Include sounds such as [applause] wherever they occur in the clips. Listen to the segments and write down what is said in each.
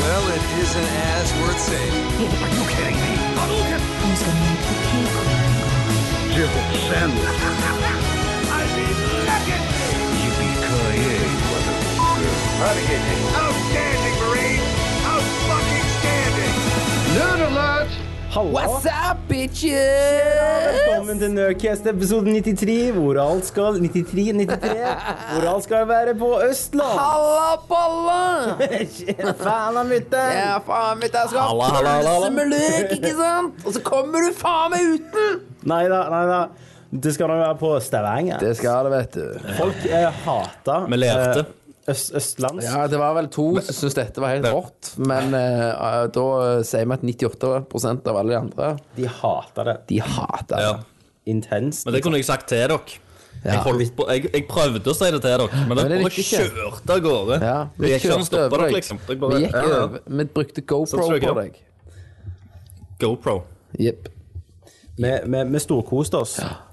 well, it isn't as worth saying. Outstanding, Marine! Out fucking standing! What's up, bitches? Velkommen til Nerdcast episode 93, hvor alt skal 93, 93 Hvor alt skal være på Østland Halla, balla! [laughs] Fan av mutter'n Ja, faen mitt, jeg skal Halla, ha halla, halla, halla. pølse med løk, ikke sant? Og så kommer du faen meg uten! Neida, neida Det skal nå være på Stavanger Det skal det, vet du. Folk eh, hater Vi levde. eh, øst, Østlands Ja, det var vel to som syntes dette var helt rått, men eh, da eh, sier vi at 98 av alle de andre, De hater det de hater det. Ja. intenst Men det kunne jeg sagt til dere. Jeg, holdt på, jeg, jeg prøvde å si det til dere, men det dere er bare riktig, Kjell. kjørte av gårde. Ja, Vi gikk ikke an å stoppe over dere, deg. liksom. Dere Vi bare, gikk ja, ja. over. Vi brukte GoPro tror jeg på også. deg. GoPro. Jepp. Vi, vi, vi storkoste oss selv da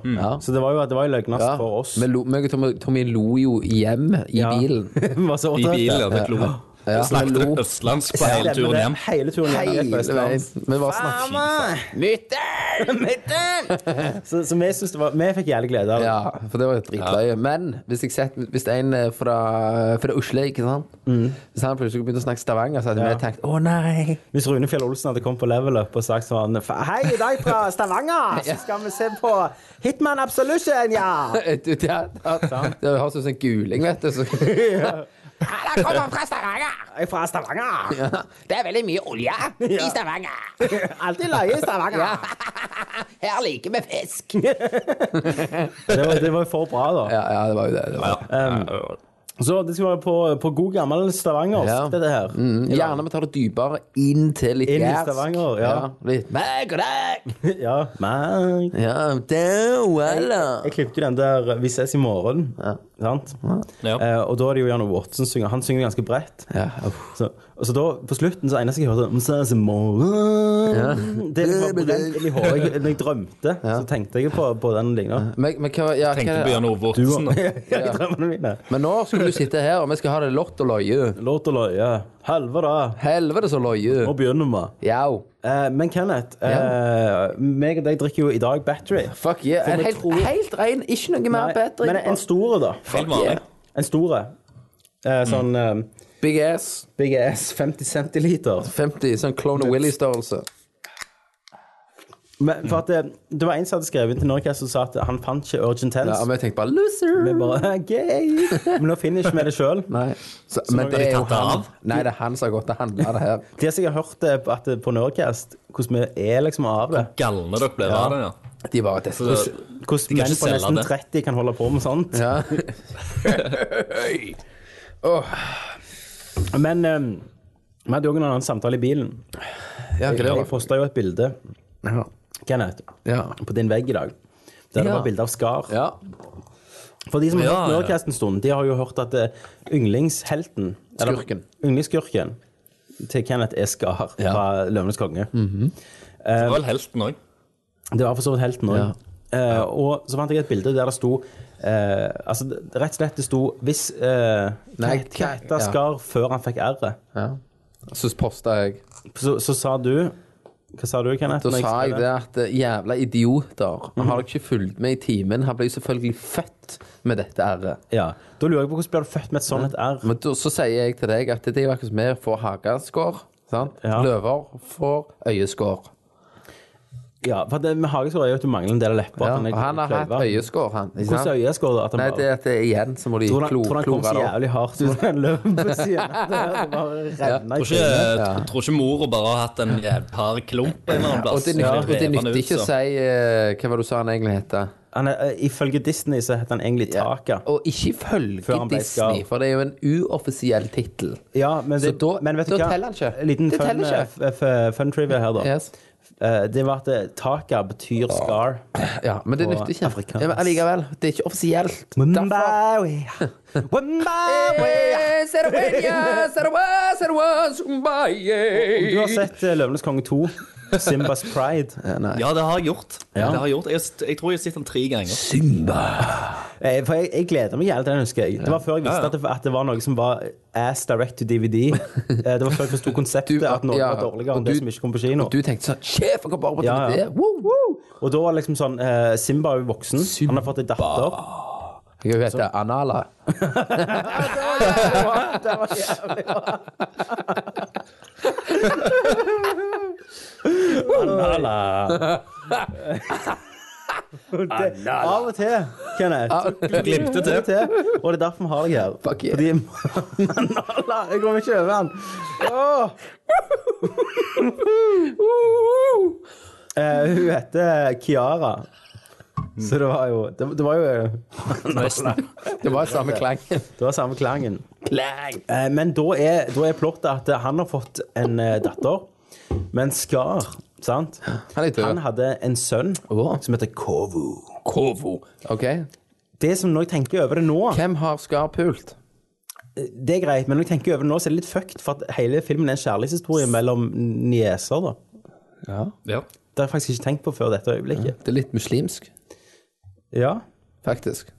Mm. Ja. Så det var jo, det var jo løgnast Ja. for oss Vi lo- meg og Tommy- Tommy lo jo hjem i Ja. [laughs] [laughs] bilen. Vi var så I bilen. overtrøtte Det klo. Ja. Vi Vi lo. snakket østlandsk på hele turen hjem. Hele turen hjem Hele rett på veien. Østlands. Vi bare snakket. Så, så vi synes det var Vi fikk jævlig glede av det Ja, for det var jo dritløye. Men hvis, jeg sett, hvis en eh, fra, fra Oslo, ikke sant Hvis han plutselig begynte å snakke stavanger, så hadde Ja. vi tenkt å nei. [laughs] Hvis Rune Fjell Olsen hadde kommet på level up og sagt sånn Hei, i dag fra [laughs] Stavanger så skal vi se på Hitman Absolution, ja! Vet du, det, er- det høres ut som en guling, vet du. Så, Jeg kommer fra Stavanger! Jeg er fra [laughs] Stavanger. Det er veldig mye olje i Stavanger. Alltid løye i Stavanger. Her liker vi fisk. [laughs] Det var, det var for bra, da. ja, ja, det var jo det. det var. Ja. Så det skal være på, på god gammel Stavanger, Ja. dette her. Mm, gjerne vi tar det dypere inn til litt Inn i jærsk. Stavanger, ja. litt meg og deg. [laughs] Ja, men Ja, det, voilà. Jeg klippet jo den der 'Vi ses i morgen'. Sant? Ja. Eh, og da er det jo Jan Ove Watson synger. Han synger ganske bredt. Ja. Så, og så da, på slutten, så eneste jeg hørte «Vi ses i morgen Det liksom var brent inn i håret. Når jeg drømte, så tenkte jeg på, på den ligna. [laughs] Men, men, hva, ja, hva Tenkte er på det? Jan Ove Otsen. da. I drømmene mine. men nå skal du sitte her, og vi skal ha det lott og løye. Lort og løye. Helvete. Helvete så løye. Nå begynner vi. Jau. Eh, men Kenneth, eh, meg og deg drikker jo i dag battery. Fuck yeah. vi En helt, tror- helt ren, ikke noe mer bedre. men en store, da. Helt vanlig. En store. Eh, sånn eh, Big ass. Big S 50 centiliter. 50, sånn Clone of Willy-størrelse. Men for at det, det var en som hadde skrevet inn til Norcast og sa at han fant ikke Urgent Ja, Health. men jeg tenkte bare loser. Vi bare [laughs] gay. Men nå finner ikke vi det sjøl. Nei. Så, men nå det er er de jo tatt det han. av? Nei, det er han som har gått og handla det her. De som jeg har hørt det på- at det på Norcast, hvordan vi er liksom av det. Galne dere ble av det, ja. De bare det, Så, Hvordan kan menn ikke på selge nesten det. 30 kan holde på med sånt. ja. Men eh, vi hadde jo en annen samtale i bilen. ja, hva det Jeg var. posta jo et bilde, Ja. Kenneth, Ja. på din vegg i dag. Der det Ja. var bilde av Skar. ja. For de som har Ja, hørt ja. Nordcast en stund, de har jo hørt at eh, yndlingshelten eller Skurken. Yndlingsskurken til Kenneth er Skar Ja. fra Løvenes konge. Mm. Eh, det var vel helten òg. Det var for så vidt helten òg. Eh, og så fant jeg et bilde der det sto eh, Altså det- rett og slett det sto Hvis eh, Nei, Kat- ja. Katta skar før han fikk r-et, ja. Så posta jeg. så, så sa du Hva sa du, Kenneth? Da når sa jeg skrev det at eh, jævla idioter. Har dere ikke fulgt med i timen? Han ble jo selvfølgelig født med dette r-et. Ja. Da lurer jeg på hvordan blir du født med et sånt r? Men da, så sier jeg til deg at det er jo akkurat som vi får hageskår. Sant? Ja. Løver får øyeskår. Ja, for det med hageskår er jo at du mangler en del av leppa. Ja. at den er Og han har hatt kløyva. øyeskår, han. Ikke Hvordan er sant? øyeskår, da? At han Nei, bare- det er at det er igjen, så må de Tror du han, klo, tror du han kom klore så det opp. jævlig hardt ut av den løven på siden? Det bare renna i Tror ikke, trynet. jeg tror ikke mora bare har hatt en jævla hard klump en eller annen Og plass. det nytter, Ja. og det Rev han nytter ut, ikke å så. si eh, Hva var det du sa han egentlig heter? Han er- eh, Ifølge Disney så heter han egentlig Taka. Og ikke ifølge Før han ble Disney, skal. for det er jo en uoffisiell tittel. Ja, men, Så det, da- men vet du da hva? teller han ikke. En Liten Det fun, teller ikke. eh, f- eh, fun trivia her, da. Yes. Eh, Det var at eh, Taka betyr scar. Ja, men det Og nytter ikke. afrikansk. [laughs] Ja, men allikevel, det er ikke offisielt. Derfor, Mumbai. When my way. Sarabella, Sarabella, Sarabella, Du Zumbaye. har sett eh, Løvenes konge 2, Simbas pride. [laughs] Ja, nei. Ja, det har jeg gjort. Ja. Det har jeg, gjort. Jeg, har st- jeg tror jeg har sett den tre ganger. Eh, For jeg, jeg gleder meg jævlig til den, husker jeg. Det var før jeg visste Ja, ja. At, det, at det var noe som var eh, ass direct to [laughs] DVD. Eh, Det var før jeg forsto konseptet, Du- at noe ja, var dårligere og enn det du- som ikke kom på kino. Du tenkte sånn Sjef, han kan bare på Ja, DVD! ja. Woo, woo. Og da var det liksom sånn eh, Simba er jo voksen. Han har fått en datter. Jeg vet det. Anala. Anala. Det, av og til, Kenneth. så glimter til. det Og det er derfor vi har deg her. Fuck yeah. Fordi Anala Jeg kommer ikke over den. Åh. Eh, hun heter Kiara. Så det var jo Det, det var jo Nesten. Det var samme klangen. Det var samme klangen. Klang! Eh, Men da er, da er plottet at han har fått en eh, datter, men Skar, sant? Han er død. Han hadde en sønn Åh. som heter Kovu. Kovo. OK. Det som når jeg tenker over det nå, Hvem har skarpult? det er greit, men når jeg tenker over det nå, så er det litt fucked, for at hele filmen er en kjærlighetshistorie mellom nieser, da. Ja. Ja. Det har jeg faktisk ikke tenkt på før dette øyeblikket. Det er litt muslimsk, Ja. faktisk.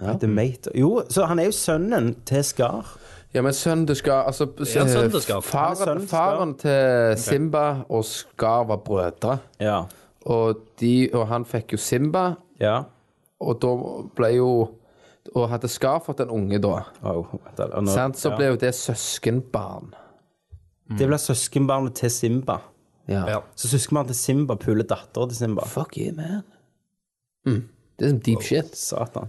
The mate. Jo, så han er jo sønnen til Skar. Ja, men sønnen til Skar Altså, s- Ja, sønnen til Skar. faren, Han er sønnen til Skar. faren til Simba og Skar var brødre. Ja. Og, de, og han fikk jo Simba, Ja. og da ble jo Og hadde Skar fått en unge da, Au, vent da, nå- sant, så ble jo det søskenbarn. Det blir søskenbarnet til Simba. Ja. Ja. Så søskenbarnet til Simba puler datteren til Simba. Fuck you, man. Mm. Det er som deep shit. Satan.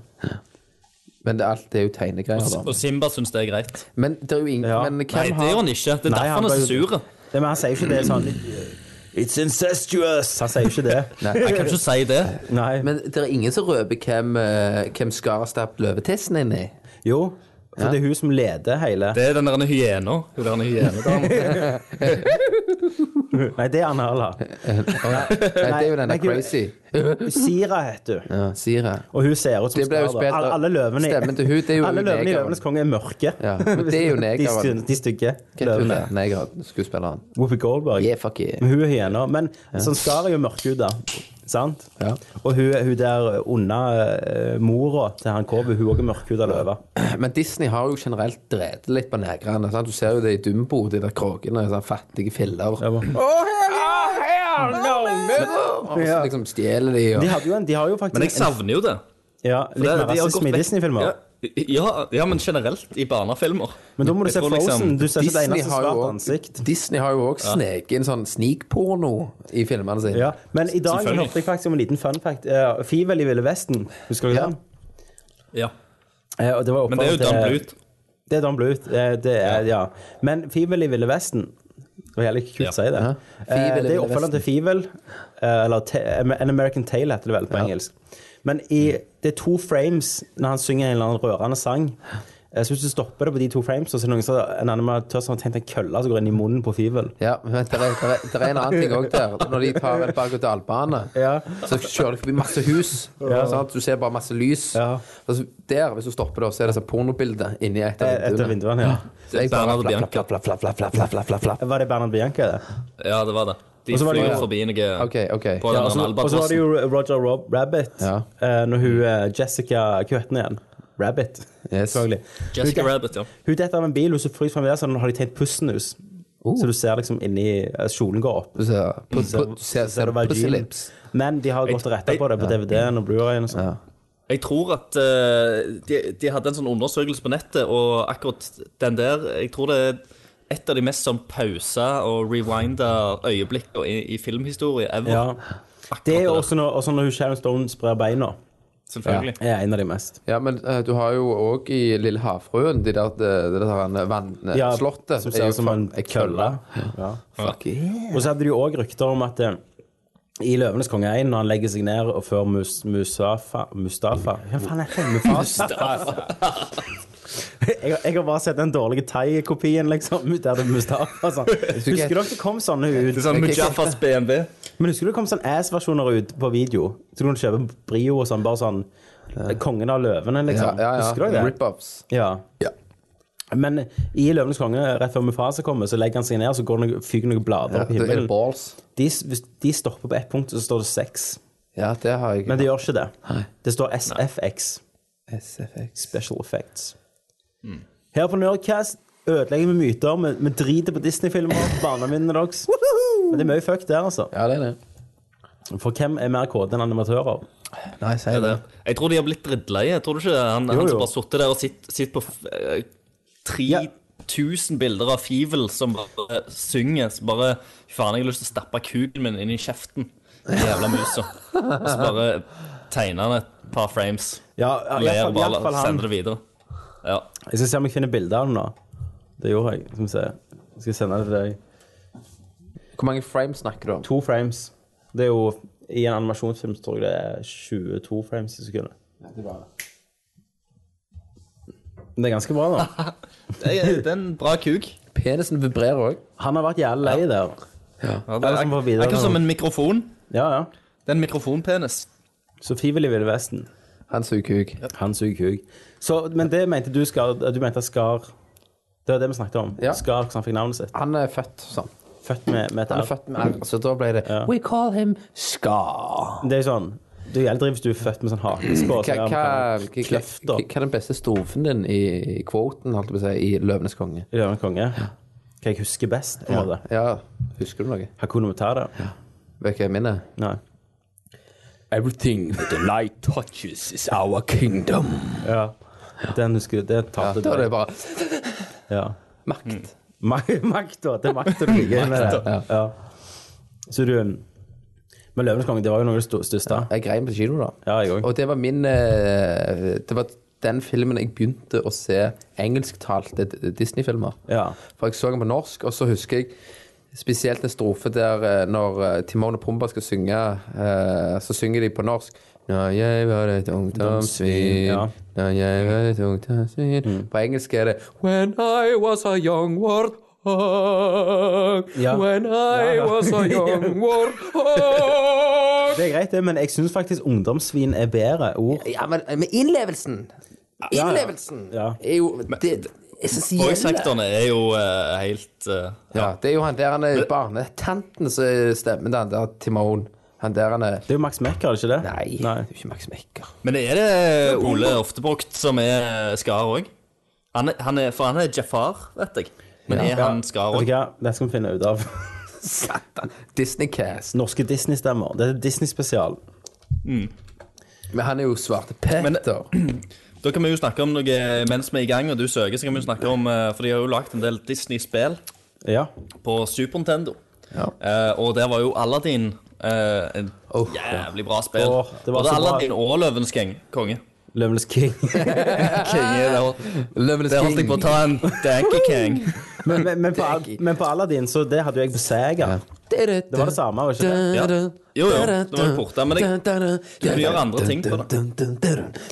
Men det, er alt det er jo tegnegreier, da. Og Simba syns det er greit. Men det er jo ingen Ja. Men Nei, det hvem har gjør han ikke. Det er Nei, han derfor han er ble så jo- sur. Det, men han sier jo ikke det sånn It's incestuous! Han sier jo ikke det. Jeg kan ikke si det. Nei. Men det er ingen som røper hvem, eh, hvem Skar stapp løvetissen inn i? jo, for det er hun som leder hele Det er den der hyena. Hun der hyena. Nei, det er Anala. Nei, det er jo nei, denne gud. crazy. Sira heter hun. Ja, sier jeg. Og hun ser ut som Det ble jo Skar, da. spilt- Alle, alle løvene, i- Stemmen til hun, det er jo alle hun løvene i negeren. Løvenes konge er mørke. Ja, men det er jo [laughs] de, negeren. sty- de stygge Hva heter hun løvene. der? Negerhatten, skuespilleren. Whoopi Goldberg. Yeah, fuck yeah. Men hun er hyena. Men sånn Skar er jo mørkhuda. Sant? Ja. Og hun, hun der unna eh, mora til han Kobu, hun er også mørkhuda løve. Men Disney har jo generelt drevet litt på negrene. Sant? Du ser jo det i Dumbo, de der kråkene. Sånn fattige filler. Ja, hva? Og så liksom stjeler de og De, hadde jo en, de har jo faktisk Men jeg en- savner jo det. Ja, litt Det- mer de har gått rasisme i vekk- Disney-filmer. Ja, ja, ja, men generelt i barnefilmer. Men da må du Jeg se tror Frozen. liksom- du ser ikke det eneste jo svart også- ansikt. Disney har jo òg sneket inn sånn snikporno i filmene sine. Ja. Men i dag Selvfølgelig. hørte jeg faktisk om en liten fun fact. Uh, Fivel i Ville Vesten, husker du Ja. den? Ja. Eh, og det var Men det er jo opphavet Dan til- Bluth. Det er Don Bluth. eh, det er, ja. Men Fivel i Ville Vesten Det var jævlig kult Ja. å si det. Fivel i Eh, det Ville er oppfølgeren til Fivel. eh, eller Ta- An American Tale heter det vel på engelsk. Men i, det er to frames når han synger en eller annen rørende sang. Eh, Så hvis du stopper det på de to frames, og så er det noen som en animatør som har tenkt en kølle som går inn i munnen på Fivel. Ja, men det er, der er, der er en annen ting òg der. Når de tar en berg-og-dal-bane, Ja. så kjører de forbi masse hus. Sant? Du ser bare masse lys. Ja. Altså, der, hvis du stopper det, så er det sånn pornobilde inni et av Etter vinduene. Eh, vinduene, ja. Så jeg bare- Bernard og Bianca. Flapp, flapp, flapp, flapp, flapp, flapp, flapp. Var det Bernard Bianca, det? Ja, det var det. De Og så var det flyr jo- forbi noe Ok, ok. på den Og så- der Og så var det albatrossen. jo Roger Rob Rabbit. Ja. eh, Når hun eh, Jessica Hva heter hun igjen? Rabbit. Yes. Selvfølgelig. Jessica Hun- Rabbit, ja. Hun detter av en bil, hun så fryser fremdeles, sånn har de tegnet pussenus. Så du ser liksom inni eh, Kjolen går opp. Du ser, på, Så- på, ser, så ser ser du du vagin. pussy lips. Men de har gått og retta på det på DVD-en og Blu-rayen og sånn. Jeg tror at eh, de, de hadde en sånn undersøkelse på nettet, og akkurat den der Jeg tror det er et av de mest sånn pausa og rewinda øyeblikk i, i filmhistorie ever. Ja. Akkurat Det er jo der, også når, også når hun Sharon Stone sprer beina. Selvfølgelig. Er en av de mest. Ja, men eh, du har jo òg i Lille Havfruen de der, det, det der eh, vann, eh, Ja, slottet som er ser jo ut som fa- en kølle. Ja. Fuck yeah. Og så hadde de jo òg rykter om at eh, i 'Løvenes konge 1', når han legger seg ned og før Mus Musafa Mustafa Hva faen er det? Mufasa? Jeg, har- jeg har bare sett den dårlige thai-kopien, liksom. Der det er Mustafa og sånn. Husker dere det kom sånne Det er ut? sånn Mujafas BMW. Men husker du det kom sånne ass-versjoner ut på video? Så du kunne kjøpe Brio og sånn, bare sånn Kongen av løvene, liksom. Ja, ja, Husker ja. dere det? Rip-offs. Ja. Men i Løvenes konge, rett før Mufasa kommer, så legger han seg ned, så går det noe, fyker noen blader Ja, opp i det er himmelen. balls. De, hvis de stopper på ett punkt, så står det 6. Ja, det har jeg. Men det gjør ikke det. Nei. Det står SFX. SFX. Special Effects. Hmm. Her på Nerdcast ødelegger vi myter. Vi, vi driter på Disney-filmer. [laughs] Barneminner deres. Men det er mye fuck der, altså. Ja, det er det. For hvem er mer kåte enn animatører? Nei, si Det. Jeg tror de har blitt drittleie. Tror du ikke det? Han, han jo. som bare satt der og sitter sitt på eh, 3000 bilder av Fivel som bare eh, synger. Så bare Fy faen, jeg har lyst til å stappe kuken min inn i kjeften. Den Jævla musa. Og så bare tegner han et par frames. Ja, ja, i hvert Ler fall- i bare hvert fall han. sender det videre. Ja. Jeg skal se om jeg finner bilde av den nå. Det gjorde jeg. Skal vi se. Jeg skal sende det til deg. Hvor mange frames snakker du om? To frames. Det er jo I en animasjonsfilm så tror jeg det er 22 frames i sekundet. Men Det er ganske bra, da. Det er, det er en bra kuk. Penisen vibrerer òg. Han har vært jævlig lei der. Ja, det Alle er som får ak videre akkurat nå. som en mikrofon. Ja, ja. Det er en mikrofonpenis. Så frivillig Ville Vesten. Han suger kuk. Han suger kuk. Så, men det mente du Skar Du mente at Skar Det var det vi snakket om. Ja. Skar, hvordan han fikk navnet sitt. Han er født sånn. Født med, med et Han er R. født med R, så da ble det We call him Ska. Det er jo sånn Du er jævlig driv hvis du er født med sånn hakespå. Hva, hva, hva, hva, hva, sånn Kløfter. er den beste strofen din i i quoten, holdt jeg på å si, i Løvenes konge? I Løvenes konge. Hva jeg husker best, på en måte. Ja, husker du noe? Hakuna Matata. Vet du hva jeg minner? Nei. Everything that the light touches is our kingdom. Ja. Den husker du. Det Ja, tapte da er det du. bare Ja. makt. [laughs] Mak- Makta. Det er makta [laughs] du ligger med det. Makta. Ja. Så du Men Løvenes konge, det var jo noe av det sto- største. Jeg grein på kino, da. Ja, jeg òg. Og det var min eh, Det var den filmen jeg begynte å se engelsktalte d- Disney-filmer. Ja. For jeg så den på norsk, og så husker jeg spesielt en strofe der eh, når eh, Timon og Pumba skal synge, eh, så synger de på norsk. Da jeg var et ungdomssvin Ja. Mm. Da jeg var et ungdomssvin På engelsk er det When I was a young warthog Ja. When I Ja. was a [laughs] young warthog Det er greit, det, men jeg syns faktisk ungdomssvin er bedre ord. Ja, men men innlevelsen Innlevelsen Ja. er jo det, essensielle. Voice-sektoren er jo eh, helt eh, Ja, det er jo han der han er barnetanten som er stemmen til han der Timon. Han der han er Det er jo Max Mekker, er det ikke det? Nei, det er jo ikke Max Mekker. Men er det eh, Ole Oftebrukt som er eh, Skar òg? Han er, han er, for han er Jafar, vet jeg. Men er han Skar Vet òg? du hva? Det skal vi finne ut av. Satan. Disneycast. [laughs] Norske Disney-stemmer. Det er Disney-spesial. Men han er jo svarte Petter. Men- Da kan vi jo snakke om noe eh, mens vi er i gang, og du søker, så kan vi jo snakke om eh, For de har jo lagd en del Disney-spill Ja. på Super Nintendo. Ja. Eh, og der var jo Aladdin eh, en Åh, jævlig bra spill. Åh, det var Både så bra. Aladdin og Løvens keng- konge. Løvenes King. Konge, der, Løvenes der holdt jeg på å ta [laughs] en Danky Kang. men, men, men, på, Al- men på Aladdin, så det hadde jo jeg på Sega. Det var det samme, var ikke det? Ja. Jo, jo, det var jo porta, men jeg- du kan gjøre andre ting på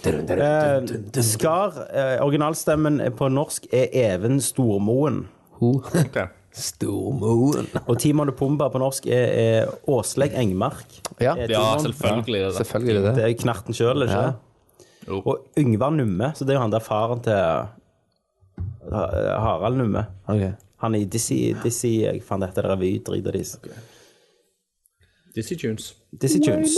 det. Eh, Skar, eh, originalstemmen på norsk, er Even Stormoen. Ok. Stormoen. Og Timon og Pumba på norsk er, er Åsleik Engmark. Eh, Ja, Er Ja, Timon. selvfølgelig. er det det. selvfølgelig det. Det er Knerten sjøl, ikke det? Jo. Og Yngvar Numme, så det er jo han der faren til eh, Harald Numme. Ok. Han er i Dizzy Dizzy Jeg fant dette revydrit og dis. Dizzy Tunes. Dizzy Tunes.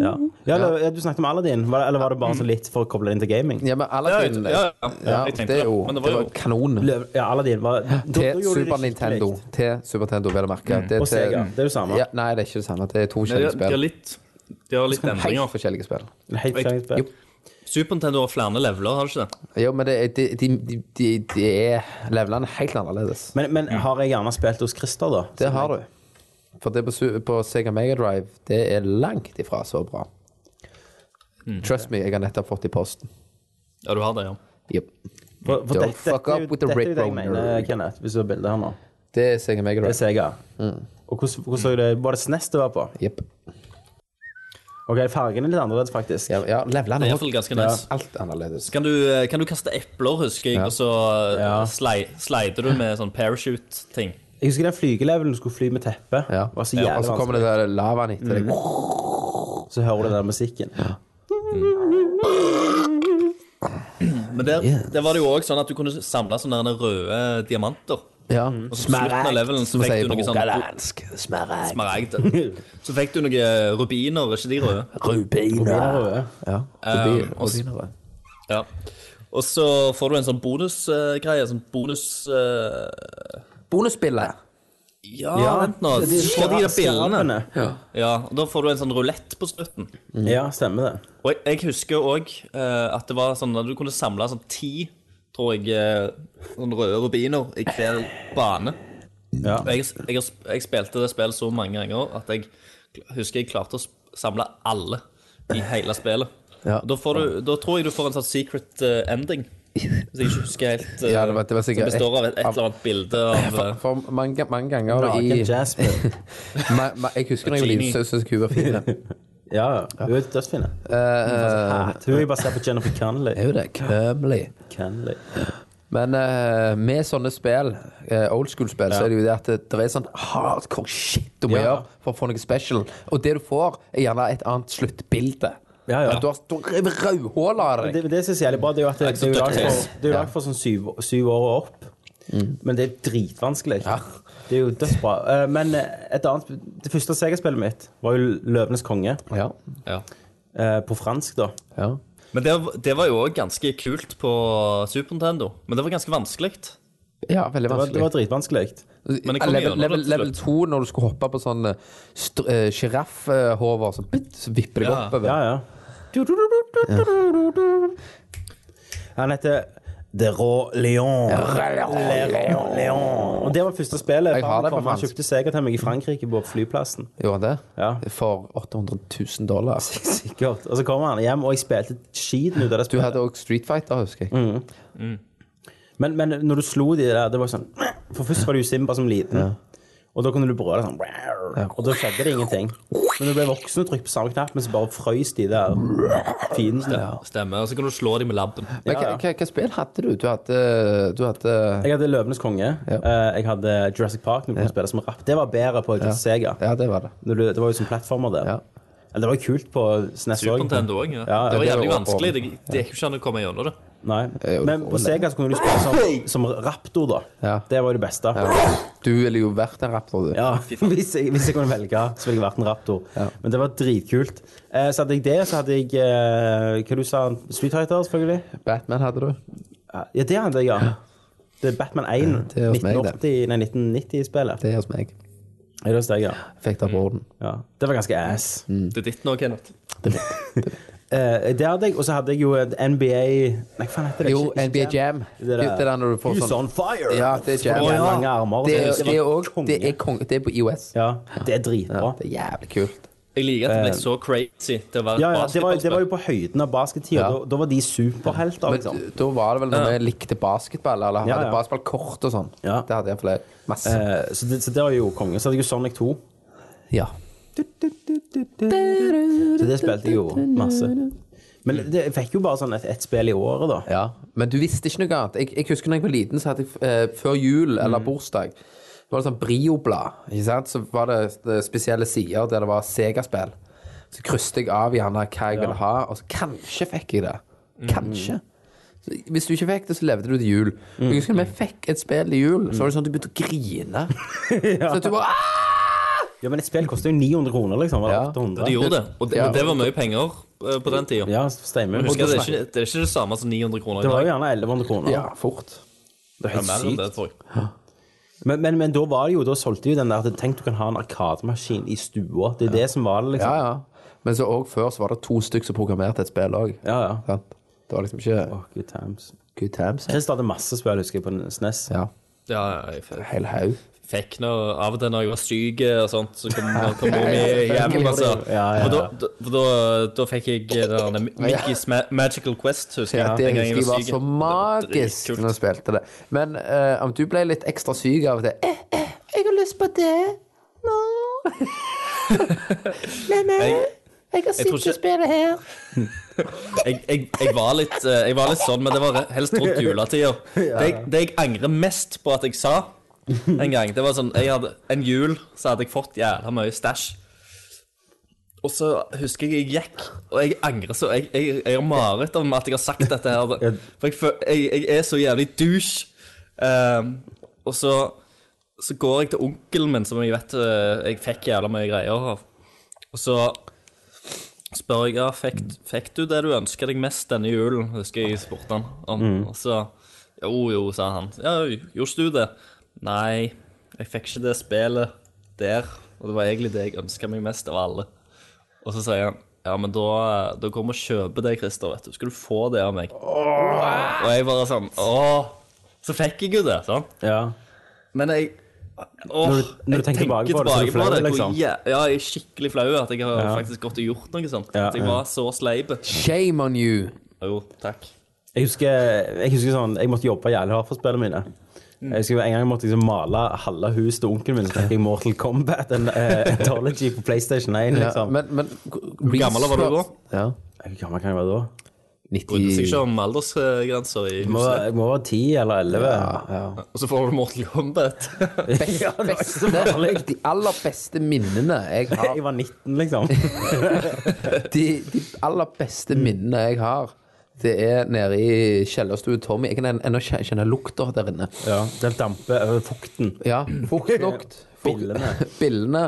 Ja. Ja, eller, ja, du snakket om Aladdin, var det, eller var det bare så litt for å koble det inn til gaming? Mm. Ja, men Aladdin Ja, ja, ja. ja, Jeg tenkte det det, er jo men Det det var jo- var kanon. Løv- Ja, Aladdin var da- da Til gjorde de det Super skikkelig. Mm. Nintendo. Til Super Nintendo, vel å merke. Det er til- Og Sega. Det er jo samme. Ja, nei, det er ikke det samme. Det er De to forskjellige har, de har spill. litt, de har litt Helt endringer. forskjellige spill. Helt forskjellig spill. Jo. Super Nintendo har flere leveler, har du ikke det? Jo, men det, er- de, de, de, de er levelene er helt annerledes. Men, men har jeg gjerne spilt hos Christer, da? Det har du. For det på, su- på Sega Mega Drive det er langt ifra så bra. Mm. Trust me, jeg har nettopp fått i posten. Ja, du har det, ja. Jep. For, for Don't dette, fuck dette er jo- up with the dette er jo det jeg Rick mener, Roller. Kenneth, hvis du har bilde her nå. Det er Sega Mega Det er Drive. Sega. Mm. Og hvordan, hvordan så det Var det SNES det var på? Jep. Ok, fargen er litt annerledes, faktisk. Ja, ja levelene Det er er i hvert fall ganske nice. alt annerledes. Kan du, eh, kan du kaste epler, husker jeg, og så eh, Ja. slei- slider du med sånn parachute-ting? Jeg husker den flygelevelen du skulle fly med teppe. Ja. Det Var så Og jævlig så kommer vanskelig. det der lavaen etter deg. så hører du den musikken. [laughs] Men der, der var det jo òg sånn at du kunne samle sånne der røde diamanter. Ja. Og så på slutten av levelen så som vi fikk sier du på noe sånn Dansk smaragd. smaragd. [laughs] Så fikk du noen eh, rubiner, ikke de røde? Rubiner. Røde. Ja. Um, og s- Ja. Og så får du en sånn bonusgreie. sånn bonus... eh, Bonusspillet. ja, sånn Ja, vent nå. det er de Så får du de der bildene. skarabene. Ja, og Da får du en sånn rulett på slutten. Ja, stemmer det. Og jeg, jeg husker òg at det var sånn at du kunne samle sånn ti, tror jeg, eh, sånne røde rubiner i hver bane. Ja. Og Jeg, jeg, har sp- jeg spilte det spillet så mange ganger at jeg kl- husker jeg klarte å sp- samle alle i hele spillet. Ja. Og Da, får du, da tror jeg du får en sånn secret eh, ending. Hvis jeg ikke husker helt. eh, [laughs] Ja, det var- det var sikkert som består av et, et av- eller annet bilde av For, eh, for mange, mange ganger i Naken Jasper. ma, ma, Jeg husker da jeg var liten, så syntes jeg hun var fin. [laughs] ja. Ja, ja. Hun er dødsfin. Eh, Hun er jo basert på Jennifer Connelly. er jo det. Kømli. Connelly. Men eh, med sånne spill, eh, old school-spill, så er det jo det at det, det er sånn hardcore shit du må Ja. gjøre for å få noe special. Og det du får, er gjerne et annet sluttbilde. Ja, ja. At Du har, du har revet rødhål av deg. Det, det synes jeg er jævlig bra. Det er jo at det, det er jo lagd for, det er jo lagd for sånn syv, syv år og opp. Men det er dritvanskelig. Ja. Det er jo dødsbra. Eh, Men eh, et annet, det første Sega-spillet mitt var jo 'Løvenes konge'. Ja. ja. eh, På fransk, da. ja. Men det, det var jo òg ganske kult på Super Nintendo. Men det var ganske vanskelig. Ja, veldig Det var, det vanskelig. var dritvanskelig. Men det kom level, gjennom det level, til level slutt. 2, når du skulle hoppe på sånn eh, sjiraffhover, så, bitt, så vipper det Ja. oppover. Ja, ja. Han heter The Rå Leon. Leon. Leon. Og det var første spillet. Jeg har det på Han fransk. kjøpte Sega til meg i Frankrike på flyplassen. [laughs] Gjorde han det? Ja. For 800 000 [laughs] dollar. Sikkert. Og så kommer han hjem, og jeg spilte skiten ut av det Du spillet. hadde òg Street Fighter, husker jeg. Mm. Men, men når du slo de der, det var sånn For først var det jo Simba som liten. Og da kunne du brøle sånn Og da skjedde det ingenting. Men du ble voksen og trykket på samme knapp, men så bare frøys de der fiendene. Stemmer. Og så kan du slå dem med labben. Men Ja, ja. hva- hva- Hva spill hadde du? Du hadde, du hadde Jeg hadde Løvenes konge. eh, Jeg hadde Jurassic Park. Når du kunne spille som rapp. Det var bedre på Sega. Ja, det var det. Når du, det var jo som plattformer der. Ja. Eller det var jo kult på SNES Super også. Nintendo òg. Ja. Ja, Det var det jævlig var- vanskelig. Det, det gikk jo ikke an å komme gjennom det. Nei. jo, Men det på var Sega så kunne du spille som, som raptor, da. Ja. Det var jo det beste. Du ville jo vært en rapper, du. Ja, [laughs] hvis jeg, hvis jeg kunne velge, så ville jeg vært en raptor. Men det var dritkult. Eh, så hadde jeg det, så hadde jeg eh, Hva du sa du? Street Fighter, selvfølgelig? Batman hadde du. Ja, det hadde jeg, ja. Det er Batman 1. Det er hos meg, det. 1980, nei, 1990-spillet. Det er hos meg. Er det hos deg, ja. Fikk det på orden. ja. Det var ganske ass. Det er ditt nå, Kenneth. Eh, det hadde jeg, og så hadde jeg jo et NBA Nei, hva [laughs] faen heter det? Jo, Ikke- NBA Jam. Det er det der når du får He's sånn on fire! Ja, det er jam. Og Å, ja. lange armer. Det er, og så- det er, også, det er, kong, det er på IOS. Ja, det er dritbra. Det er jævlig kult. Jeg liker at det ble så crazy til å være Eh, Ja, et ja, det var, det var basketballspill. jo på høyden av baskettida. Ja. Da, da var de superhelter, Men liksom. d- da var det vel når vi likte basketball, eller Ja, hadde ja. basketballkort og sånn. Ja. Det hadde jeg flere. Masse. Eh, så, det, så det var jo konge. Så hadde jeg jo Sonic 2. Ja. Så det spilte jeg jo masse. Men det, jeg fikk jo bare sånn et, et spill i året, da. Ja, men du visste ikke noe annet. Jeg, jeg husker da jeg var liten, så hadde jeg eh, før jul eller bursdag så var det sånn Brio-blad. ikke sant? Så var det, eh, spesielle sider der det var Sega-spill. Så krysset jeg av gjerne hva jeg ville ha, og så kanskje fikk jeg det. Kanskje. Så, hvis du ikke fikk det, så levde du til jul. Jeg husker da vi fikk et spill i jul, så var det sånn at du begynte å grine. [laughs] Så at du bare «Ah!» Ja, Men et spill koster jo 900 kroner, liksom. Eller Ja. De 800. gjorde det, og det, Ja. og det var mye penger eh, på den tida. Ja, stemmer. Husker jeg, Det det, er ikke, det er ikke det samme som 900 kroner i var jo dag. gjerne 1100 kroner. Ja, fort. Det Ja, er helt mer enn sykt. det, tror jeg. Men, men, men da var det jo, da solgte de jo den der at Tenk du kan ha en arkademaskin i stua. Det er det som var Ja, det, liksom. ja. Men så òg før så var det to stykker som programmerte et spill òg. Ja, ja. Det var liksom ikke Åh, good times. good times. Chris hadde masse spill, husker jeg, på E SNES. Ja. Ja, ja, jeg f- Hel haug. fikk nå Av og til når jeg var syk eh, og sånt, [laughs] så kom, da kom mor mi hjem. Altså. Ja, ja, ja. For da, da, for da, da fikk jeg eh, denne Mickey's Ma Magical Quest, husker Ja, jeg. det den husker gangen jeg var syk. så magisk Det når var du spilte det. Men eh, om du ble litt ekstra syk av det eh, eh, 'Jeg har lyst på det nå.' Men eh, Jeg- jeg tror har ikke- sittet og spilt her. jeg, jeg, jeg, var litt, eh, jeg var litt sånn, men det var re- helst rundt juletida. Det, jeg- det jeg angrer mest på at jeg sa en gang, det var sånn jeg hadde, En jul så hadde jeg fått jævla mye stæsj. Og så husker jeg jeg gikk, og jeg angrer så Jeg, jeg, jeg har mareritt om at jeg har sagt dette her. For jeg, føl- jeg, jeg er så jævlig douche. Ehm, og så, så går jeg til onkelen min, som jeg vet eh, jeg fikk jævla mye greier av. Og så spør jeg ja, fikk, fikk du det du ønska deg mest denne julen, husker jeg jeg spurte han om. Og så Jo, jo, sa han. Ja, gjorde du det? Nei, jeg fikk ikke det spillet der. Og det var egentlig det jeg ønska meg mest av alle. Og så sier han ja, men da, da kommer og kjøper det, Christer, vet du. Skal du få det av meg? Og jeg bare sånn Åh! Så fikk jeg jo det, sånn. Ja. Men jeg åh, Når du- når du jeg tenker tilbake på det, så er du flau, hvor liksom. jæ- ja, jeg er skikkelig flau at jeg har faktisk gått og gjort noe sånt. Ja, at jeg ja. var så sleip. Shame on you. Jo, takk. Jeg husker, jeg husker sånn, jeg måtte jobbe jævlig hardt for spillene mine. Mm. Jeg husker En gang jeg måtte liksom male halve huset til onkelen min. Så fikk jeg Mortal Kombat en eh, anthology på PlayStation 1. Ja, liksom. men, men Hvor gammel var du da? Ja. Hvor gammel kan jeg være da? Brydde seg 90 ikke om aldersgrenser i Jeg må, huset. jeg må være 10 eller 11. Og så får du Mortal Kombat. best, [laughs] Ja, det var ikke så beste, farlig. de aller beste minnene jeg har Jeg var 19, liksom. de, de aller beste minnene jeg har, det er nede i kjellerstue Tommy. Jeg kan en- ennå kje- kjenne lukta der inne. Ja, Den damper over fukten. [clears throat] Ja, Fuktlukt. fukt- [laughs] Billene. Mhm. Billene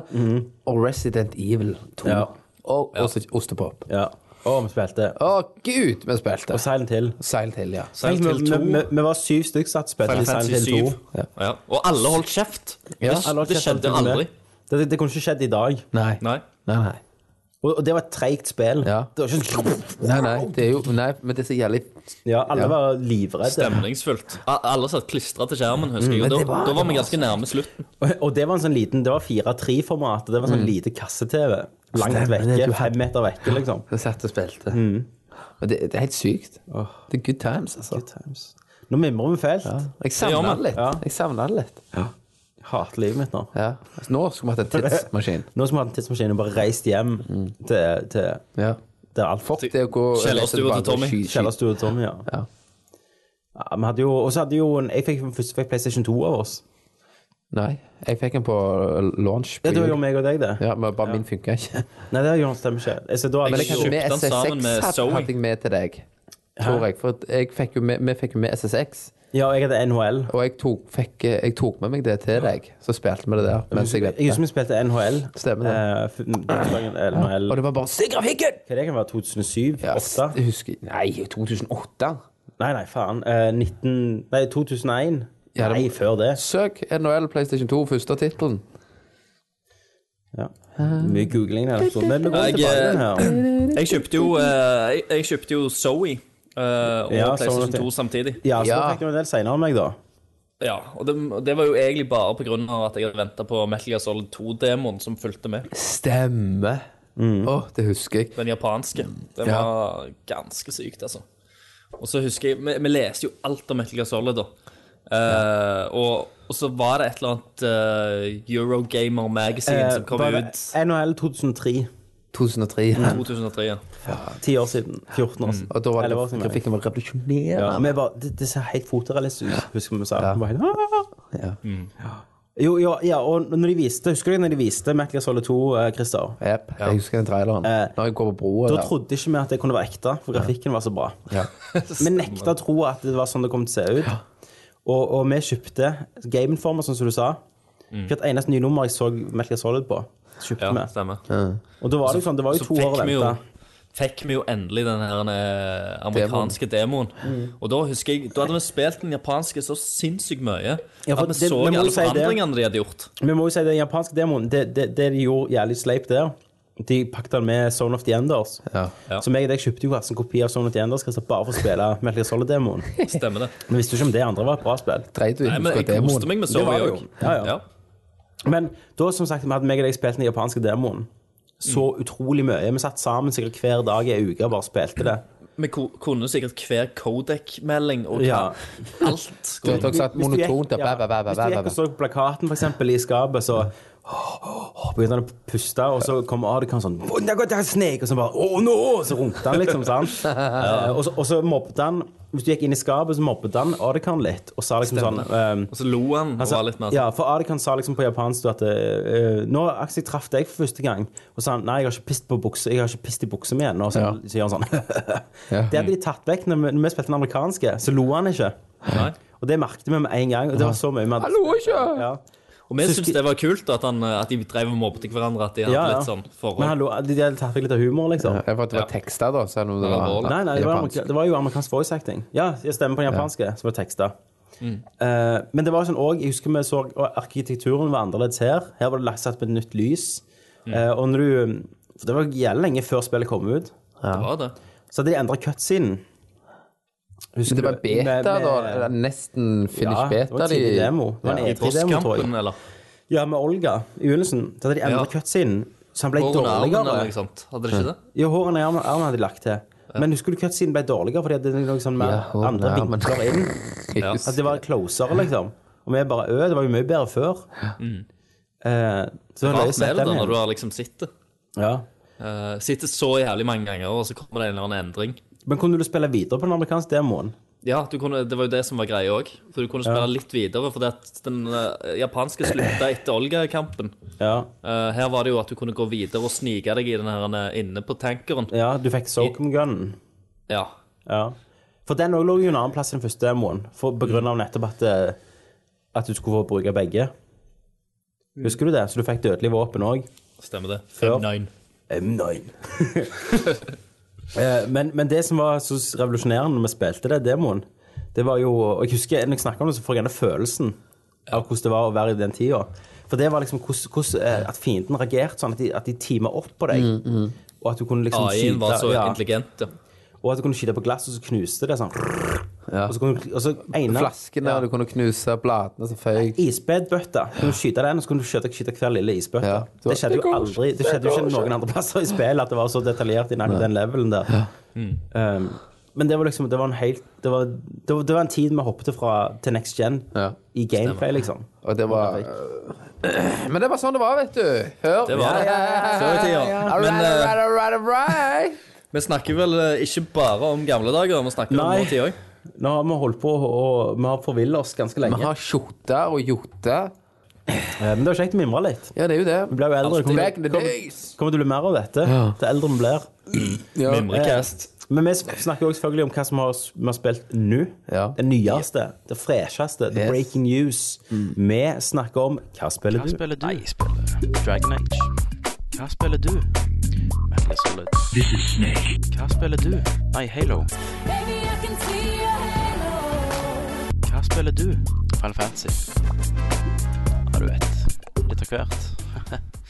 og Resident Evil 2. Ja. Og også ostepop. Ja. Og vi spilte. Å, gud, vi spilte. Og Silent Hill. Seil til, ja. Silent Hill Vi- 2. vi- Vi vi var syv stykker som spilte Final i Silent Fantasy Hill 2. 7. Ja. Og alle holdt kjeft. Ja, det, Eller, det skjedde Silent Hill aldri. med. Det, det, det kunne ikke skjedd i dag. Nei. Nei, Nei. nei. Nei, Og, og det var et treigt spill. Ja. Det var ikke nei, det er jo, nei men det er så jævlig Ja, alle Ja. var livredde. Stemningsfullt. A- Alle satt klistra til skjermen, husker Mm. jeg. men Og da, det var- da var vi ganske nærme slutten. Og, og det var en sånn liten Det var 4-3-format. Det var sånn lite kasse-TV. Langt Mm. Stemmer det, vekke. du hadde- Fem meter vekke, [laughs] liksom. Jeg satt og spilte. Mhm. Og det, det er helt sykt. Det er good times, altså. Nå mimrer vi fælt. Jeg Det savner gjør det vi. litt. Ja. Jeg savner det litt. Hater livet mitt nå. Ja. Altså, nå skulle vi hatt en tidsmaskin. Nå som vi har hatt en tidsmaskin og bare reist hjem til, til, Ja. til alt Fuck det å gå Kjellerstua til tilbake og Tommy. sky- sky- Kjellerstua til Tommy, ja. Ja. ja vi hadde jo, og så hadde jo en, Jeg fikk først fikk PlayStation 2 av oss. Nei, jeg fikk den på launch. På Ja, det var jo jul. meg og deg, det. ja, men bare min funka ikke. Nei, det gjorde- stemmer ikke. Altså, da hadde Men jeg jeg jo- hadde med Kjøpte den sammen med SSX Zoe. hadde jeg med til deg. Tror jeg. For at jeg fikk jo med, vi fikk jo med SSX. Ja, jeg hadde NHL. Og jeg tok, fikk, jeg tok med meg det til deg. Så spilte vi det der. Mens jeg Jeg husker ventet. vi spilte NHL. Stemmer det. Eh, f- første dagen NHL. Og det var bare Se grafikken! Hva er det oh kan være? 2007? Ja, 2008? jeg husker, nei, 2008. Nei, nei, faen. Eh, 19... Nei, 2001. Ja, det- Nei, før det. Søk NHL PlayStation 2, første tittelen. Ja. Mye googling der. altså. Men vi går Jeg, eh, tilbake her. Jeg kjøpte jo, eh, jeg, jeg kjøpte jo Zoe eh, og Ja, PlayStation Zoe, 2 samtidig. Ja, så da Ja. fikk du en del senere enn meg, da. Ja, og det, det var jo egentlig bare på grunn av at jeg hadde venta på Metal Gear Solid 2-demoen som fulgte med. Stemme. Å, Mm. det husker jeg. Den japanske. Den Ja. var ganske sykt, altså. Og så husker jeg Vi, vi leste jo alt om Metal Gear Solid, da. Eh, og, og så var det et eller annet eh, Eurogamer Magazine som kom Eh, bare ut NHL 2003. 2003. i 2003. Ja. Ti år siden. 14 år siden. Mm. Og da var Mm. Eller hva som det er. grafikken var Ja, revolusjonerende. vi bare, det, det ser helt fotorealistisk ut, husker vi vi sa. Vi bare, «Ah!» Ja. Mm. Jo, ja, ja, og når de viste, Husker du når de viste Metal Gear Solid 2, eh, Christer? Jep, Jeg husker den traileren. Eh, Når jeg går på broa Da der. trodde ikke vi at det kunne være ekte, for grafikken var så bra. Ja. [laughs] Vi nekta å tro at det var sånn det kom til å se ut. Og, og vi kjøpte Gameinformer, sånn som du sa. Hvert eneste nye nummer jeg så Metal Gear Solid på, kjøpte Mm. Ja, vi. stemmer. Og da var det jo sånn, det var jo så to år å fikk vi jo- vente. Fikk vi jo endelig den her eh, amerikanske demoen. Mm. Og da husker jeg, da hadde vi spilt den japanske så sinnssykt mye Ja, for at vi det- så vi må jo alle si det. forandringene de hadde gjort. Vi må jo si den japanske demoen, det, det, det de gjorde jævlig sleip der, de pakket den med Zone of the Enders. Ja. Ja. Så meg og deg kjøpte jo hver sin kopi av Zone of the Enders Christer, bare for å spille Metal Gear Solid-demoen. Stemmer det. Men visste jo ikke om [laughs] det andre var et bra spill. Dreit du i Nei, men husker jeg koste demoen? meg med Det Zoe var det òg. jo. Ja, ja. Ja. Men da, som sagt, vi hadde meg og deg spilt den japanske demoen. Så utrolig mye. Vi satt sammen sikkert hver dag i ei uke og bare spilte det. Vi ko- kunne sikkert hver Codec-melding og hva. Ja. [laughs] alt. Du vet, dere satt Hvis du gikk- monotont der. ja, bæ, bæ, bæ, bæ, Hvis du bæ, gikk og bæ. så på plakaten for eksempel, i skapet, så «Åh, åh, åh, begynte han å puste, og så kom Adekam sånn «Wundergotter Snake! Og så bare Å, nå! Så runket han, liksom. sant? [laughs] Eh, og, så, og så mobbet han Hvis du gikk inn i skapet, så mobbet han Adekam litt, og sa liksom sånn eh, Og så lo han og han sa- var litt mer sånn ja, for Adekam sa liksom på japansk at eh, Nå, Aksel, jeg traff deg for første gang. Og sa han nei, jeg har ikke pist på bukse, jeg har ikke pist i buksa mi ennå. Så Ja. sier han sånn. [laughs] Ja. Det hadde de tatt vekk. Når vi, når vi spilte den amerikanske, så lo han ikke. Nei. Og det merket vi med en gang. Og det var så mye med Hallo, ikke! ja. Og vi Syns syntes de- det var kult at, han, eh, at de drev og mobbet hverandre. At de hadde Ja, ja. litt sånn forhold. Men han lo, de de hadde tatt vekk litt av humor, liksom. Jeg vet det var tekster, da, selv om det var alvorlig. Nei, nei, det var, japansk. amerika- det var jo amerikansk voice acting. Ja, jeg stemmer på den japanske, som var teksta. Mm. Eh, men det var sånn også, jeg husker vi så og arkitekturen var annerledes her. Her var det lagt satt på et nytt lys. Mm. Eh, og når du For det var jævlig lenge før spillet kom ut. Det var det. Så hadde de endra cutscenen. Husker Det var du? beta, Med- med- da. eller Nesten finish Ja, det beta. var en tidlig demo. Det var en I E3-demo, tror jeg. bosskampen, eller? Ja, med Olga i begynnelsen. Så hadde de endra Ja. cutscenen, så han ble Håret under armen, eller liksom. dårligere. noe sånt. Hadde det ikke det? Ja, hårene i armen, armen hadde de lagt til. Men husker du cutscenen ble dårligere fordi det er noen sånn mer Ja, hårene i andre armen. vinkler inn? Ja. At det var closere, liksom. Og vi bare ø, det var jo mye bedre før. Eh, så det var løye å Rart sette med Mm. det den da, når du igjen. har liksom sittet. Ja. Eh, sitter så jævlig mange ganger, og så kommer det en eller annen endring. Men kunne du spille videre på den amerikanske demoen? Ja, du kunne, Det var jo det som var greia òg. For du kunne spille litt videre. For den eh, japanske slutta etter Olga-kampen. Ja. Eh, her var det jo at du kunne gå videre og snike deg i den her eh, inne på tankeren. ja du fikk Soakum Gun. Ja. Ja. For den òg lå jo en annen plass enn den første demoen, for, på grunn av nettopp at, eh, at du skulle få bruke begge. Mm. Husker du det? Så du fikk dødelig våpen òg. Stemmer det. Ja. M9. M9. Eh, men, men det som var så revolusjonerende når vi spilte det, demoen, det var jo Og jeg husker når jeg snakker om det, så får jeg gjerne følelsen av hvordan det var å være i den tida. For det var liksom hvordan, hvordan, eh, at fienden reagerte sånn at de, at de timet opp på deg. Mm, Og at du kunne liksom AI-en var så ja, intelligent, ja. Og at du kunne skyte på glass, og så knuste det sånn. Og så kunne du og så ene- Flaskene, du kunne knuse bladene som føyk. Isbedbøtta. Du kunne skyte den, og så kunne du skyte, skyte hver lille isbøtte. Ja. Det skjedde jo aldri Det skjedde jo ikke noen andre plasser i spillet at det var så detaljert i nærmest den levelen der. Um, men det var liksom Det var en helt Det var, det var, det var en tid vi hoppet fra til next gen Ja. i gameplay, liksom. Og det var Men det var sånn det var, vet du. Hør. Det var det. Før i tida. All Men right, all eh, right, all right, all [laughs] right. vi snakker vel eh, ikke bare om gamle dager, vi snakker om Nei. nåtid òg. Nå har vi holdt på å- og vi har forvilla oss ganske Vi lenge. har skjorte og jote. Eh, Men det var kjekt å mimre litt. Ja, det er jo det. Vi blir jo eldre. Alltid. Altså, Back in Kommer, the days. kommer, kommer til å bli mer av dette til eldre vi blir. Ja. Mimrecast. Eh, Men vi snakker jo selvfølgelig om hva som har, vi har spilt nå. Ja. Det nyeste, det fresheste, the Yes. Mm. breaking news. Vi snakker om hva spiller du? spiller du? Nei, jeg spiller Dragon Age. Hva spiller du? Metal Gear Solid. This is Snake. Hva spiller du? Nei, Halo. Baby, I can see your halo. Hva spiller du? Final Fantasy. Ja, du vet. Litt av hvert. [laughs]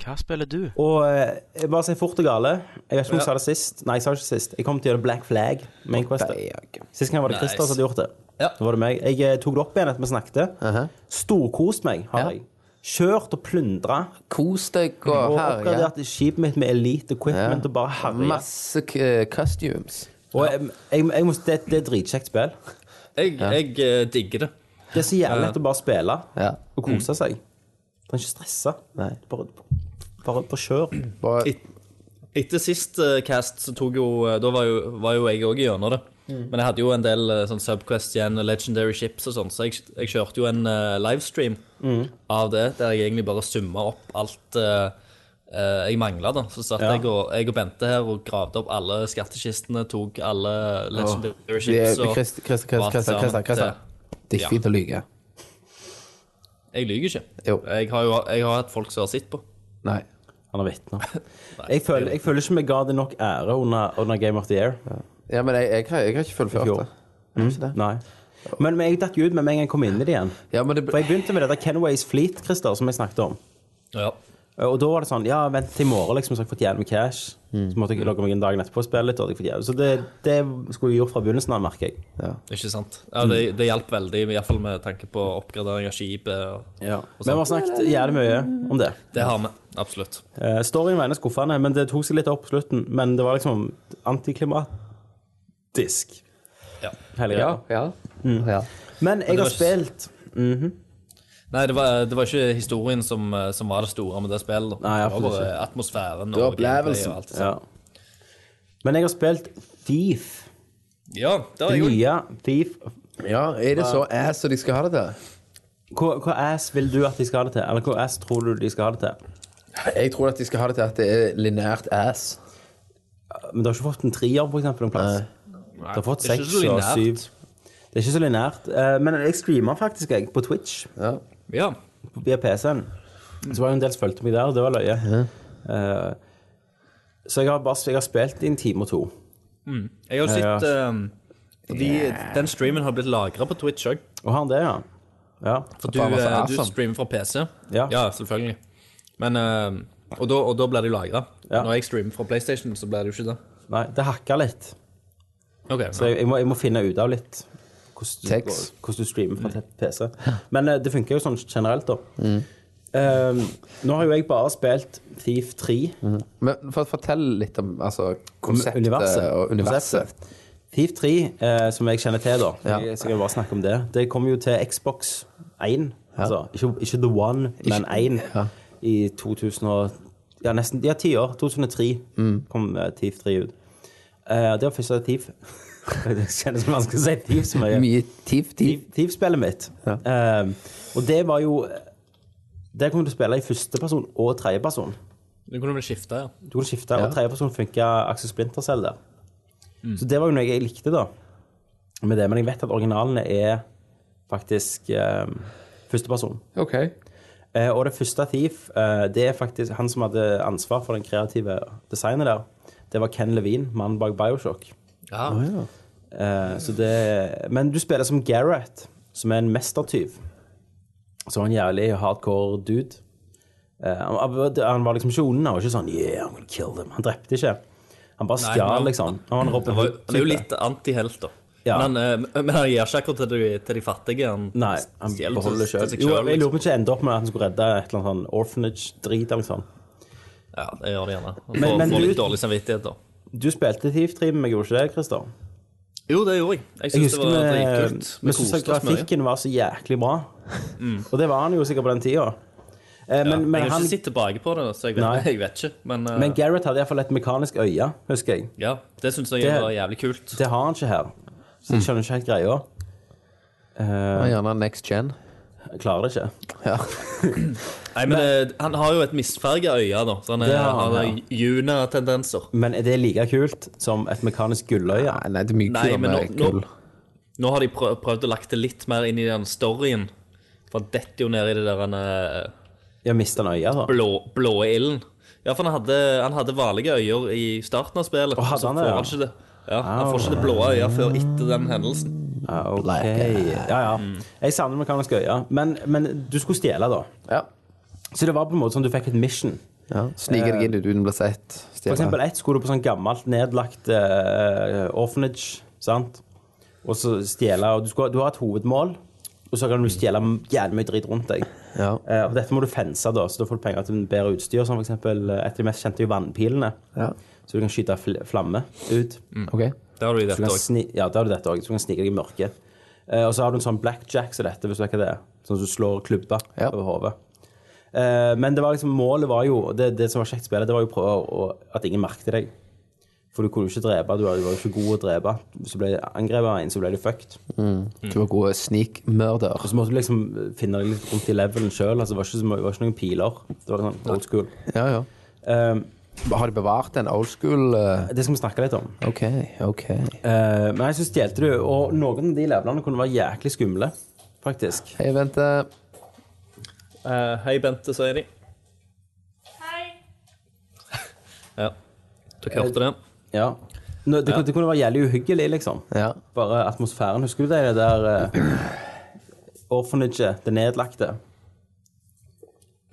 Hva spiller du? Og eh, jeg bare si fort og gale. Jeg vet ikke om jeg sa det sist. Nei, jeg sa det ikke sist. Jeg kom til å gjøre Black Flag. Main Quest. Sist gang var det Nice. Christer som hadde gjort det. Ja. Da var det meg. Jeg eh, tok det opp igjen etter vi snakket. Storkost meg, har Uh-huh. Ja. jeg. Kjørt og plundra. Kos deg og Og herje. oppgradert skipet mitt med elite equipment Ja. og bare herja. Masse k- costumes. Og jeg, jeg, jeg må, det, det er et dritkjekt spill. Jeg, jeg eh, digger det. Det er så jævlig lett å bare spille Ja. og kose seg. Trenger ikke stresse. Nei. Bare, bare på kjør. Bare Et, etter sist eh, cast så tok jo eh, Da var jo, var jo jeg òg gjennom det. Mm. Men jeg hadde jo en del eh, sånn Subquest igjen, og Legendary Ships og sånn, så jeg, jeg kjørte jo en eh, livestream Mm. av det, der jeg egentlig bare summa opp alt eh, eh, jeg mangla, da. Så satt Ja. jeg, og, jeg og Bente her og gravde opp alle skattkistene, tok alle Legendary Vi er- Ships og Christer, Christer, Christer, Alt Christer, sammen Christer, Christer. Det Ja. er ikke fint å lyge. Jeg lyver ikke. Jo. Jeg har jo jeg har hatt folk som har sett på. Nei. Han er vitner. Jeg, føler- jeg føler ikke vi ga det nok ære under, under Game of the Year. Ja, men jeg, jeg, har, jeg har ikke fullført Jo. det. Nei. Men, men jeg datt jo ut med meg en gang jeg kom inn i det igjen. Ja, men det For jeg begynte med dette Kenways Fleet, Christer, som jeg snakket om. Ja. Og da var det sånn Ja, vent til i morgen, liksom, så har jeg fått igjen med cash. Mm. Så måtte jeg logge meg inn dagen etterpå og spille litt. Og jeg fikk igjen. Så det, det skulle jeg gjort fra begynnelsen av, merker jeg. Ikke sant? Ja, det, det hjalp veldig, i hvert fall med tanke på oppgradering av skipet. Og Men vi har snakket jævlig mye om det. det har vi. Absolutt. Eh, Storyen var ene skuffende, men det tok seg litt opp på slutten. Men det var liksom antiklimatisk. Ja. Hele Ja. ja. greia. ja. Men jeg det har var ikke- spilt Nei, det var, det var ikke historien som, eh, som var det store med det spillet. da. Nei, det var absolutt bare atmosfæren var og gameplay opplevelsen. og alt det Ja. Men jeg har spilt Thief. Ja, det var Det jo nye Thief. Ja, er det så ass som de skal ha det til? Hva, hva ass vil du at de skal ha det til? Eller hva ass tror du de skal ha det til? Jeg tror at de skal ha det til at det er lineært ass. Men du har ikke fått en trier, for eksempel, en plass? Du har fått det er ikke seks så og linært. syv. Det er ikke så linært. Eh, Men jeg streamer faktisk jeg, på Twitch Ja. Ja. på- via PC-en. Så var det en del som fulgte meg der, og det var løye. Eh, Så jeg har, bare, jeg har spilt i en time og to. Jeg har jo Ja, sett ehm, fordi Den streamen har blitt lagra på Twitch òg. Og har han det, ja? Ja. For du, faen, hva for eh, du awesome. streamer fra PC. Ja. selvfølgelig. Men ehm, Og da, og da blir det jo lagra. Ja. Når jeg streamer fra PlayStation, så blir det jo ikke det. Nei, det hakker litt. Ok, Så jeg, jeg, må, jeg må finne ut av litt hvordan du, Tekst. hvordan du streamer fra te- PC. Men eh, det funker jo sånn generelt, da. Eh, nå har jo jeg bare spilt Thief 3. Men for, fortell litt om altså, konseptet universet. eh, og universet. Thief 3, eh, som jeg kjenner til, da. Ja. Jeg skal bare snakke om det. Det kommer jo til Xbox 1. Altså, ikke, ikke The One, men 1. Ja. I 2000 og Ja, nesten Ja, ti år. 2003 Mm. kom eh, Thief 3 ut. Eh, det var første Thief. [laughs] det kjennes som vanskelig å si Thief så mye. Mye tiv, tiv. Thief-spillet mitt. Ja. Ehm, og det var jo Der kunne du spille i førsteperson og tredjeperson. Nå kunne vi skifte, ja. Du kunne skifte, Ja. og tredjeperson funka Axel Splinter selv der. Så det var jo noe jeg likte, da. Med det, Men jeg vet at originalene er faktisk ehm, førsteperson. Ok. Eh, og det første Thief, eh, det er faktisk han som hadde ansvar for den kreative designet der. Det var Ken Levine, mannen bak Bioshock. ja. Eh, så det, men du spiller som Gareth, som er en mestertyv. Så han er en jævlig hardcore dude. Eh, han, han var liksom ikke ond. Han var ikke sånn Yeah, I'm gonna kill them. Han drepte ikke. Han bare Nei, stjal, men- liksom. Han var en Robin Han, var, han er jo Hood-type. litt antihelt, da. Ja. Men, han, eh, men han gir ikke akkurat til de, til de fattige. Han Nei, han stjeler til- beholder til sjøl. seg Jo, selv, jeg lurer liksom. på om det ikke endte opp med at han skulle redde et eller annet sånn orphanage-drit eller noe sånt. Ja, det gjør det gjerne. Han Men- får, men får du- litt dårlig samvittighet, da. Du spilte Thief 3 med meg, gjorde du ikke det, Christer? Jo, det gjorde jeg. Jeg syns Jeg det husker var vi, dritkult. vi syntes at koste oss mye. grafikken var så jæklig bra. Og det var han jo sikkert på den tida. Eh, Ja, men, men jeg har han ikke sett tilbake på det, så jeg vet, Nei. jeg vet ikke. Men, eh, Men Gareth hadde iallfall et mekanisk øye, husker jeg. ja, det syns jeg Det- var jævlig kult. Det har han ikke her. Så jeg skjønner ikke helt greia. Ja, gjerne next gen. Jeg klarer det ikke. Ja. Nei, men det, Han har jo et misfarga øye, da. Så han er, Det har han, han har Juna-tendenser. Men er det like kult som et mekanisk gulløye? Nei, nei, det er mye Nei, kulere men nå- med nå- gull. Nå har de prøv, prøvd å lagt det litt mer inn i den storyen. For han detter jo ned i det der han, eh, Jeg mista en øye, da. blå, blå ilden. Ja, for han hadde, han hadde vanlige øyer i starten av spillet. Å, hadde så han det, får ja? Ah. han ikke det. Ja, han får ikke det blå øyet før etter den hendelsen. Ja, Ah, ok. Ja, ja. Jeg savner mekanisk øye. Men, men du skulle stjele, da. Ja. Så det var på en måte sånn du fikk et mission. ja. Snike deg inn uten å bli sett. For eksempel ett skulle du på sånn gammelt nedlagt eh, orphanage, sant? Og så stjele og du, skulle, du har et hovedmål, og så kan du stjele jævlig mye dritt rundt deg. Ja. Eh, og dette må du fense, da, så da får du penger til bedre utstyr. Som for eksempel, eh, et av de mest kjente er jo vannpilene, Ja. så du kan skyte fl flamme ut. Ok. Det har du i Så du dette kan òg. sni ja, da har du dette også, så du kan snike deg i mørket. Eh, og så har du en sånn blackjack som dette, hvis du vet hva det er. Sånn som du slår klubber Ja. over hodet. Eh, men det var liksom, målet var jo og det, det som var kjekt spillet, det var jo å prøve å, at ingen merket deg. For du kunne jo ikke drepe. Du var du var jo ikke god å drepe. Hvis du ble angrepet av en, så ble du fucked. Mm. Du var god snikmørder. Og så måtte du liksom finne deg litt rundt i levelen sjøl. Altså, det, var ikke så mye- det var ikke noen piler. Det var sånn old school. Ja, ja. Eh, Har de bevart en old school eh, det skal vi snakke litt om. OK, OK. Eh, men jeg syns stjelte du. Og noen av de levelene kunne være jæklig skumle, faktisk. Hei, vent. eh, Eh, hei, Bente, sier de. Hei. Ja. Dere hørte det? Ja. Nå, det, kunne- det kunne være jævlig uhyggelig, liksom. Ja. Bare atmosfæren. Husker du det, det der uh, orphanaget, det nedlagte?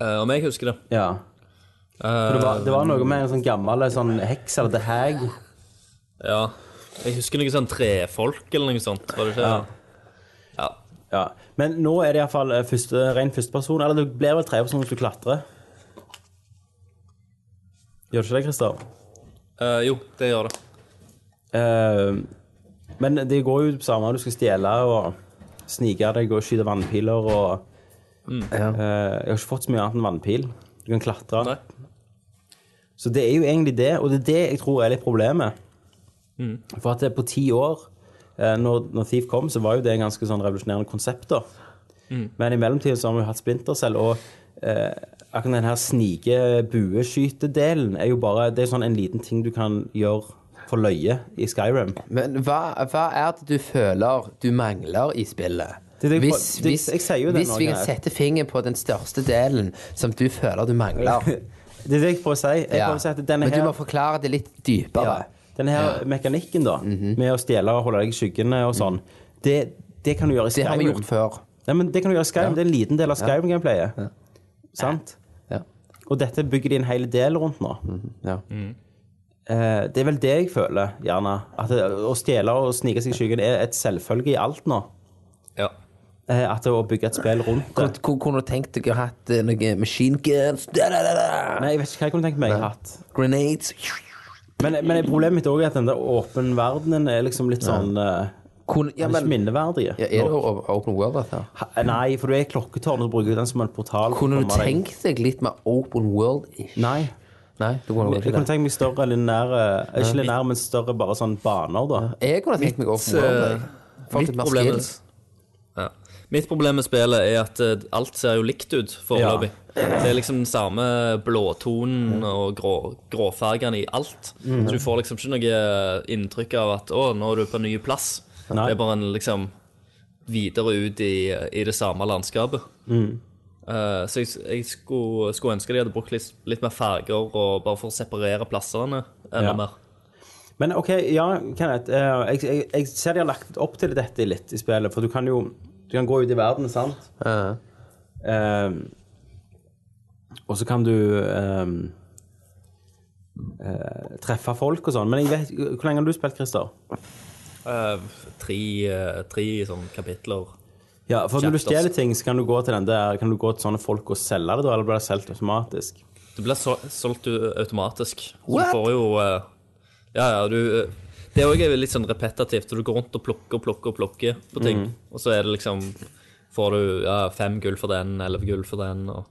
Eh, om jeg husker det. Eh, Ja. For det, var, det var noe med en sånn gammel sånn heks eller the hag. Ja. Jeg husker noe sånn trefolk eller noe sånt. Var det ikke? Ja. Ja. Men nå er det iallfall eh, første, ren førsteperson. Eller du blir vel tredjeperson hvis du klatrer. Gjør du ikke det, Christer? Eh, jo, det gjør det. Eh, men det går jo på samme, du skal stjele og snike deg og skyte vannpiler og Eh, jeg har ikke fått så mye annet enn vannpil. Du kan klatre. Nei. Så det er jo egentlig det, og det er det jeg tror er litt problemet. For at det er på ti år, eh, når, når Thief kom, så var jo det en ganske sånn revolusjonerende konsept. da. Men i mellomtiden så har vi jo hatt Splintercell, og eh, akkurat den her snike-bueskyte-delen er jo bare det er sånn en liten ting du kan gjøre for løye i Skyrim. Men hva, hva er det du føler du mangler i spillet? Det er det jeg hvis, prøver- det- hvis, jeg sier jo det hvis nå, vi kan Kenneth. sette fingeren på den største delen som du føler du mangler Det er det [laughs] jeg prøver å si. Jeg Ja. prøver å si at denne Men du her... må forklare det litt dypere. Denne her mekanikken da, Mhm. med å stjele og holde deg i skyggene og sånn, det, det kan du gjøre Det i Skyrim. har vi gjort før. Nei, men det kan du gjøre i Skyrim. Det er en liten del av Skyrim-gameplayet. Sant? Ja. Mhm. Og dette bygger de en hel del rundt nå. Ja. Eh, det er vel det jeg føler, gjerne. At det, å stjele og snike seg i skyggen er et selvfølge i alt nå. Ja. Eh, at det å bygge et spill rundt Kunne det. kunne- kunne du tenkt deg å ha hatt eh, noe machine guns da, da, da, da. Nei, jeg vet ikke hva jeg kunne tenkt meg jeg har hatt. Grenades Men, men problemet mitt også er at den der åpen verdenen er liksom litt sånn eh, Kunne- ja, den er ikke men, minneverdige. ja, Er det o- open world, dette? Ha- Nei, for du er i klokketårnet og bruker den som en portal. for å Kunne du komme deg- tenkt deg litt mer open world-ish? Nei. Nei, du kunne Jeg ikke kunne det. tenkt meg større linære eh, Ikke linære, men større bare sånn baner, da. Jeg kunne tenkt meg open eh, world. jeg. Fått litt Mitt mer problem, skills. ja. Mitt problem med spillet er at eh, alt ser jo likt ut foreløpig. Det er liksom den samme blåtonen og grå, gråfargene i alt. Så du får liksom ikke noe inntrykk av at 'å, nå er du på en ny plass'. Nei. Det er bare en liksom videre ut i, i det samme landskapet. Mm. Eh, så jeg, jeg skulle, skulle ønske de hadde brukt litt, litt mer farger og bare for å separere plassene enda Ja. mer. Men OK, ja, Kenneth. eh, Jeg, jeg, jeg ser de har lagt opp til dette litt i spillet, for du kan jo Du kan gå ut i verden, sant? Ja. Eh, og så kan du eh, eh, treffe folk og sånn. Men jeg vet, hvor lenge har du spilt, Christer? Eh, tre, eh, tre sånn kapitler. Ja, for når du Chapters. stjeler ting, så kan du gå til den der Kan du gå til sånne folk og selge det, da? Eller blir det solgt automatisk? Du blir sol solgt u- automatisk. Så What? Du får jo eh, Ja, ja, du eh, Det òg er jo litt sånn repetitivt. så Du går rundt og plukker og plukker og plukker på ting. Og så er det liksom Får du ja, fem gull for den, elleve gull for den, og,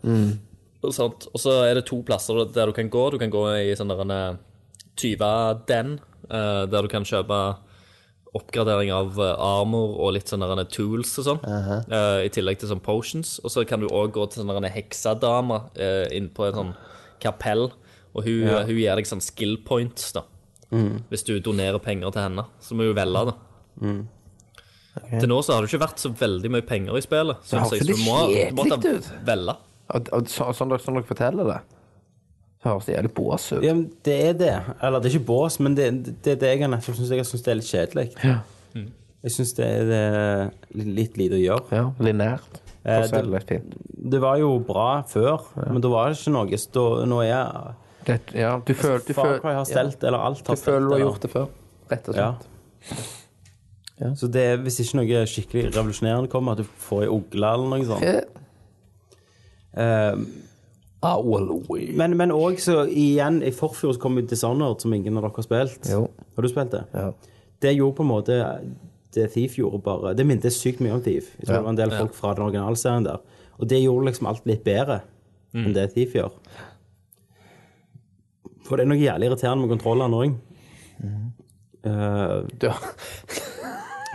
og sånt. Og så er det to plasser der du kan gå. Du kan gå i sånn der en eh, tyva-den, eh, der du kan kjøpe oppgradering av eh, armor og litt sånne der tools og sånn. eh, I tillegg til sånn potions. Og så kan du òg gå til sånne der heksadame eh, inn på et sånn kapell. Og hun, hun gir deg sånn skill points, da. Mm. Hvis du donerer penger til henne. Så må du velge, da. Mm. Til nå så har det ikke vært så veldig mye penger i spillet. høres Synes jeg, så litt du må, du må kjedelig ut. da velge. Og, og, så, sånn, dere, sånn dere forteller det, så høres det jævlig bås ut. Ja, men det er det. Eller det er ikke bås, men det, det er det jeg har nettopp syns. Jeg syns det er litt kjedelig. Jeg syns det er det er litt lite å gjøre. Ja, linært. Eh, Og så er det litt fint. Det var jo bra før, men da var det ikke noe. Så da- nå er Det, ja, du føler du Far føler- Cry ja, har stelt, eller alt har Du føler du stelt. har eller- gjort det før. Rett og Ja. slett. Ja. Så det er hvis ikke noe skikkelig revolusjonerende kommer, at du får ei ugle eller noe sånt. Eh, Eh, I will win. Men, men òg så igjen, i forfjor så kom jo Dishonored, som ingen av dere har spilt. Jo. Har du spilt det? Ja. Det gjorde på en måte det Thief gjorde bare Det minnet sykt mye om Thief. Jeg tror Ja. det var en del folk fra den originalserien der. Og det gjorde liksom alt litt bedre enn det Thief gjør. For det er noe jævlig irriterende med kontrollene òg. Mhm. Eh, Du,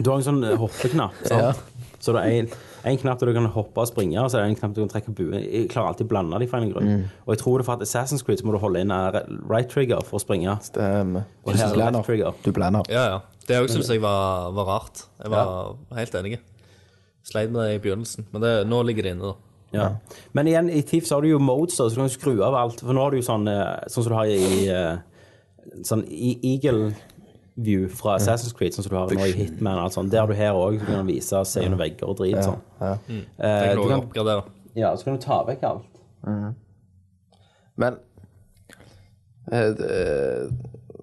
du har en sånn eh, hoppeknapp, sant? Så det er en, en knapp der du kan hoppe og springe, og så er det en knapp der du kan trekke buen. Jeg klarer alltid å blande de for en grunn. Og jeg tror det er for at Assassin's Creed så må du holde inn eh, right trigger for å springe. um, Og her er det left trigger. du blander. Ja, ja. Det òg syns jeg var, var rart. Jeg var helt enig. Sleit med det i begynnelsen, men det, nå ligger det inne, da. Ja. Men igjen, i Thief så har du jo modes, da, så du kan skru av alt. For nå har du jo sånn eh, sånn som du har i eh, sånn i- Eagle View fra Assassin's Creed, sånn som du har nå i Hitman og alt sånt. Det har du her òg. Du kan vise og se under vegger og drit sånn. Det Eh, kan du du kan, også oppgradere. ja, så kan du ta vekk alt. Men eh, det-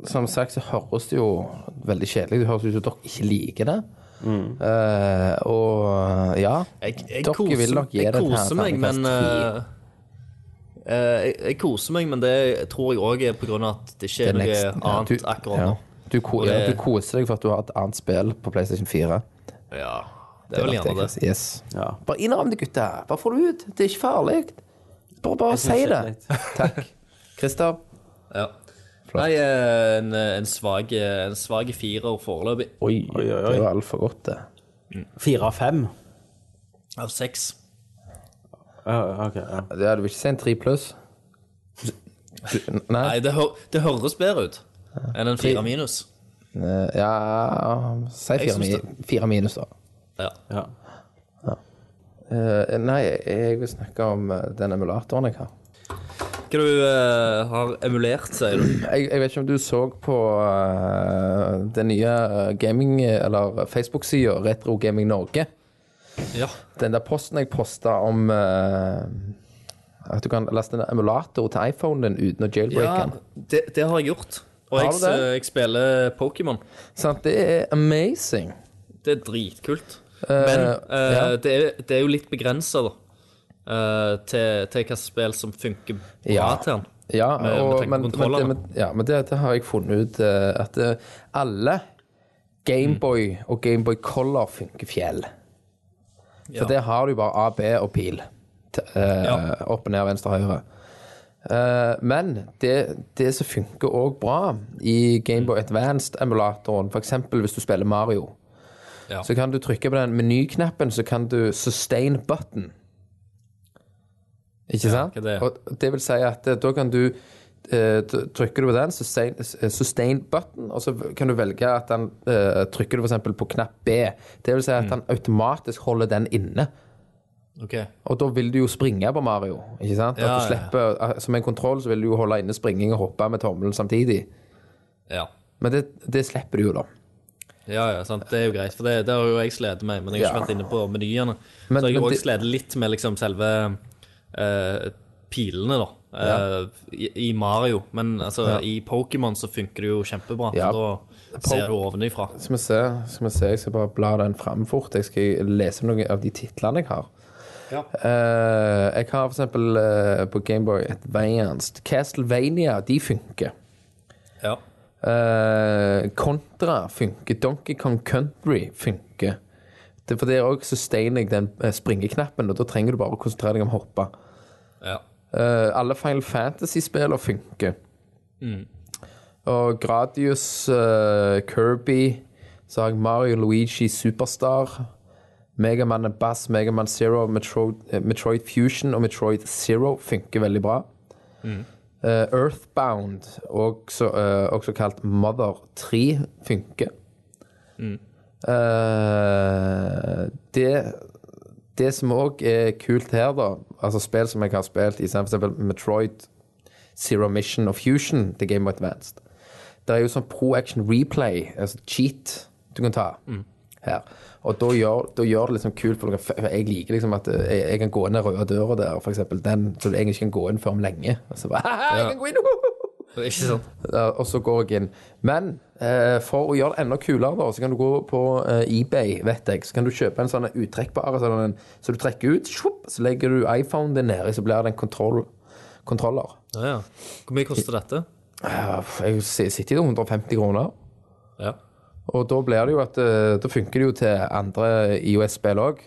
som sagt så høres det jo veldig kjedelig ut. Det høres ut som dere ikke liker det. Mm. Eh, og ja Jeg, jeg Dere koser, vil nok gi jeg det et koser meg, terningkast men eh, eh, jeg, jeg koser meg, men det tror jeg òg er på grunn av at det ikke Det er noe next- ja, annet akkurat ja. nå. Du, ko Og det- ja, du koser deg for at du har et annet spill på PlayStation 4. Ja. Det er vel gjerne det. Yes. Ja. Bare innrøm det, gutter. Bare få det ut. Det er ikke farlig. Bare, bare si det. [laughs] Takk. Christer. Ja. Nei, eh, en, en svak en svag firer foreløpig. Oi, oi, oi. det var altfor godt, det. Fire av fem. Av seks. Oh, Ja, ok, ja. Det hadde vi ikke si en tre pluss. Du- Nei. Nei, det, hø det høres bedre ut enn en fire minus. Eh, Ja Si Jeg fire, syns mi fire minus, da. Ja. Ja. Eh, nei, jeg vil snakke om eh, den emulatoren jeg har. Hva du eh, har emulert, sier du? Jeg, jeg vet ikke om du så på eh, den nye eh, gaming- eller Facebook-sida Retro Gaming Norge. Ja. Den der posten jeg posta om eh, at du kan laste en emulator til iPhonen din uten å jailbreake ja den. det, det har jeg gjort. Og Har jeg, du s- det? jeg spiller Pokémon. Sant? Det er amazing. Det er dritkult. Men eh, ja. det, er, det er jo litt begrensa, da. eh, til, til hva spill som funker bra Ja. til den. Ja, Med- med tanke og, men, på men, det, kontrollerne. men, ja, men det, det har jeg funnet ut eh, at eh, alle Mm. Gameboy og Gameboy Color funker fjell. For Ja. der har du bare A, B og pil. T- eh, Ja. Opp, ned, venstre, høyre. Eh, men det, det som funker òg bra i Gameboy Advanced-emulatoren, f.eks. hvis du spiller Mario, Ja. så kan du trykke på den menyknappen, så kan du sustain button. Ikke sant? hva det er. Og det vil si at eh, da kan du eh, t- Trykker du på den, sustain, eh, sustain button, og så kan du velge at den eh, Trykker du f.eks. på knapp B. Det vil si Mm. at den automatisk holder den inne. Ok. Og da vil du jo springe på Mario. ikke sant? Ja, ja, at du ja. slipper, eh, Som en kontroll så vil du jo holde inne springing og hoppe med tommelen samtidig. Ja. Men det, det slipper du jo, da. Ja, ja, sant. Det er jo greit, for det, det har jo jeg slitt med. Men jeg har ikke Ja. vært inne på menyene. Men- så jeg men har også det- slitt litt med liksom selve eh, pilene, da. eh, i, I Mario. Men altså, i Pokémon så funker det jo kjempebra. Ja. Da ser du ovenifra. Skal vi se, skal vi se, jeg skal bare bla den fram fort. Jeg skal lese noen av de titlene jeg har. Ja. Eh, jeg har for eksempel eh, på Gameboy Advanced Castlevania, de funker. Ja. Eh, Contra funker. Donkey Kong Country funker. Det, for det er også sustainer jeg den eh, springeknappen, og da trenger du bare å konsentrere deg om å hoppe. ja. Eh, alle Final Fantasy-spiller funker. Og Gradius, eh, Kirby, så har jeg Mario Luigi Superstar, Megaman Bass, Megaman Zero, Metroid, eh, Metroid Fusion og Metroid Zero funker veldig bra. Eh, Earthbound, også, eh, også kalt Mother 3, funker. Eh, det det som òg er kult her, da Altså spill som jeg har spilt i sånn for eksempel Metroid, Zero Mission og Fusion til Game of Advanced Det er jo sånn pro action replay, altså cheat, du kan ta her. Og da gjør, da gjør det liksom kult, for du kan, f- jeg liker liksom at eh, jeg, jeg kan gå inn den røde døra der, for eksempel. Den som du egentlig ikke kan gå inn før om lenge. Og så bare, [laughs] jeg kan gå [laughs] inn! Ikke sant? Ja, Eh, og så går jeg inn. Men eh, for å gjøre det enda kulere, da, så kan du gå på eh, eBay, vet jeg, så kan du kjøpe en sånn uttrekkbar sånn en, så du trekker ut, shup, så legger du iPhonen din nedi, så blir det en kontroll, kontroller. Ja, ja. Hvor mye koster dette? Ja, f- Jeg si- sitter i det 150 kroner. Ja. Og da blir det jo at eh, Da funker det jo til andre IOS-spill òg.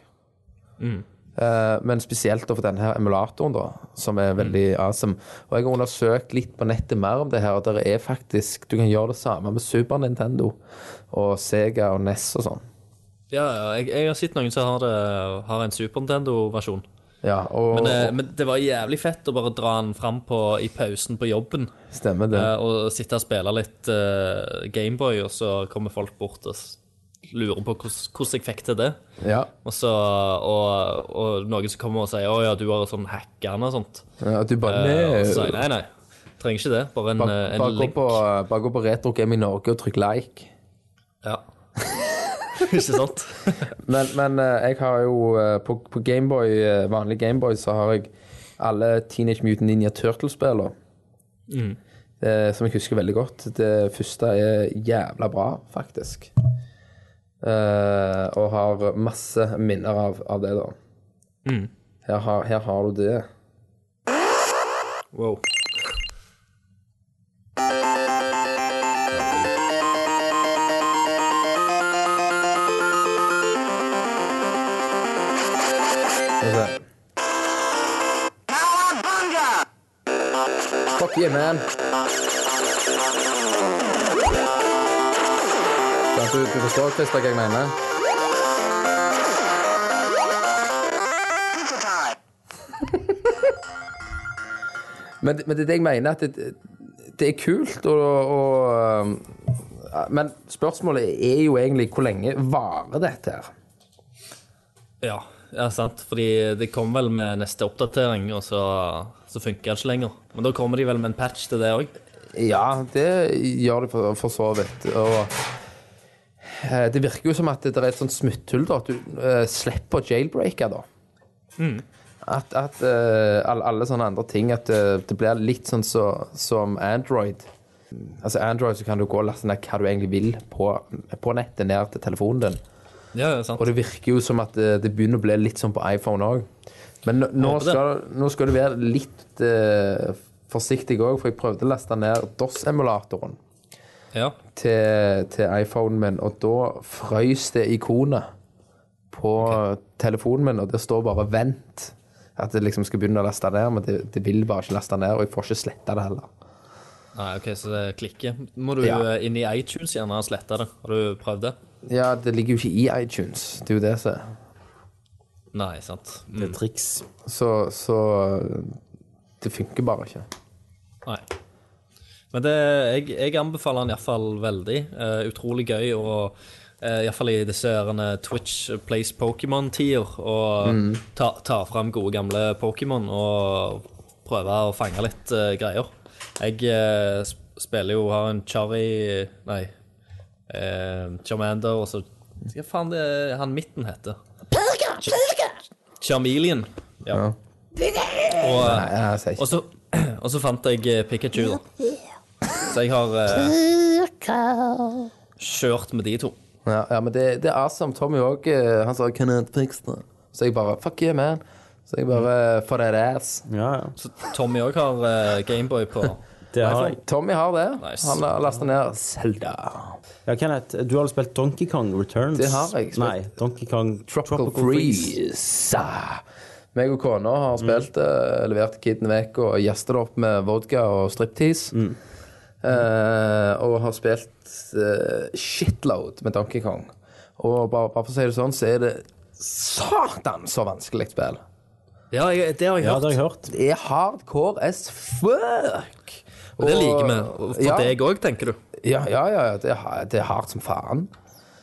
Mm. Eh, men spesielt da for denne her emulatoren, da, som Mm. er veldig awesome. Og jeg har undersøkt litt på nettet mer om det her, og det er faktisk Du kan gjøre det samme med Super Nintendo og Sega og NES og sånn. Ja, ja. Jeg, jeg har sett noen som har, det, har en Super Nintendo-versjon. Ja, og, Men, eh, men det var jævlig fett å bare dra den fram på, i pausen på jobben. Stemmer det. Eh, og sitte og spille litt eh, Gameboy, og så kommer folk bort og s- lurer på hvordan hvordan jeg fikk til det. ja. Og, så, og, og noen som kommer og sier 'Å ja, du har sånn hackerne' og sånt. Ja, At du bare Eh, og så Nei. sier jeg nei, nei. Trenger ikke det. Bare en, Bare, eh, en bare, gå link. på, bare gå på Retro Game i Norge og trykk like. Ja. [laughs] ikke sant? Men, men eh, jeg har jo eh, på, på Gameboy, eh, vanlig Gameboy så har jeg alle Teenage Mutant Ninja Turtles-spillene. Eh, som jeg husker veldig godt. Det første er jævla bra, faktisk. Eh, og har masse minner av, av det, da. Her, har, her har du det. Wow. Skal vi se. Fuck you, man. Ja, Du, du forstår Christer, hva jeg mener? men, men det er det jeg mener, at det, det er kult og, og um, ja, Men spørsmålet er jo egentlig hvor lenge varer dette her? Ja, ja, sant. Fordi det kom vel med neste oppdatering, og så, så funker det ikke lenger. Men da kommer de vel med en patch til det òg. Ja, det gjør det for, for så vidt. Og eh, det virker jo som at det er et sånt smutthull, da. At du eh, slipper jailbreaker, da. At, at eh, alle, alle sånne andre ting At eh, det blir litt sånn så, som Android. Altså Android så kan du gå og laste ned hva du egentlig vil på, på nettet, ned til telefonen din. Ja, ja, sant. Og det virker jo som at eh, det begynner å bli litt sånn på iPhone òg. Men nå- nå Håper det. skal, nå skal du være litt eh, forsiktig òg, for jeg prøvde å laste ned DOS-emulatoren Ja. til, til iPhonen min, og da frøys det ikonet på telefonen min, og det står bare 'vent'. At det liksom skal begynne å laste ned, men det, det vil bare ikke laste ned, og jeg får ikke sletta det heller. Nei, OK, så det klikker. Må du Ja. eh, inn i iTunes gjerne og slette det. Har du prøvd det? Ja, det ligger jo ikke i iTunes, det er jo det som er Nei, sant. Det er triks. Så, så det funker bare ikke. Nei. Men det, jeg, jeg anbefaler den iallfall veldig. Eh, utrolig gøy. Og eh, iallfall i disse herrene Twitch Plays Pokémon-tider. Og ta, ta fram gode, gamle Pokémon og prøve å fange litt eh, greier. Jeg eh, sp- spiller jo har en Charry Nei, eh, Charmander og så Hva faen det er han midten heter? Charmeleon. Ja. Og, eh, Nei, jeg sier ikke og så, [clears throat] og så fant jeg eh, Pikachu, da. Så jeg har eh, kjørt med de to. Ja, ja men det, det er awesome. Tommy òg. Han sa 'Can I fix it?' Så jeg bare 'Fuck you, man'. Så jeg bare 'For that ass'. Ja, ja. Så Tommy òg har eh, Gameboy på. Det har jeg. sånn, Tommy har det. Nice. Han har lasta ned Zelda. Ja, Kenneth, du har jo spilt Donkey Kong Returns. Det har jeg spilt. Nei, Donkey Kong Tropical Freeze. Ah. Meg og kona har spilt, eh, levert kiden vekk og gjestet det opp med vodka og striptease. Eh, og har spilt eh, shitload med Donkey Kong. Og bare, bare for å si det sånn, så er det satan så vanskelig spill. Ja, jeg, det har jeg Ja, hørt. det har jeg hørt. Det er hardcore as fuck. Og det liker vi. Og For ja, deg òg, tenker du. Ja, ja, ja, ja det, er, har- det er hardt som faen.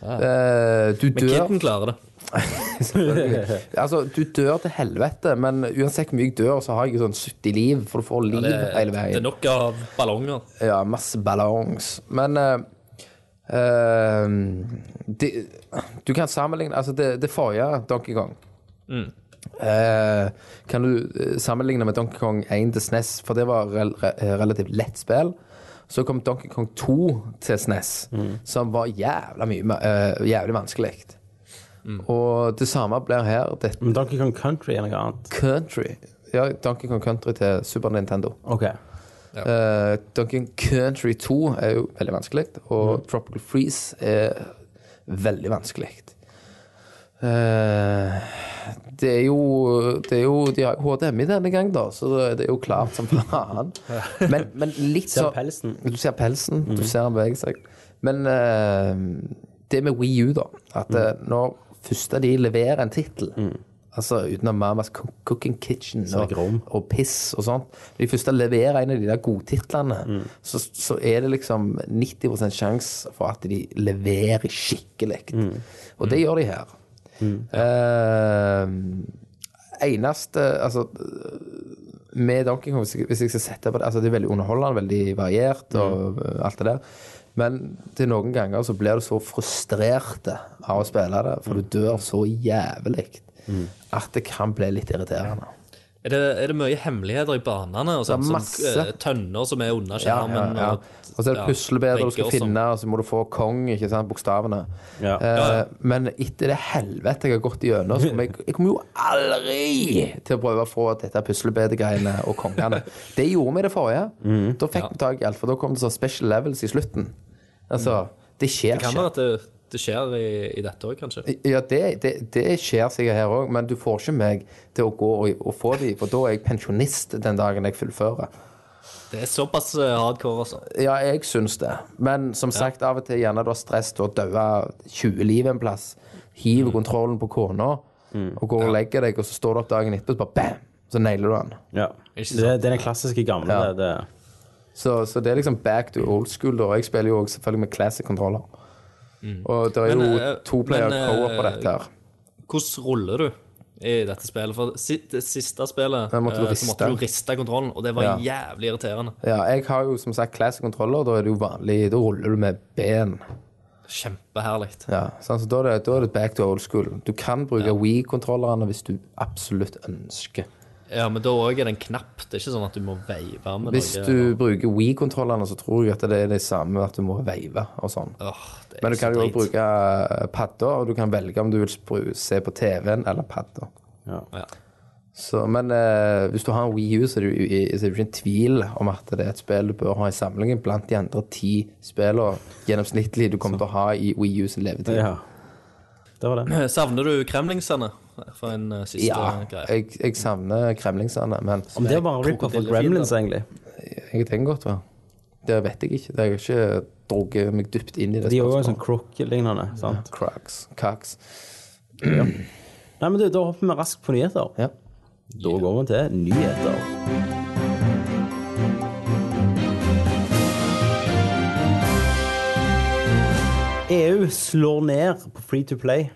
Eh, du Men dør kidden klarer det. [laughs] selvfølgelig. Altså, du dør til helvete, men uansett hvor mye jeg dør, så har jeg jo sånn 70 liv, for du får liv Det, hele det er veien. nok av ballonger. Ja, masse ballongs. Men eh, eh, det, Du kan sammenligne Altså, det, det forrige Donkey Kong eh, Kan du eh, sammenligne med Donkey Kong 1 til SNES, for det var rel re relativt lett spill. Så kom Donkey Kong 2 til SNES, som var jævla mye ma- eh, jævlig vanskelig. Og det samme blir her. Det Men Donkey Kong Country er noe annet. Country. Ja, Donkey Kong Country til Super Nintendo. Ok. Eh, Donkey Kong Country 2 er jo veldig vanskelig, og Tropical Freeze er veldig vanskelig. Eh, det er jo Det er jo De har jo HDMI denne gang, da, så det er jo klart som faen. Men, men litt Ser sånn pelsen. Mhm. Du ser pelsen, du ser han beveger seg. Men eh, det med Wii U, da, at eh, Mhm. når første de leverer en tittel Altså utenom Mamas Cook- Cooking Kitchen og, jeg rom. og Piss og sånt. Når de først leverer en av de der godtitlene, Mhm. så, så er det liksom 90 sjanse for at de leverer skikkelig. Mhm. Og det gjør de her. Eh, eneste Altså med Donkey Kong, hvis jeg, hvis jeg skal sette på det altså Det er veldig underholdende, veldig variert og eh, alt det der. Men til noen ganger så blir du så frustrert av å spille det, for du dør så jævlig at det kan bli litt irriterende. Er det, er det mye hemmeligheter i banene? Og sånt, masse. Som, eh, tønner som er under Ja, ja, skjermen. ja. og- Og så er det ja, puslebeder du skal vegger som- finne, og så må du få kong, ikke sant, bokstavene. Ja. Eh, Men etter det helvete jeg har gått gjennom, så kommer jeg, jeg kommer jo aldri til å prøve å få dette puslebedet-greiene og kongene. Det gjorde vi i det forrige. Da fikk vi tak i alt, for da kom det sånn special levels i slutten. Altså, det skjer Kan være ikke. at det, det skjer i, i dette òg, kanskje. Ja, det, det, det skjer sikkert her òg, men du får ikke meg til å gå og, og få de, for da er jeg pensjonist den dagen jeg fullfører. Det er såpass eh, hardcore, altså. Ja, jeg syns det, men som sagt, av og til gjerne da stress til å daue 20 liv en plass. Hiver Mm. kontrollen på kona, og går og legger deg, og så står du opp dagen etterpå, og så bare bam! Så nailer du den. Ja. Ikke Det, det er den klassiske gamle. Ja. det- Det, Så, så det er liksom back to old school, da. Og jeg spiller jo også selvfølgelig med classic controller. Og det er Men, jo eh, to player men, eh, co-op på dette her. Hvordan ruller du i dette spillet? For si- det siste spillet Da måtte du eh, så måtte du riste. riste kontrollen, og det var Ja. jævlig irriterende. Ja, jeg har jo som sagt classic controller, da er det jo vanlig Da ruller du med ben. Kjempeherlig. Ja, sant? så da er, det, da er det back to old school. Du kan bruke Wii-kontrollerne hvis du absolutt ønsker. Ja, men da òg er det en knapp. Det er ikke sånn at du må veive med Hvis noe. du bruker Wii-kontrollerne, så tror jeg at det er det samme at du må veive og sånn. Åh, det er Men du så kan jo også drit. bruke eh, padda, og du kan velge om du vil spru- se på TV-en eller padda. Ja. Så, men eh, hvis du har en Wii U, så er det jo i- så er det jo ikke en tvil om at det er et spill du bør ha i samlingen blant de andre ti spillene gjennomsnittlig du kommer til å ha i Wii U sin levetid. ja. det var det. Eh, Savner du kremlingsene for en eh, siste Ja, greie? jeg, jeg savner kremlingsene, men Om det var en ripper for krokodillefin, Gremlins, da. egentlig. jeg tenker godt, hva. Det vet jeg ikke. Det har jeg ikke drukket meg dypt inn i det. De er jo spørsmålet. sånn crook-lignende. sant? Crocs. Cox. Nei, men du, Da hopper vi raskt på nyheter. Ja. Da går vi til nyheter. EU E slår ned på free to play.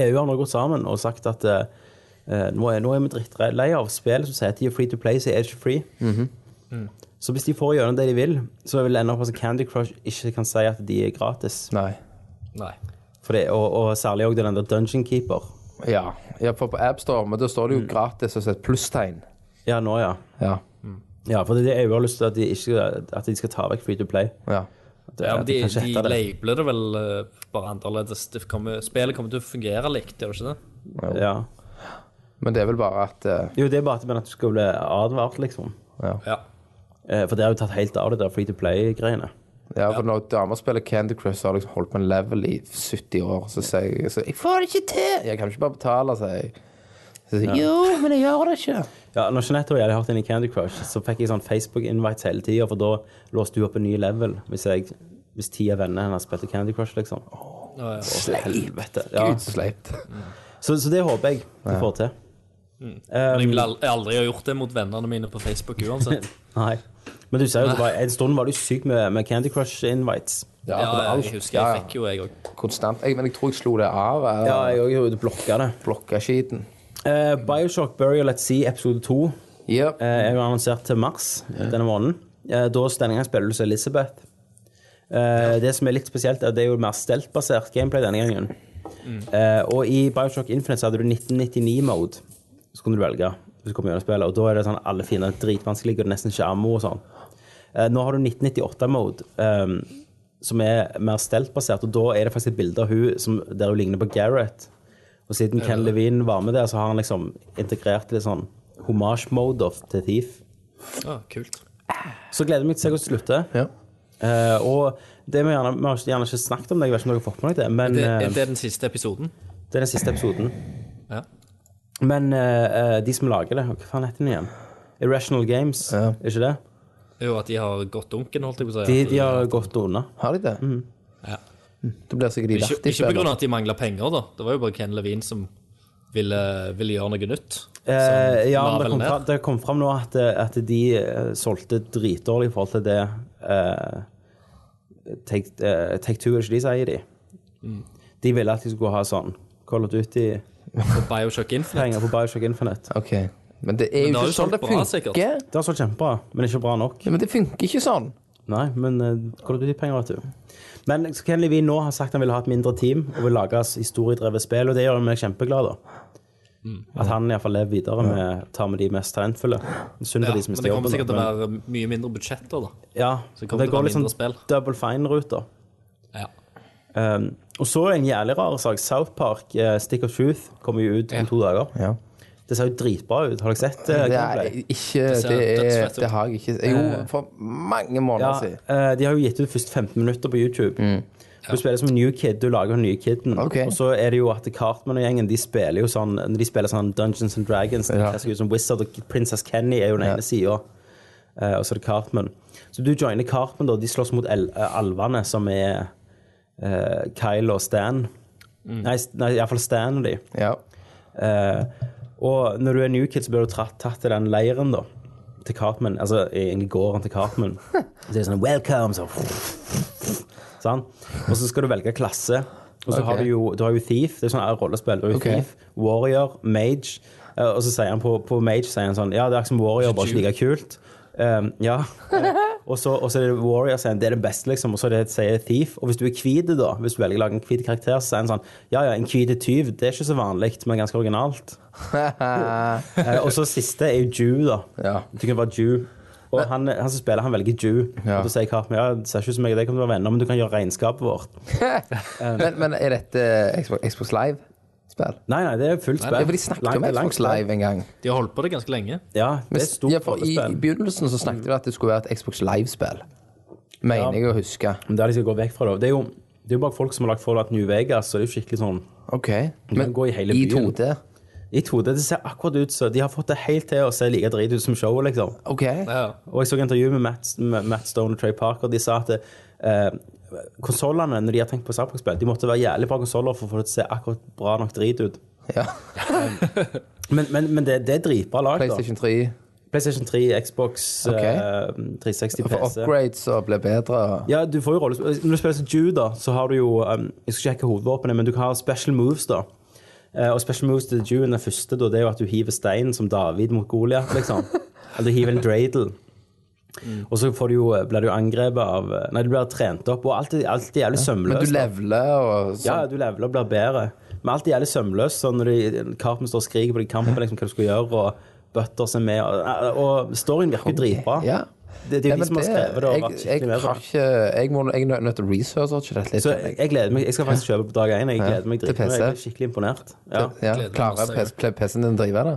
EU har nå gått sammen og sagt at eh, eh, nå, er, nå er vi drittlei av spill som sier at de er free to play, så er det ikke free. Så hvis de får gjennom det de vil, så vil det ende opp med at Candy Crush ikke kan si at de er gratis. Nei. Nei. For det, og, og særlig òg den der Dungeon Keeper. Ja. ja, for på AppStore, men da står Mm. det jo gratis og så et plusstegn. Ja, nå, ja. Ja. Ja, for det er det EU har lyst til at de, ikke, at de skal ta vekk free to play. ja. Det, Ja, men det de, kan ikke de hete det. labeler det vel eh, bare annerledes. Det kommer, spillet kommer til å fungere likt, gjør det ikke det? Ja. Men det er vel bare at eh, Jo, det er bare at- men at du skal bli advart, liksom. Ja. Eh, For det har jo tatt helt av det der free to play-greiene. Ja, for når damer spiller Candy Crush, så har jeg liksom holdt på en level i 70 år, så sier jeg så, Jeg får det ikke til! Jeg kan ikke bare betale, sier jeg. Så sier jeg jo, men jeg gjør det ikke. Ja, når Jeanette og jeg hadde hørt inn i Candy Crush, så fikk jeg sånn Facebook-invites hele tida, for da låste hun opp en ny level hvis, jeg, hvis ti av vennene hennes spilte Candy Crush, liksom. Helvete. Ja. Gud, så sleipt. Så, så det håper jeg de får til. Men jeg vil al- aldri ha gjort det mot vennene mine på Facebook [laughs] uansett. Nei. Men du ser jo, det var, en stund var det jo sykt med, med Candy Crush-invites. Ja, for det er alt. jeg husker jeg fikk jo, jeg òg. Konstant. Jeg, men jeg tror jeg slo det av. eh, Ja, Eller jeg òg blokka det. blokka skiten. Eh, Bioshock Burial Let's See episode 2 Ja. eh, er jo annonsert til mars denne måneden. Eh, da denne gangen spiller du som Elizabeth. Eh, det som er litt spesielt, er at det er jo mer steltbasert gameplay denne gangen. Eh, og i Bioshock Infinite så hadde du 1999-mode. Så kunne du velge. Hvis du kom gjennom spillet, og da er det sånn alle fiender er dritvanskelige, og det er nesten ikke ammo og sånn. Eh, nå har du 1998-mode. som er mer steltbasert, og da er det faktisk et bilde av hun som, der hun ligner på Gareth. Og siden Ken Levine var med der, så har han liksom integrert litt sånn homage-mode of- til Thief. Ja, kult. Så gleder jeg meg til å se hvordan det slutter. Ja. Eh, og det vi, gjerne, vi har gjerne ikke snakket om det, jeg vet ikke om dere har fått med dere det, men Det, eh, er det den siste episoden? det er den siste episoden. Ja. Men eh, eh, de som lager det, hva faen heter den igjen? Irrational Games, Ja. er ikke det? Jo, at de har gått dunken, holdt jeg på å si. De, de har gått unna. Har de det? Mm. Ja. Det blir sikkert de Mm. Ikke, verste ikke på grunn av at de mangla penger, da. Det var jo bare Ken Levine som ville, ville gjøre noe nytt. Eh, Som ja, la men det vel kom, ned. fram, det kom fram nå at, at de eh, solgte dritdårlig i forhold til det eh, Take, eh, take Two, er det ikke de sier de? Mm. De ville at de skulle ha sånn Call of Duty-penger På Bioshock Infinite. på Bioshock Infinite. Ok. Men det er Men det jo har jo ikke sånn det solgt bra, sikkert. funker. Det har solgt kjempebra, men ikke bra nok. Ja, men det funker ikke sånn. Nei, men eh, Call of Duty-penger, vet du. Men så Ken Levine nå har sagt han vil ha et mindre team og vil lage historiedrevet spill, og det gjør meg kjempeglad, da. Mm. At han iallfall lever videre med tar med de mest talentfulle. Synd Ja, for de men som mister det kommer jobben. sikkert da, til å men- være mye mindre budsjetter, da. Ja, Så det det, kommer til å går være liksom mindre spill. double fine-ruter. Ja. Um, og så er det en jævlig rar sak. South Park, eh, Stick of Truth, kommer jo ut om to dager. Ja. Det ser jo dritbra ut. Har dere sett det? Det er gameplay? ikke ser Det, er, dødsfett ut. det har jeg ikke Jo, for mange Eh. ja, måneder siden. eh, de har jo gitt ut først 15 minutter på YouTube. Du spiller som en new kid, du lager den nye kiden. Ok. Og så er det jo at Cartman og gjengen de spiller jo sånn Når de spiller sånn Dungeons and Dragons, de Ja. kler seg ut som Wizard, og Princess Kenny er jo den Ja. ene sida. og så er det Cartman. Så du joiner Cartman, da. De slåss mot el eh, alvene, som er eh, Kyle og Stan. Nei, s- nei iallfall Stan og de. Ja. Eh, og når du er new kid, så blir du tratt, tatt til den leiren, da. Til Cartman. Altså egentlig gården til Cartman. Så er det sånn Welcome! Så. Sånn. Og så skal du velge klasse. Og så Ok. har du jo, du har jo Thief. Det er sånn rollespill. Du har jo Ok. Thief, Warrior, Mage. Eh, og så sier han på, på Mage sier han sånn Ja, det er ikke som Warrior, bare ikke like kult. Um, [laughs] ja. Eh, og så og så er det Warrior sier han, det er det beste, liksom. Og så er det, sier Thief. Og hvis du er hvit, da, hvis du velger å lage en hvit karakter, så sier han sånn Ja ja, en hvit tyv, det er ikke så vanlig, men ganske originalt. Eh, og så siste er jo Jew, da. [laughs] Ja. Du kan være Jew. Og han, han som spiller, han velger Jew. Ja. Og da sier Cartman ja, det ser ikke ut som jeg og deg kommer til å være venner, men du kan gjøre regnskapet vårt. [laughs] men, men er dette Xbox, Xbox Live-spill? Nei, nei, det er fullt Ja, spill. for de snakket Langt- om langt Xbox spill. Live en gang. De har holdt på det ganske lenge. Ja, det er et stort ja, for i, I rollespill. begynnelsen så snakket de om at det skulle være et Xbox Live-spill. Mener Ja. jeg å huske. Men det er de skal gå vekk fra, da. Det er jo, det er jo bare folk som har lagt Fallout New Vegas, så det er jo skikkelig sånn Ok. Du kan gå i hele i byen. 2D. I 2D, det ser akkurat ut som De har fått det helt til å se like drit ut som showet, liksom. Ok. Ja. Og jeg så et intervju med Matt, med Matt Stone og Trey Parker. De sa at eh, konsollene, når de har tenkt på Cyberpunk-spill, de måtte være jævlig bra konsoller for å få det til å se akkurat bra nok drit ut. Ja. Men, men, men det, det er dritbra lag, da. PlayStation 3. PlayStation 3, Xbox, Ok. eh, 360 For PC. upgrades og ble bedre. Ja, du får jo rollespill. Når du spiller som Jew, da, så har du jo um, Jeg skal ikke hacke hovedvåpenet, men du kan ha special moves, da. Eh, og special moves til Jewen, den første, da, det er jo at du hiver steinen som David mot Goliat, [laughs] liksom. Eller du hiver en dreidel. Mm. Og så får du jo, eh, blir du jo angrepet av eh, Nei, du blir trent opp, og alt, er- alt er jævlig sømløst. Men du da. leveler og sånn. Ja, du leveler og blir bedre. Men alt er jævlig sømløst. Sånn når de, Carpen står og skriker på deg i kampen liksom, hva du skal gjøre, og Butters er med. Og, og storyen virker jo dritbra. Ja. Det, det Ja, er jo men de som har det- skrevet det og vært jeg, skikkelig jeg, med på har det. ikke, jeg, må, jeg er nødt til å researche dette litt. Så jeg, jeg gleder meg. Jeg skal faktisk kjøpe på dag én. Jeg gleder meg Til dritmye. Jeg PC. er skikkelig imponert. Ja, ja. gleder meg Klarer masse, PC- pl- PC-en din å drive det?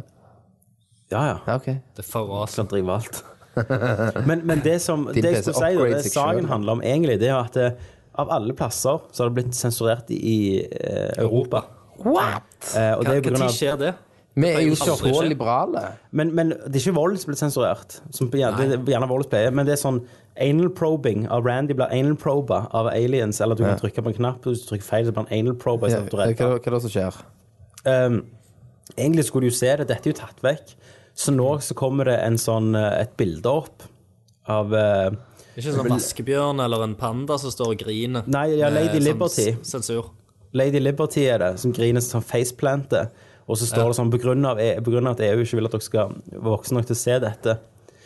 ja. ja. Ja, ok. Det er for rasende. Kan drive alt. [laughs] Men, men det som det jeg PC skulle si, da, upgrade det seg saken selv. handler om egentlig, det er jo at eh, av alle plasser så har det blitt sensurert i, i eh, Europa. What?! Eh, og det er jo på grunn Når av skjer det? Vi er jo Det pleier jo aldri så å skje. liberale. Men, men det er ikke vold som blir sensurert, som gjerne, det, er gjerne vold pleier, men det er sånn anal probing av Randy blir anal proba av aliens, eller du kan trykke på en knapp, og hvis du trykker feil, så blir han anal proba Ja, istedenfor hva, å er det- drepe. hva er det som skjer? Um, egentlig skulle du jo se det, dette er jo tatt vekk, så nå så kommer det en sånn, eh, et bilde opp av eh, Det er ikke en sånn vaskebjørn eller en panda som står og griner. Nei, ja, med Lady sånn Liberty. s- Sensur. Lady Liberty er det, som griner sånn faceplante, og så står det sånn, på grunn, av, E- på grunn av at EU ikke vil at dere skal være voksne nok til å se dette,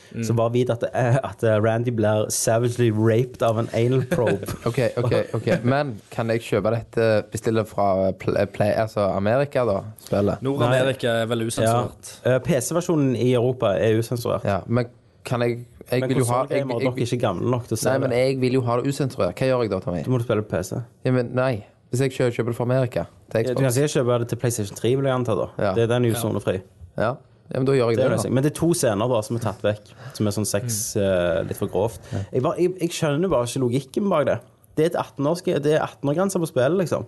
Mm. så bare vit at, det er- at eh, Randy blir savagely raped av en anal probe. [laughs] Ok, ok, [laughs] ok. Men kan jeg kjøpe dette bestille fra eh, Play, play altså Amerika, da? Spillet? Nord-Amerika er vel Ja. usensurert. Eh, PC-versjonen i Europa er usensurert. Ja, men kan jeg Jeg Men vil jo ha jeg, konsolgamer, dere er jeg, ikke gamle nok til å se Nei, men det. jeg vil jo ha det usensurert. Hva gjør jeg da, Tommy? Du må spille på PC. Ja, men nei. Hvis jeg kjøper, kjøper det fra Amerika til Du kan Xbox, sikkert kjøpe det til PlayStation 3, vil jeg anta. da. Ja. Det er den er jo sonefri. ja. ja, Mm. men da gjør jeg Det det. er jo det. da. Men det er to scener da som er tatt vekk, som er sånn sex eh, litt for grovt. Jeg, bare, jeg, jeg skjønner bare ikke logikken bak det. Det er et 18-årsgrense det er 18-årsgrense på spillet, liksom.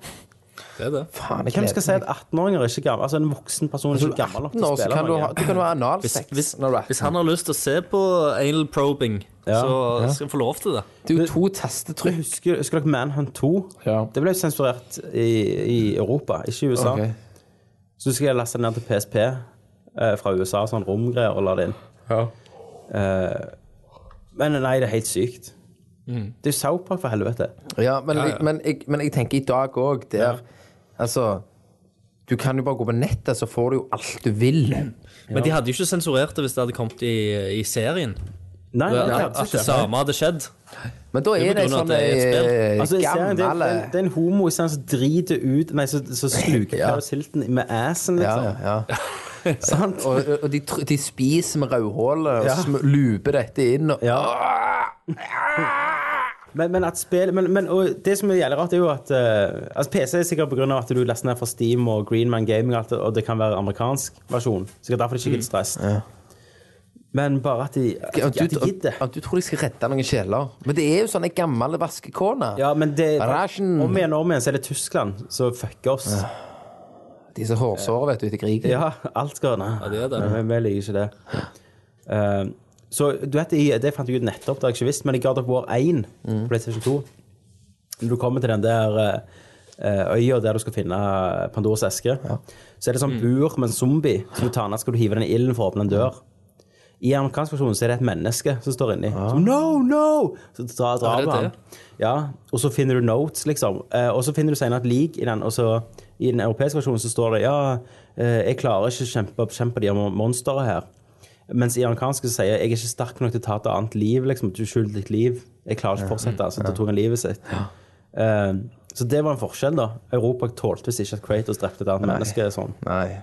Det er det. Faen, jeg Hvem gleder skal si meg. at 18-åringer er ikke gamle? Altså En voksen person er ikke gammel nok til Nå å så spille kan du ha, noe. du kan jo ha analsex Hvis, når du er hvis han har lyst til å se på anal probing, Ja. så skal han få lov til det. Det er jo to testetrykk. Husker, husker dere Manhunt 2? Ja. Det ble jo sensurert i, i Europa, ikke i USA. Ok. Så skal jeg laste den ned til PSP eh, fra USA, sånn romgreier, og la det inn. Eh, men nei, det er helt sykt. Mm. Det er jo South Park, for helvete. Ja, men, Jeg, men, jeg, men jeg tenker i dag òg der Altså Du kan jo bare gå på nettet, så får du jo alt du vil. Men de hadde jo ikke sensurert det hvis det hadde kommet i, i serien. Nei, At, det er altså, at det ikke. samme hadde skjedd. Men da Det er er på grunn det av sånn at det er et spill. ei Altså, i serien, det, er, det, er, gammel det er en homo i stedet som driter ut Nei, som sluker Ja. Paris Hilton med assen, ja, liksom. ja, ja. [laughs] Sant? Og, og de, tr- de spiser med rødhålet og Ja. sm- luper dette inn. Og, [laughs] Men, men, at spill, men, men og det som er jævlig rart, er jo at eh, altså PC er sikkert pga. at du laster ned fra Steam Mm. og Greenman Gaming, og, alt, det, og det kan være amerikansk versjon. Sikkert derfor det ikke er stress. Men bare at de, at de, At at du, de gidder. at du tror de skal redde noen sjeler. Men det er jo sånne gamle vaskekåner. Ja, men det, Rasjen. om igjen og om igjen så er det Tyskland som fucker oss. Disse hårsårene, vet du, ute i krigen. Ja, alt skal Nei, Ja, det er det. vi- Vi liker ikke det. Eh, så du vet, i- det fant jeg ut nettopp, det har jeg ikke visst, men i God of War 1 på PlayStation 2 Når du kommer til den der eh, øya der du skal finne Pandoras eske, så er det Mm. sånn bur med en zombie. Så du tar den, så skal du hive den i ilden for å åpne en dør. I amerikansk versjon så er det et menneske som står inni. Som, no, no! Så drar, drar Ja, det er du han. det. Ja, og så finner du notes, liksom. Eh, og så finner du senere et lik i den, og så i den europeiske versjonen så står det ja, eh, jeg klarer ikke å kjempe, kjempe de mon- monstrene her. Mens i amerikansk så sier jeg jeg er ikke sterk nok til å ta et annet liv, liksom. Du skylder ditt liv. Jeg klarer ikke å fortsette. Så da tok han livet sitt. Eh, så det var en forskjell, da. Europa tålte visst ikke at Kratos drepte et annet menneske. sånn. Nei.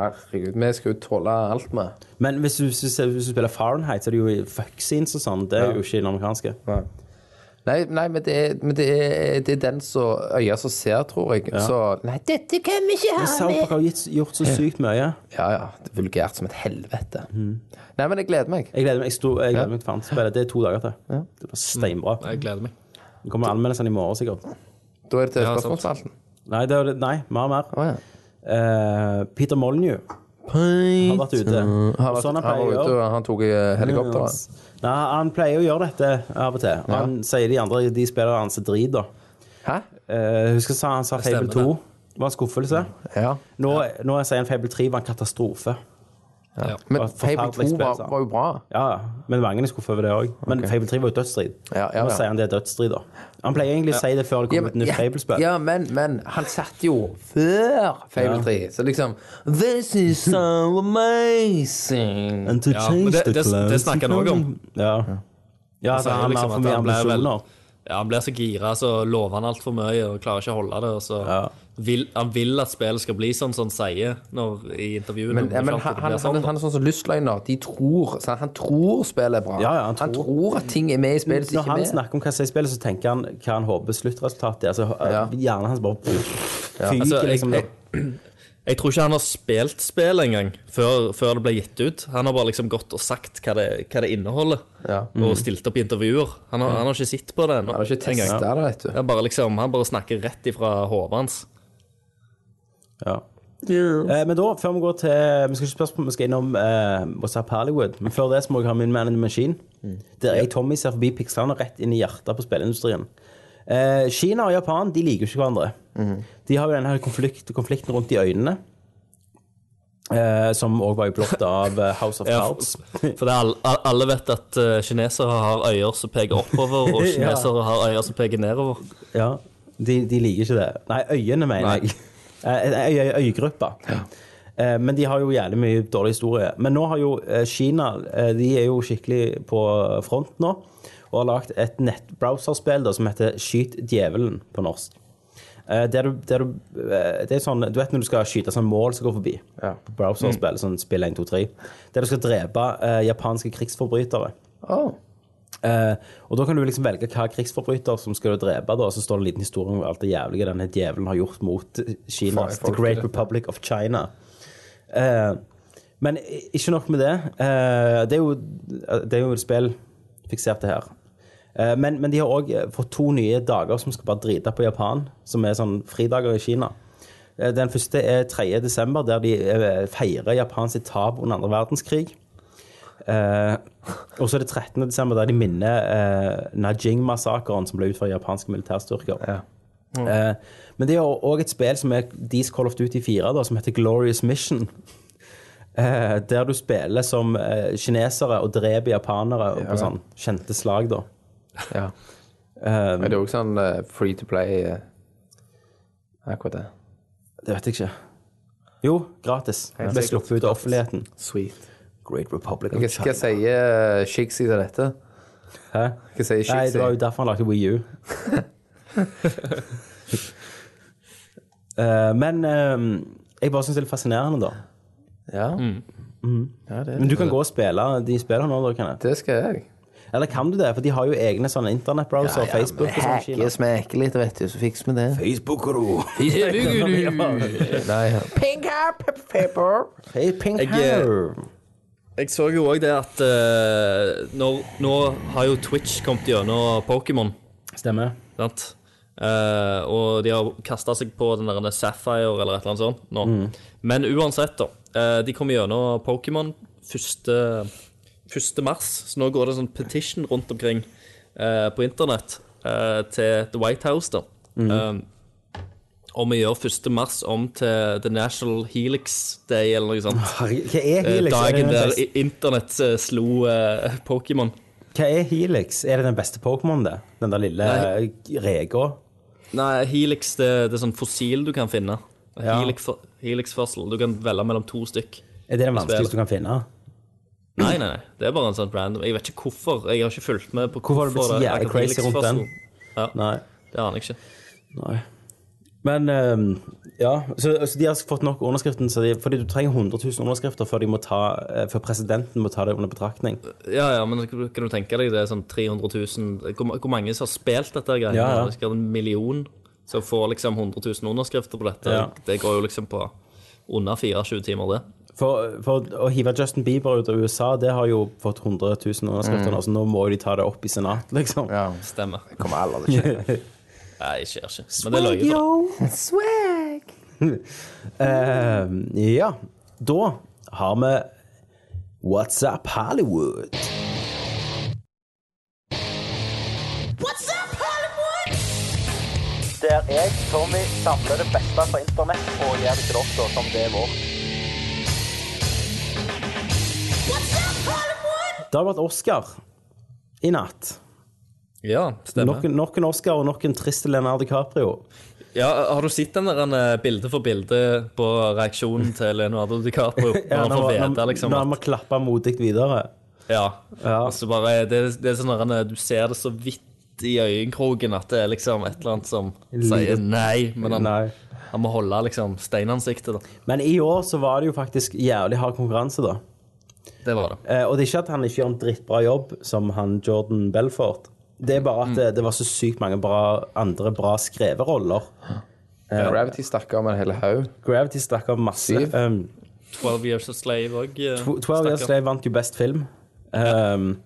Herregud, vi skal jo tåle alt med. Men hvis du, hvis, du, hvis du spiller Fahrenheit, så er det jo i fuck scenes og sånn. Det er jo ikke i den amerikanske. Nei, nei men, det er, men det, er, det er den som øya som ser, tror jeg. Så Nei, dette kan vi ikke ha Men Southpark med! har gitt, gjort så sykt mye. Ja, ja. Det er vulgært som et helvete. Mm. Nei, men jeg gleder meg. Jeg gleder meg jeg sto, jeg gleder meg til faen spillet. Det er to dager til. Det blir steinbra. Jeg gleder meg. Det kommer anmeldelsene i morgen, sikkert. Da er det til Ja, sant. spørsmålsspalten. Nei, det er, nei mer og mer. Å, ja. Eh, Peter Molyneux har vært ute. Han Og var, sånn Mm. han han pleier var å ute, gjøre. og han tok Mm. eh, helikopteret. Nei, han pleier å gjøre dette av og til. Han sier de andre de spiller hans er drit, da. Hæ? Eh, husker sa- han sa Fable stemmer, 2 var en skuffelse. Ja. Nå, nå sier han Fable 3 var en katastrofe. Ja. Men var et Fable forferdelig 2 spill, var, sa han. var jo bra. Ja, ja. men mange er skuffa over det òg. Men Fable 3 var jo dødsstrid. Ja, ja, Nå ja. sier han det er dødsstrid, da. Han pleier egentlig å si det før det kommer et nytt Fable-spill. ja, men, men han satt jo før Fable 3. Så liksom This is so amazing. And to Ja, men det- det- det snakker han også om. Ja. ja altså, sier han liksom har at for mye han ble vel- ambisjoner. Ja, Han blir så gira, så lover han altfor mye og klarer ikke å holde det. Og så Ja. vil, han vil at spillet skal bli sånn som han sier når, i intervjuet. Men, ja, Fram til men han, det han, blir han, sånn, da. han er sånn som lystløgner. De tror, så han tror spillet er bra. Ja, ja, han tror. at ting er med i spillet som Når ikke han er med. snakker om hva som er i spillet, så tenker han hva han håper sluttresultatet er. Altså, Ja. Hjernen hans bare fyker, Altså, jeg, liksom. jeg, jeg tror ikke han har spilt spill engang før, før det ble gitt ut. Han har bare liksom gått og sagt hva det, hva det inneholder, Ja. Mm. og stilt opp i intervjuer. Han har, han har ikke sett på det ennå. Han har ikke testa det, vet du. Han bare, liksom, han bare snakker rett ifra hodet hans. Ja. Eh, men da, før vi går til Vi skal ikke spørre, vi skal innom eh, WhatsApp Hollywood. Men før det så må jeg ha min Man in the Machine. Der jeg, Tommy, ser forbi pikslene rett inn i hjertet på spillindustrien. Eh, Kina og Japan de liker jo ikke hverandre. De har jo denne her konflikt, konflikten rundt i øynene. Eh, som òg var jo blått av eh, House of Ja, Cards. For det er, all- all- alle vet at eh, kinesere har øyer som peker [laughs] oppover, og kinesere har øyer som peker nedover. Ja, de, de liker ikke det. Nei, øyene, mener Nei. jeg. Eh, Øy, øy, øygruppa. Eh, Men de har jo jævlig mye dårlig historie. Men nå har jo eh, Kina eh, De er jo skikkelig på front nå. Og har lagd et nettbrowserspill da, som heter Skyt djevelen på norsk. Eh, Der du, der du, eh, det er sånn, du vet når du skal skyte sånn mål som går forbi Ja. på browserspill, sånn spill 1, 2, 3, der du skal drepe eh, japanske krigsforbrytere. Oh. Eh, og da kan du liksom velge hva krigsforbryter som skal du drepe, da, og så står det en liten historie om alt det jævlige denne djevelen har gjort mot Kina. Faen, jeg The får Great ikke dette. Republic of China. Eh, men i- ikke nok med det. Eh, det, er jo, det er jo et spill fiksert, det her. Eh, men, men de har òg fått to nye dager som skal bare drite på Japan, som er sånn fridager i Kina. Eh, Den første er 3. desember, der de eh, feirer Japans tap under andre verdenskrig. Eh, [laughs] og så er det 13. desember, der de minner eh, Najing-massakren som ble utført av japanske militærstyrker. Eh, men det er jo òg et spill som er Dees Call of Duty 4, da, som heter Glorious Mission. [laughs] Eh, der du spiller som eh, kinesere og dreper japanere og på sånn kjente slag, da. Ja. Men det er jo ikke sånn eh, free to play eh, Akkurat det. Det vet jeg ikke. Jo, gratis. Det ble sluppet ut av offentligheten. Sweet. Great Republic Hva, of hva China. sier Shigsy eh, til dette? Hæ? Hva sier Nei, det var Shigsy? jo derfor han lagde Wii U. [laughs] Eh, men eh, jeg bare syns det er litt fascinerende, da. Ja. Mm. ja, det, Men du kan gå og spille de spillene nå, da, kan jeg. det skal jeg. Eller kan du det? For de har jo egne sånne internettbrowser, Ja, ja, Facebook og men sånn. i Kina. Hacke og smekke litt, vet du, så fikser vi det. Nei, ja. Pink hair, pepper. Hey, pink Jeg, eh, hair. Jeg så jo òg det at eh, nå, nå har jo Twitch kommet gjennom Pokémon. Stemmer. Sant? Eh, og de har kasta seg på den der Sapphire eller et eller annet sånt nå. Men uansett, da. eh, de kommer gjennom Pokémon 1. mars, så nå går det en sånn petition rundt omkring eh, på internett eh, til The White House, da. Eh, om vi gjør 1. mars om til The National Helix Day eller noe sånt. Herregud, Hva er Eh, Helix? Er det Dagen den der beste- i- internett eh, slo eh, Pokémon. Hva er Helix? Er det den beste Pokémon, det? Den der lille Nei. eh, reka? Nei, Helix det, det er sånn fossil du kan finne. Ja. Helix, Helix-fossil. Du kan velge mellom to stykk. Er det den vanskeligste du kan finne? Nei, nei, nei. Det er bare en sånn random Jeg vet ikke hvorfor. Jeg har ikke fulgt med på Hvorfor har det blitt så det er jævlig akkurat crazy rundt den? Helix-fossilen. Ja, Nei. det aner jeg ikke. Nei. Men ehm, ja, så, så de har fått nok underskriften, så de, fordi du trenger 100 000 underskrifter før, de må ta, eh, før presidenten må ta det under betraktning. Ja, ja, men kan du tenke deg det er sånn 300 000 Hvor, hvor mange som har spilt dette greiene? Ja, ja. Det er sikkert en million som får liksom 100 000 underskrifter på dette. Ja. Det går jo liksom på under 24 timer, det. For, for å hive Justin Bieber ut av USA, det har jo fått 100 000 underskrifter, nå, så nå må de ta det opp i senat, liksom. Ja. Stemmer. Kommer aldri til å skje. Nei, jeg ser ikke. Men det er løye. for det. Swag! Ehm, ja, da har vi What's Up Hollywood. Der jeg, Tommy, samler det beste fra internett og gjør det til dere som det er vårt. Det har vært Oscar i natt. Ja, stemmer. Nok en- nok en Oscar og nok en trist Leonardo DiCaprio. Ja, Har du sett den der eh, bilde for bilde på [laughs] reaksjonen til Leonardo DiCaprio? ja, han når- får når- vite liksom Når at, vi klapper modig videre. ja, Ja. Og så bare, det, det er sånn der, eh, Du ser det så vidt i øyekroken at det er liksom et eller annet som sier nei, men han, Nei. han må holde liksom steinansiktet. da. Men i år så var det jo faktisk jævlig hard konkurranse, da. Det var det. Eh, og det er ikke at han ikke gjør en drittbra jobb som han Jordan Belfort. Det er bare at eh, det, det var så sykt mange bra, andre bra skreveroller. Gravity stakk av med en hel haug. Gravity stakk av masse. Syv. Um, Twelve Years a Slave eh, òg. 12 Years Slave vant jo best film. Um,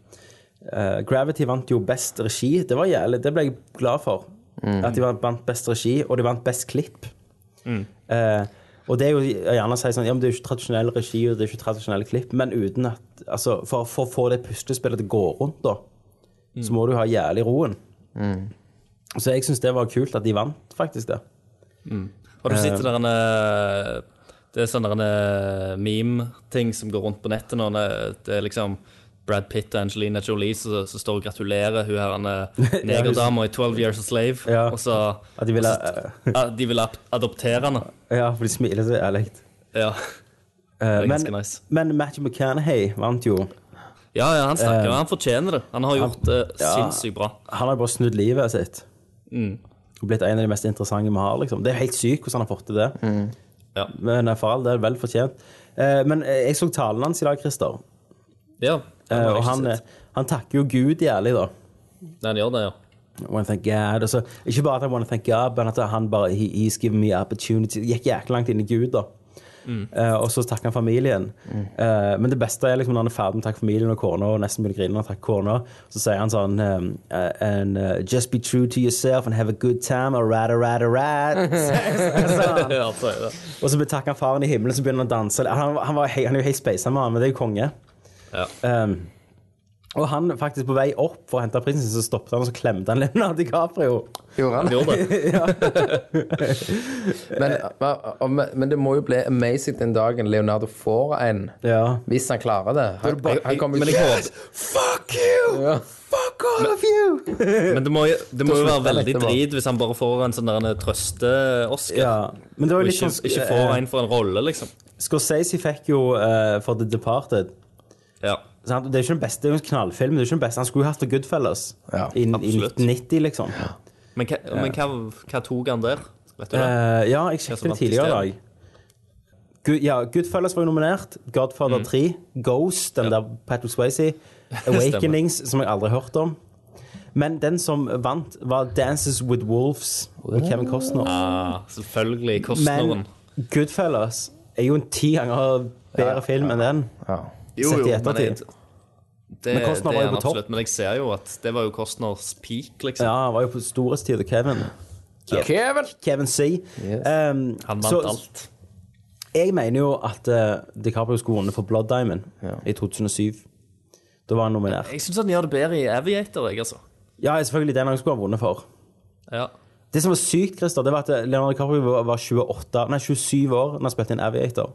eh, Gravity vant jo best regi. Det var jævlig, det ble jeg glad for. Mm. At de vant- vant best regi, og de vant best klipp. Mm. Eh, og det er jo gjerne å si sånn, ja, men det er jo ikke tradisjonell regi og det er ikke tradisjonelle klipp, men uten at, altså, for, for å få det puslespillet til å gå rundt, da, Mm. så må du ha jævlig roen. Så jeg syns det var kult at de vant, faktisk, det. Og du sitter der en eh, Det er sånn der en eh, meme-ting som går rundt på nettet nå. når Det er liksom Brad Pitt og Angelina Jolie som som står og gratulerer hun [laughs] her en eh, negerdama i 12 Years a Slave. Ja. Og så At de ville, [laughs] eh, ja, De vil ap- adoptere henne. [laughs] ja, for de smiler så jævlig. Ja. Eh, er ganske men, nice. men Matthew McCannahay vant jo. ja, ja, han snakker, og han fortjener det. Han har gjort det Eh. ja. sinnssykt bra. Han har jo bare snudd livet sitt. Og blitt en av de mest interessante vi har. liksom. Det er jo helt sykt hvordan han har fått til det. Ja. Men eh, for all del, vel fortjent. Eh, men eh, jeg så talen hans i dag, Christer. Ja, Eh, har jeg og ikke han, sett. eh, han takker jo Gud jævlig, da. Nei, han gjør det, ja. I wanna thank God. Og så, ikke bare at han wanna thank God, men at han bare he, He's given me opportunity. Gikk jækla langt inn i Gud, da. Eh, og så takker han familien. Eh, men det beste er liksom når han er ferdig med å takke familien og kona, og nesten begynner å grine når han takker kona, så sier han sånn um, eh, and, eh, Just be true to yourself and have a good time. Alright, alright, alright. [laughs] ja altså, ja. [laughs] og så takker han faren i himmelen, så begynner han å danse. Han, han, var, he- han er jo helt speisa med han, men det er jo konge. Ja. Um, og han faktisk på vei opp for å hente prinsen, så stoppet han og så klemte han Leonardo DiCaprio. Gjorde han? Eh. Han gjorde det. Men, men, men det må jo bli amazing den dagen Leonardo får en. Ja. Hvis han klarer det. Han, bare- han kommer Men jeg håper- Fuck you! Ja. Fuck all of you! Men det må, jo- det [laughs] må jo være slutter veldig dette bare. drit hvis han bare får en sånn der en trøste-Oscar. Ja, men det var Og jo litt ikke, sånn ikke får en for en rolle, liksom. eh, Scorsese fikk jo eh, for The Departed. Ja. Sant? Det er ikke den beste det er jo en knallfilm. Det er ikke den beste. Han skulle jo hatt The Goodfellas Ja, i, i absolutt. 1990, liksom. Ja, Eh, Men, hva, men hva, hva tok han der? Vet du det? ja jeg Hva som sjekket det vant tidligere i isteden? dag. Good, ja, Goodfellas var jo nominert. Godfather Mm. 3. Ghost, den der [laughs] Patrick Swayze. Awakenings, som jeg aldri har hørt om. Men den som vant, var Dances with Wolves med Kevin Costner. Ja, Ah, selvfølgelig. Kostnaden. Men Goodfellas er jo en ti ganger bedre film enn den. Ja. Jo, Sett i jo, men jeg- ettertid. Det, Men Costner det er var jo han på topp. absolutt, men jeg ser jo at det var jo Costners peak, liksom. Ja, han var jo på storhetstid til Kevin. Kevin! Kevin C. Yes. Um, Han vant så- alt. Jeg mener jo at eh, DiCaprio skulle vunnet for Blood Diamond i 2007. Da var han nominert. Jeg syns han gjør det bedre i Aviator, jeg, altså. Ja, selvfølgelig den han skulle ha vunnet for. Ja. Det som var sykt, Christer, det var at eh, Leonardo DiCaprio var- var 28, nei, 27 år når han spilte inn Aviator.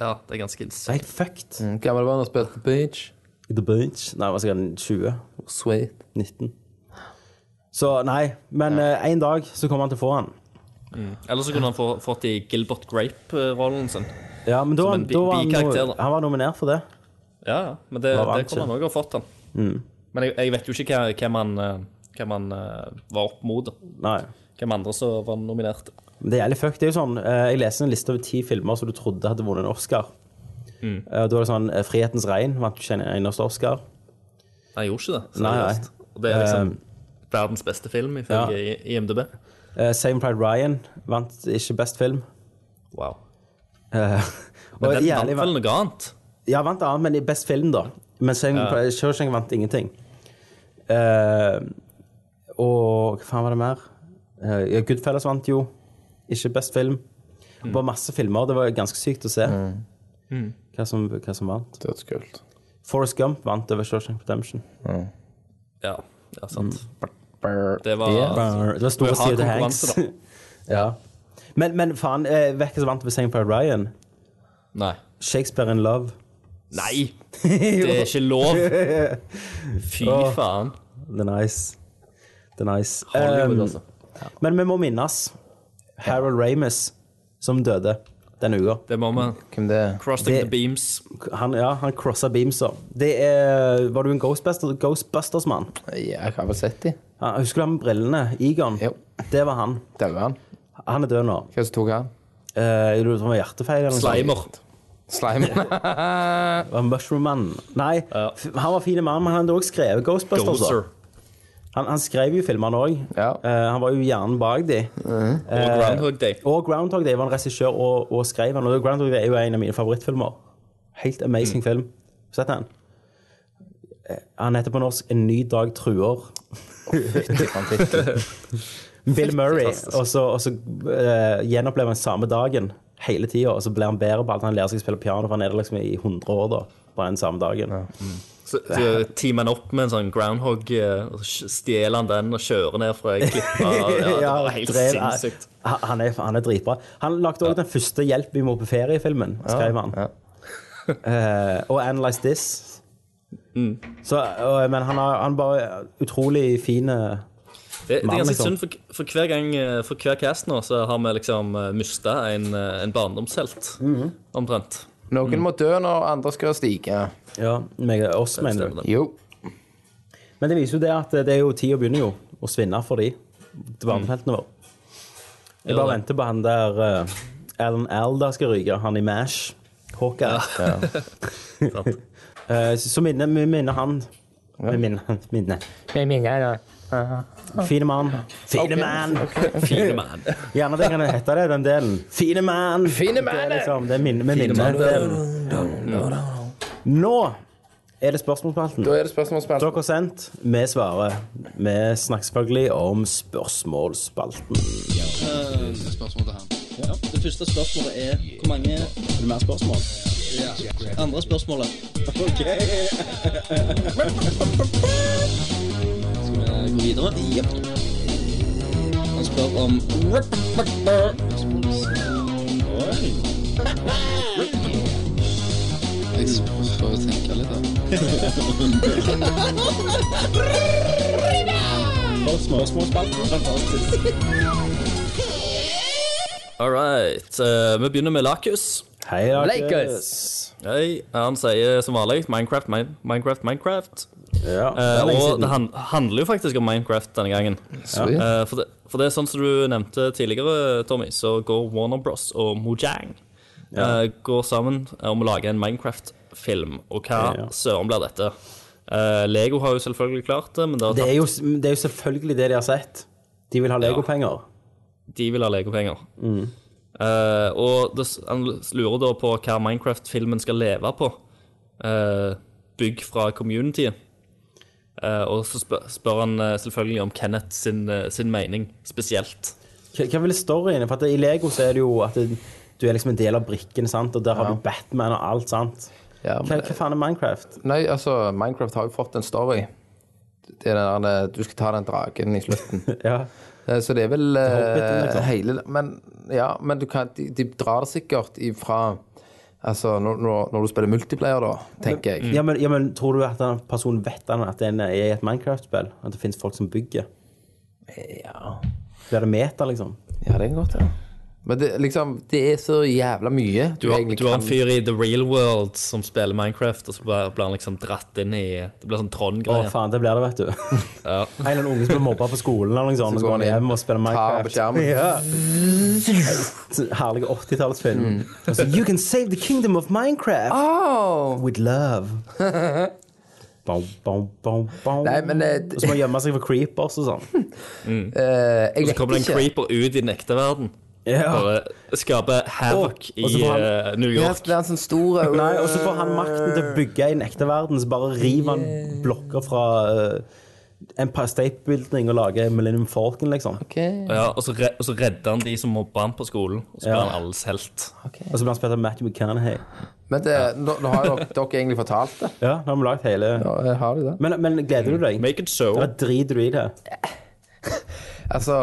ja, det er ganske Det insane. er helt fucked. Gammel var han og spilte Beach. The Beach. Nei, han var sikkert 20. Sweet. 19. Så nei, men eh, en dag så kommer han til å få han. Eller så kunne han få, fått i Gilbert Grape-rollen sin. Ja, men da, Som en bi- da var han, bikarakter, no- da. han var nominert for det. Ja, ja, men det, Da vant Mm. det kunne han òg ha fått, han. Men jeg, jeg vet jo ikke hva- hvem han, eh, hvem han eh, var opp mot. da. Nei. Hvem andre som var nominert. Men det er jævlig fucked. Det er jo sånn, eh, jeg leste en liste over ti filmer som du trodde hadde vunnet en Oscar. Mm. Eh, da var det sånn eh, 'Frihetens regn' vant ikke en eneste Oscar. Nei, jeg gjorde ikke det. Nei, nei. Eh, seriøst. Og det er liksom verdens beste film, ifølge I- IMDb. Uh, Same Pride Ryan vant ikke best film. Wow. Eh, [laughs] Men og den jævlig vant vel noe annet? Ja, vant annet, men i best film, da. Men Saving Ja. Private Shawshank vant ingenting. Eh, og hva faen var det mer? Eh, ja, Goodfellas vant jo. Ikke best film. Det Mm. var masse filmer. Det var ganske sykt å se Hva, som, hva som vant. Dødskult. Forrest Gump vant over Shawshank Redemption. Ja, ja sant. Brr. Altså, Det var Ja. Mm. Det var store Og hard sider til Hanks. konkurranse, da. [laughs] ja. Men, men faen, eh, vet du hva som vant over Saving Private Ryan? Nei. Shakespeare in Love. [laughs] Nei! Det er ikke lov! Fy Åh. faen. The Nice. The Nice. Hollywood, Um, altså. Men vi må minnes Harold Ramis, som døde denne uka. Det må vi. Hvem det er? Crossing Det- the beams. Han, ja, han crossa beamsa. Det er, var du en Ghostbuster, Ghostbusters-mann? Ja, jeg har vel sett de. Ja, Husker du han med brillene? Egon? Jo. Det var han. Daua han? Han er død nå. Hva som tok han? Eh, Jeg lurer på om det var hjertefeil eller noe Slimer. Slimen. sånt. Var Mushroom-mannen. Nei, Ja. f- han var fin mann, men han hadde også skrevet Ghostbusters. da. Gozer. Han, han skrev jo filmene òg. Ja. han var jo hjernen bak de. Mhm. Og Groundhog Day. Eh, Og Groundhog Day var en regissør og, og skrev den. Og Groundhog Day er jo en av mine favorittfilmer. Helt amazing film. Sett den. Eh, Han heter på norsk 'En ny dag truer'. Bill Murray. Og så, og så eh, gjenopplever han samme dagen hele tida, og så blir han bedre på alt. Han lærer seg å spille piano, for han er det liksom i 100 år da, på den samme dagen. Så, så teamer han opp med en sånn groundhog, eh, og sj- stjeler han den og kjører ned fra ei [laughs] klippe. Ja, det var helt drev- sinnssykt. Han, han er, han er dritbra. Han lagde òg den første 'Hjelp, vi må på ferie'-filmen, skrev han. Eh, og 'Analyze This'. Mm. Så, og- men han har han bare utrolig eh, fine Det, det Mann, er ganske liksom. synd, for, for hver gang eh, For hver cast nå så har vi liksom mista en, eh, en barndomshelt, Mhm. omtrent. [laughs] Noen må dø når andre skal stige. Ja, meg, oss, mener Stemmer du. det. Jo. Men det viser jo det at det er jo tida begynner jo å svinne for de varmefeltene våre. Mm. Jeg Ja, bare det. venter på han der eh, Alan Alda skal ryke, han i Mash. Hawkeye. [laughs] Sant. [laughs] Eh, så så minner vi minner han. Vi minner, [laughs] minner. Fine mann. Fine mann! Fine man. Gjerne det kan hete det, den delen. Fine mann! Fine Det er mann! liksom, det er minne, mann. med Mm. minnedelen. Nå er det spørsmålspalten. Da er det spørsmålsspill. Dere har sendt, vi svarer. Vi snakker selvfølgelig om spørsmålspalten. Det første spørsmålet er hvor mange Er det mer spørsmål? Ja. Andre spørsmålet. OK. Skal vi gå videre? Jepp. Han spør om Oi. Jeg får tenke litt, da. Spørsmålsspalten. Fantastisk. All right. eh, vi begynner med Lakus. Hei, dere. Lakers. Hei, han sier som vanlig Minecraft, min, Minecraft, Minecraft. Ja, det Eh, er lenge og siden. det han, handler jo faktisk om Minecraft denne gangen. Sweet. Eh, for, det, for det er sånn som du nevnte tidligere, Tommy, så går Warner Bros. og Mojang eh, går sammen om å lage en Minecraft-film. Og hva Ja. søren blir dette? Eh, Lego har jo selvfølgelig klart det, men det har det, er jo, det er jo selvfølgelig det de har sett. De vil ha legopenger. de vil ha legopenger. Mm. Eh, og det, han lurer da på hva Minecraft-filmen skal leve på. eh, bygg fra communityet. Eh, og så spør, spør han eh, selvfølgelig om Kenneth sin, eh, sin mening spesielt. Hva hva vil storyen? For at I Lego så er det jo at det, du er liksom en del av brikken, sant? og der har du Batman og alt, sant? Ja, Hva, men, hva faen er Minecraft? nei, altså, Minecraft har jo fått en story. Det er den der, du skal ta den dragen i [laughs] slutten. Ja. Eh, Så det er vel eh, Hobbiten, liksom. hele Men, ja, men du kan, de, de drar det sikkert ifra Altså, når, når, når du spiller multiplayer, da, tenker jeg. Ja, men, ja, men tror du at den personen vet han at den er i et Minecraft-spill? At det finnes folk som bygger? Mm. Ja, Blir det meta, liksom? ja det kan godt være. Men det, liksom, det er så jævla mye Du har, du har en fyr i the real world som spiller Minecraft, og så bare blir han liksom dratt inn i Det blir sånn Å, Trond-greie. faan, det blir det, vet du. [laughs] Ja. En eller annen unge som blir mobba på skolen, eller noe sånt, og så går han hjem og spiller tar på Minecraft. [laughs] skjermen. Så Herlig 80-tallsfilm. Mm. Og så, You can save the kingdom of Minecraft Oh!" with [laughs] love. Bom, bom, bom, bom. Nei, men eh, det- Og så må han gjemme seg for creepers og [laughs] sånn. Eh, Og jeg så vet kommer det en ikke. creeper ut i den ekte verden. Ja. Bare skaper havoc Og- og så i får han- eh, New Ja, York. så blir han sånn [laughs] stor eh, Nei, og så får han makten til å bygge i den ekte verden, så bare river han blokker fra eh, Empire State Building og lager Millennium Falcon, liksom. Ok, Ja, og, så re og så redder han de som mobber han på skolen, og så blir Ja. han alles helt. Og så blir han spilt av Matthew McConaughey. Men det, nå, nå har jo dere, dere egentlig fortalt det. Ja, nå har vi lagd hele Ja, eh, har de det? men, Mm. men gleder du deg? Make it so. Eller driter du i det? Altså,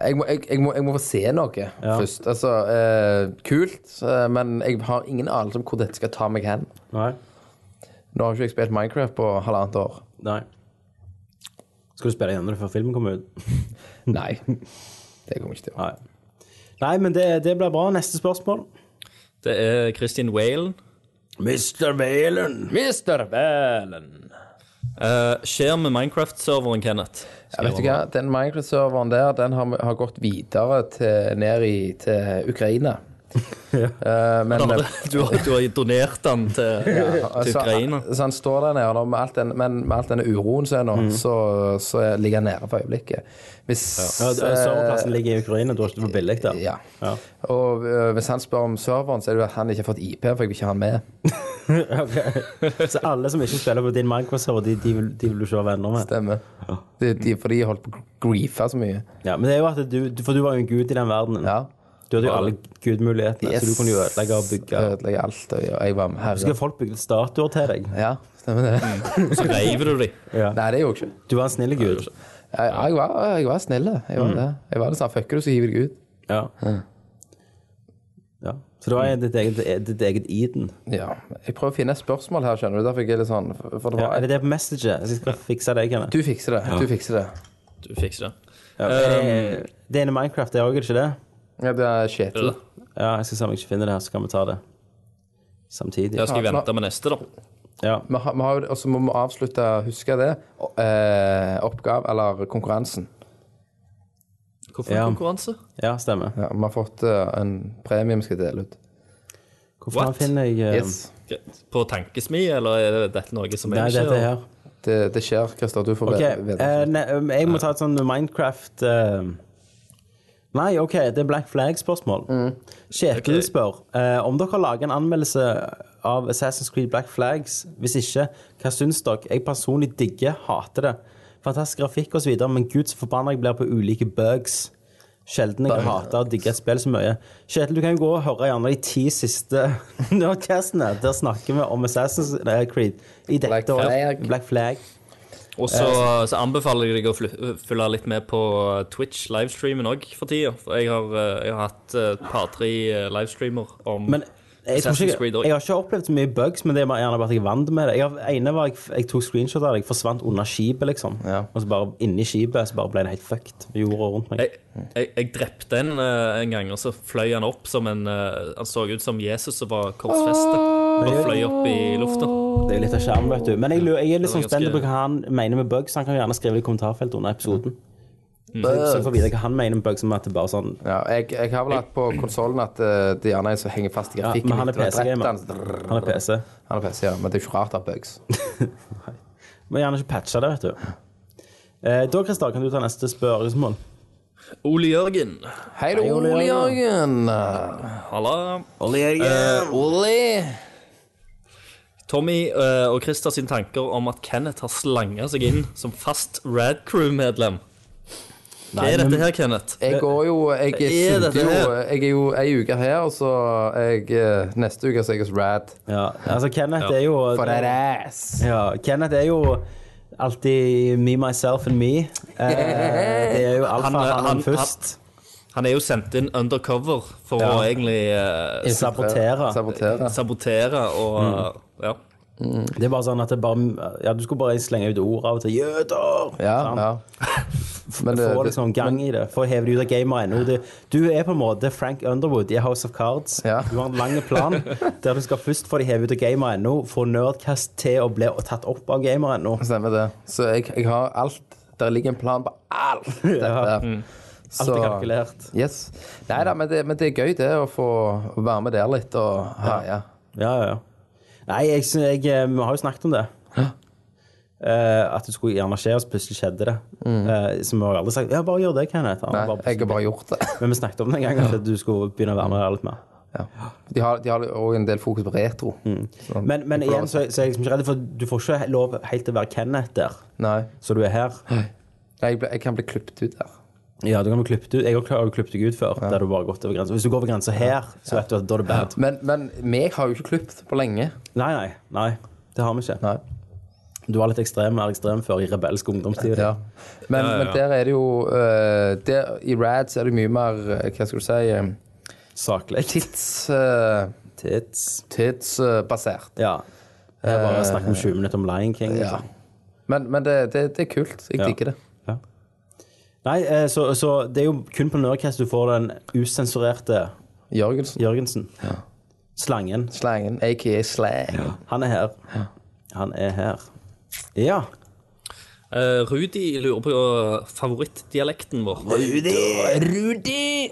jeg må, jeg, jeg må, jeg må få se noe først. Altså, eh, kult, eh, men jeg har ingen anelse om hvor dette skal ta meg hen. Nei? Nå har ikke jeg spilt Minecraft på halvannet år. Nei. Skal du spille igjen når før filmen kommer ut? Nei. Det kommer jeg ikke til å Nei. Nei, men det, det blir bra. Neste spørsmål. Det er Christian Whalen. Mr. Valen. Mr. Valen. Eh, skjer med Minecraft-serveren, Kenneth. Ja, vet du hva? Den Minecraft-serveren der den har, har gått videre til, ned i, til Ukraina. Eh, men, Du har, [laughs] [laughs] du har, du har donert den [laughs] til, altså, til Ukraina. Altså, Så, så han står der nede, og med alt den, men med alt denne uroen som er nå, så, så ligger han nede for øyeblikket. Hvis, eh, Ja, det- Serverplassen ligger i Ukraina. Du har ikke det for billig der. Ja. Ja. Og øh, hvis han spør om serveren, så er det jo at han ikke har fått IP, for jeg vil ikke ha han med. Så alle som ikke spiller på din Minecraft-server, de, de, vil- de vil du ikke være venner med? Stemmer. De, de, for de holdt på å griefe så mye. Ja, men det er jo at du, du- for du var jo en gud i den verdenen. Ja. Du hadde jo alle gudmulighetene, så du kunne jo ødelegge og bygge. Ødelegge alt. Og jeg var med Skal Mm. herre. folk bygge statuer til deg? Ja, stemmer det. Og så reiver du dem. [laughs] Nei, det er jo ikke Du var en snill gud. Jeg, jeg, var, jeg var snill. Jeg var Mm. det. Jeg var det sånn, Fucker du, så hiver jeg deg ut. Ja. ja. Så det var ditt eget, ditt eget Eden. Ja. Jeg prøver å finne et spørsmål her, skjønner du. Derfor jeg er litt sånn for for det Ja, er var, det det på Messenger? Så jeg skal fikse deg, Kenneth. Du fikser det. Du fikser det. Du fikser det. Ja. Eh, Det er inne i Minecraft, det òg, er det ikke det? Ja, det er Kjetil. Ja, jeg skal se om jeg ikke finner det her, så kan vi ta det samtidig. Da skal vi vente med neste, da. Ja. Vi har, vi har, jo- og så må vi avslutte, husker jeg det, eh, oppgave eller konkurransen. Hvorfor Ja. konkurranse? ja, stemmer. Ja, vi har fått eh, en premie vi skal dele ut. Hvorfor What? finner jeg eh, Yes. På tankesmi, eller er dette noe som Nei, jeg ikke dette her. Det, det skjer, Christer. Du får Ok, okay. vite. eh, ne, um, jeg må ta et sånn Minecraft eh, Nei, OK, det er Black Flag-spørsmål. Mm. Kjetil Ok. spør eh, om dere har laget en anmeldelse av Assassin's Creed Black Flags. Hvis ikke, hva syns dere? Jeg personlig digger, hater det. Fantastisk grafikk osv., men gud så forbanna jeg blir på ulike bugs. Sjelden jeg hater og digger et spill så mye. Kjetil, du kan jo gå og høre gjerne de ti siste [laughs] nerdcastene. Der snakker vi om Assassin's nei, Creed i dette Black året. Flag. Black Flag. Og så, Eh. så anbefaler jeg deg å fly- følge litt med på Twitch-livestreamen òg for tida. For jeg har, eh, jeg har hatt eh, et par-tre eh, livestreamer om Men jeg, tror Assassin's Creed ikke, også. jeg har ikke opplevd så mye bugs, men det er bare gjerne bare at jeg er vant med det. Jeg, har- ene var jeg, jeg tok screenshot av det, jeg forsvant under skipet, liksom. Ja. Og så bare inni skipet så bare ble det helt fucked. Jorda rundt meg. Jeg, jeg, jeg drepte en eh, en gang, og så fløy han opp som en eh, Han så ut som Jesus som var korsfestet. Og fløy opp i lufta. Det er jo litt av skjermen, vet du. Men jeg, lurer- jeg er litt sånn Det var ganske- spent på hva han mener med bugs. Han kan jo gjerne skrive det i kommentarfeltet under episoden. Mm. Så så jeg får vite hva han mener med bugs, som at det bare er sånn Ja, jeg, jeg har vel hatt på konsollen at eh, det gjerne er så henger fast i ja, grafikken. Men han er litt, og jeg drepte PC-gamer. han. Han er PC. Han er PC, ja. Men det er ikke rart det er bugs. Men gjerne ikke patcha det, vet du. Eh, da, Christer, kan du ta neste spørsmål? Ole Jørgen. Hei, du, Ole Ole Jørgen. Halla. Ole. Eh, Tommy eh, og Christer sine tanker om at Kenneth har slanga seg inn som fast Rad Crew-medlem. Hva er dette her, Kenneth? Jeg går jo Jeg er sulter dette jo her? Jeg er jo ei uke her, og så er jeg, eh, neste uke så er jeg hos Rad. Ja, altså Kenneth er jo For that ass. Ja, Kenneth er jo alltid me, myself and me. Eh, det er jo alfa, Han, han, eh, han, han- først. Han er jo sendt inn undercover for å egentlig eh, Sabotere. Sabotere. sabotere og Ja. Det er bare sånn at det bare Ja, du skulle bare slenge ut ord av og til. Jøder! Ja, Sant? ja. [laughs] Men det, Få det, liksom gang i det. Få heve det ut av gamet ennå. Det- Du er på en måte Frank Underwood i House of Cards. Ja. Du har en lang plan der du skal først få det hevet ut av gamet ennå, få Nerdcast til å bli tatt opp av gamet ennå. stemmer det. Så jeg, jeg har alt. Der ligger en plan på alt dette. Ja. [laughs] Alt Så- er kalkulert. Yes. Nei da, men det, men det er gøy, det, å få være med der litt og heie. Ja, ja, ja. Nei, jeg, syn- jeg, eh, vi har jo snakket om det. Eh, at det skulle gjerne skje, og så plutselig skjedde det. Eh, så vi har jo aldri sagt Ja, bare gjør det, Kenneth. Han Mm. Nei, har bare jeg har bare gjort det. Men vi snakket om det en gang, at du skulle begynne å være med litt mer. Ja. [laughs] De har, de har også en del fokus på retro. Så- Men, men igjen, så, så er jeg liksom ikke redd, for du får ikke lov helt til å være Kenneth der, Nei. så du er her. Nei, jeg, ble, jeg kan bli klippet ut der. Ja, du kan bli klippet ut. Jeg har klar- har jo klippet deg ut før, der du bare har gått over grensa. Hvis du går over grensa her, så vet du at da er det bad. Men, men meg har jo ikke klippet på lenge. Nei, nei. nei. Det har vi ikke. Nei. Du var litt ekstrem, mer ekstrem før i rebelsk ungdomstid. Ja. Men, men der er det jo eh, der, I Rad så er det mye mer eh, Hva skal du si eh, Saklig. Tids... eh, Tits. tidsbasert. Ja. Jeg bare snakket om 20 minutter om Lion King. Liksom. Eh, Ja. Men, men det, det, det er kult. Jeg Ja. liker det. Nei, eh, så, så det er jo kun på Nerdcast du får den usensurerte Jørgensen. Jørgensen. Slangen. Slangen, aka slang. Han er her. Han er her. Ja. Eh, Rudi lurer på favorittdialekten vår.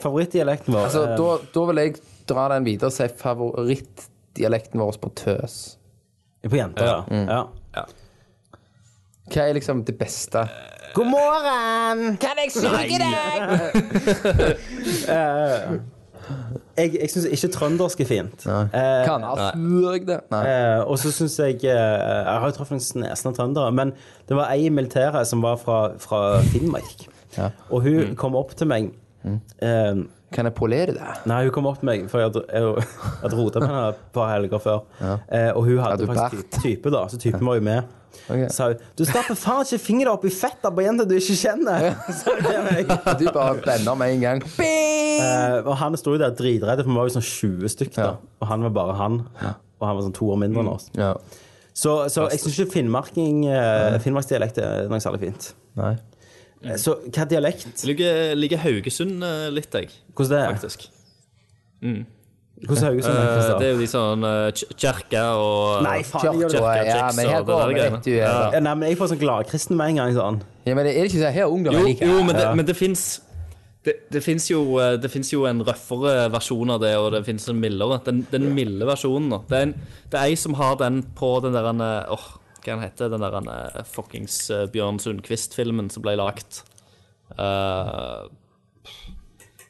Favorittdialekten vår. Altså, eh, da, da vil jeg dra den videre og si favorittdialekten vår på tøs. på jenter, ja. Mm. ja. Hva er liksom det beste? God morgen! Jeg, jeg syns ikke trøndersk er fint. Eh, Kan jeg suge det? Nei. Eh, og så syns jeg eh, Jeg har jo truffet noen snesne trøndere, men det var ei i militæret som var fra, fra Finnmark. Ja. Mm. Og hun kom opp til meg eh, Kan jeg polere det? Nei, hun kom opp til meg, for jeg hadde- jeg hadde rota med henne et par helger før. Eh, og hun hadde Hadde du faktisk ty- type, da, så typen var jo med. Ok. Så sa hun 'Du stapper faen ikke fingeren opp i fetta på jenter du ikke kjenner'. [laughs] Sa hun til meg. [laughs] Du bare blender med en gang. Eh, og han sto jo der dritredd, for vi var jo sånn 20 stykk da. Ja. Mm. Og han var bare han. Og han var sånn to år mindre enn oss. Ja. Så, så jeg syns ikke finnmarking, eh, finnmarksdialekt er noe særlig fint. Nei. Eh, Så hva dialekt? Jeg liker, liker Haugesund eh, litt, jeg, Hvordan det er? faktisk. Mm. Hvordan er Haugesund? Eh, Kristian? det er jo de sånn eh, kj- kirke og Nei, faen, jeg gjør det. Kjørtåa, Kjørka, ja, kjeks men her og det går der vi, greiene. vet du. Ja. Ja, Nei, men jeg får sånn gladkristen med en gang. sånn. Ja, men det er det ikke sånn her ungdommer Jo, liker? jo men, det, men det fins det, det fins jo, eh, det finnes jo en røffere versjon av det, og det fins en mildere. Den, den milde versjonen. da. Det er, en, det er ei som har den på den der han, eh, åh, Hva han heter den der han, eh, fuckings eh, Bjørn Sundquist-filmen som ble lagt? Eh,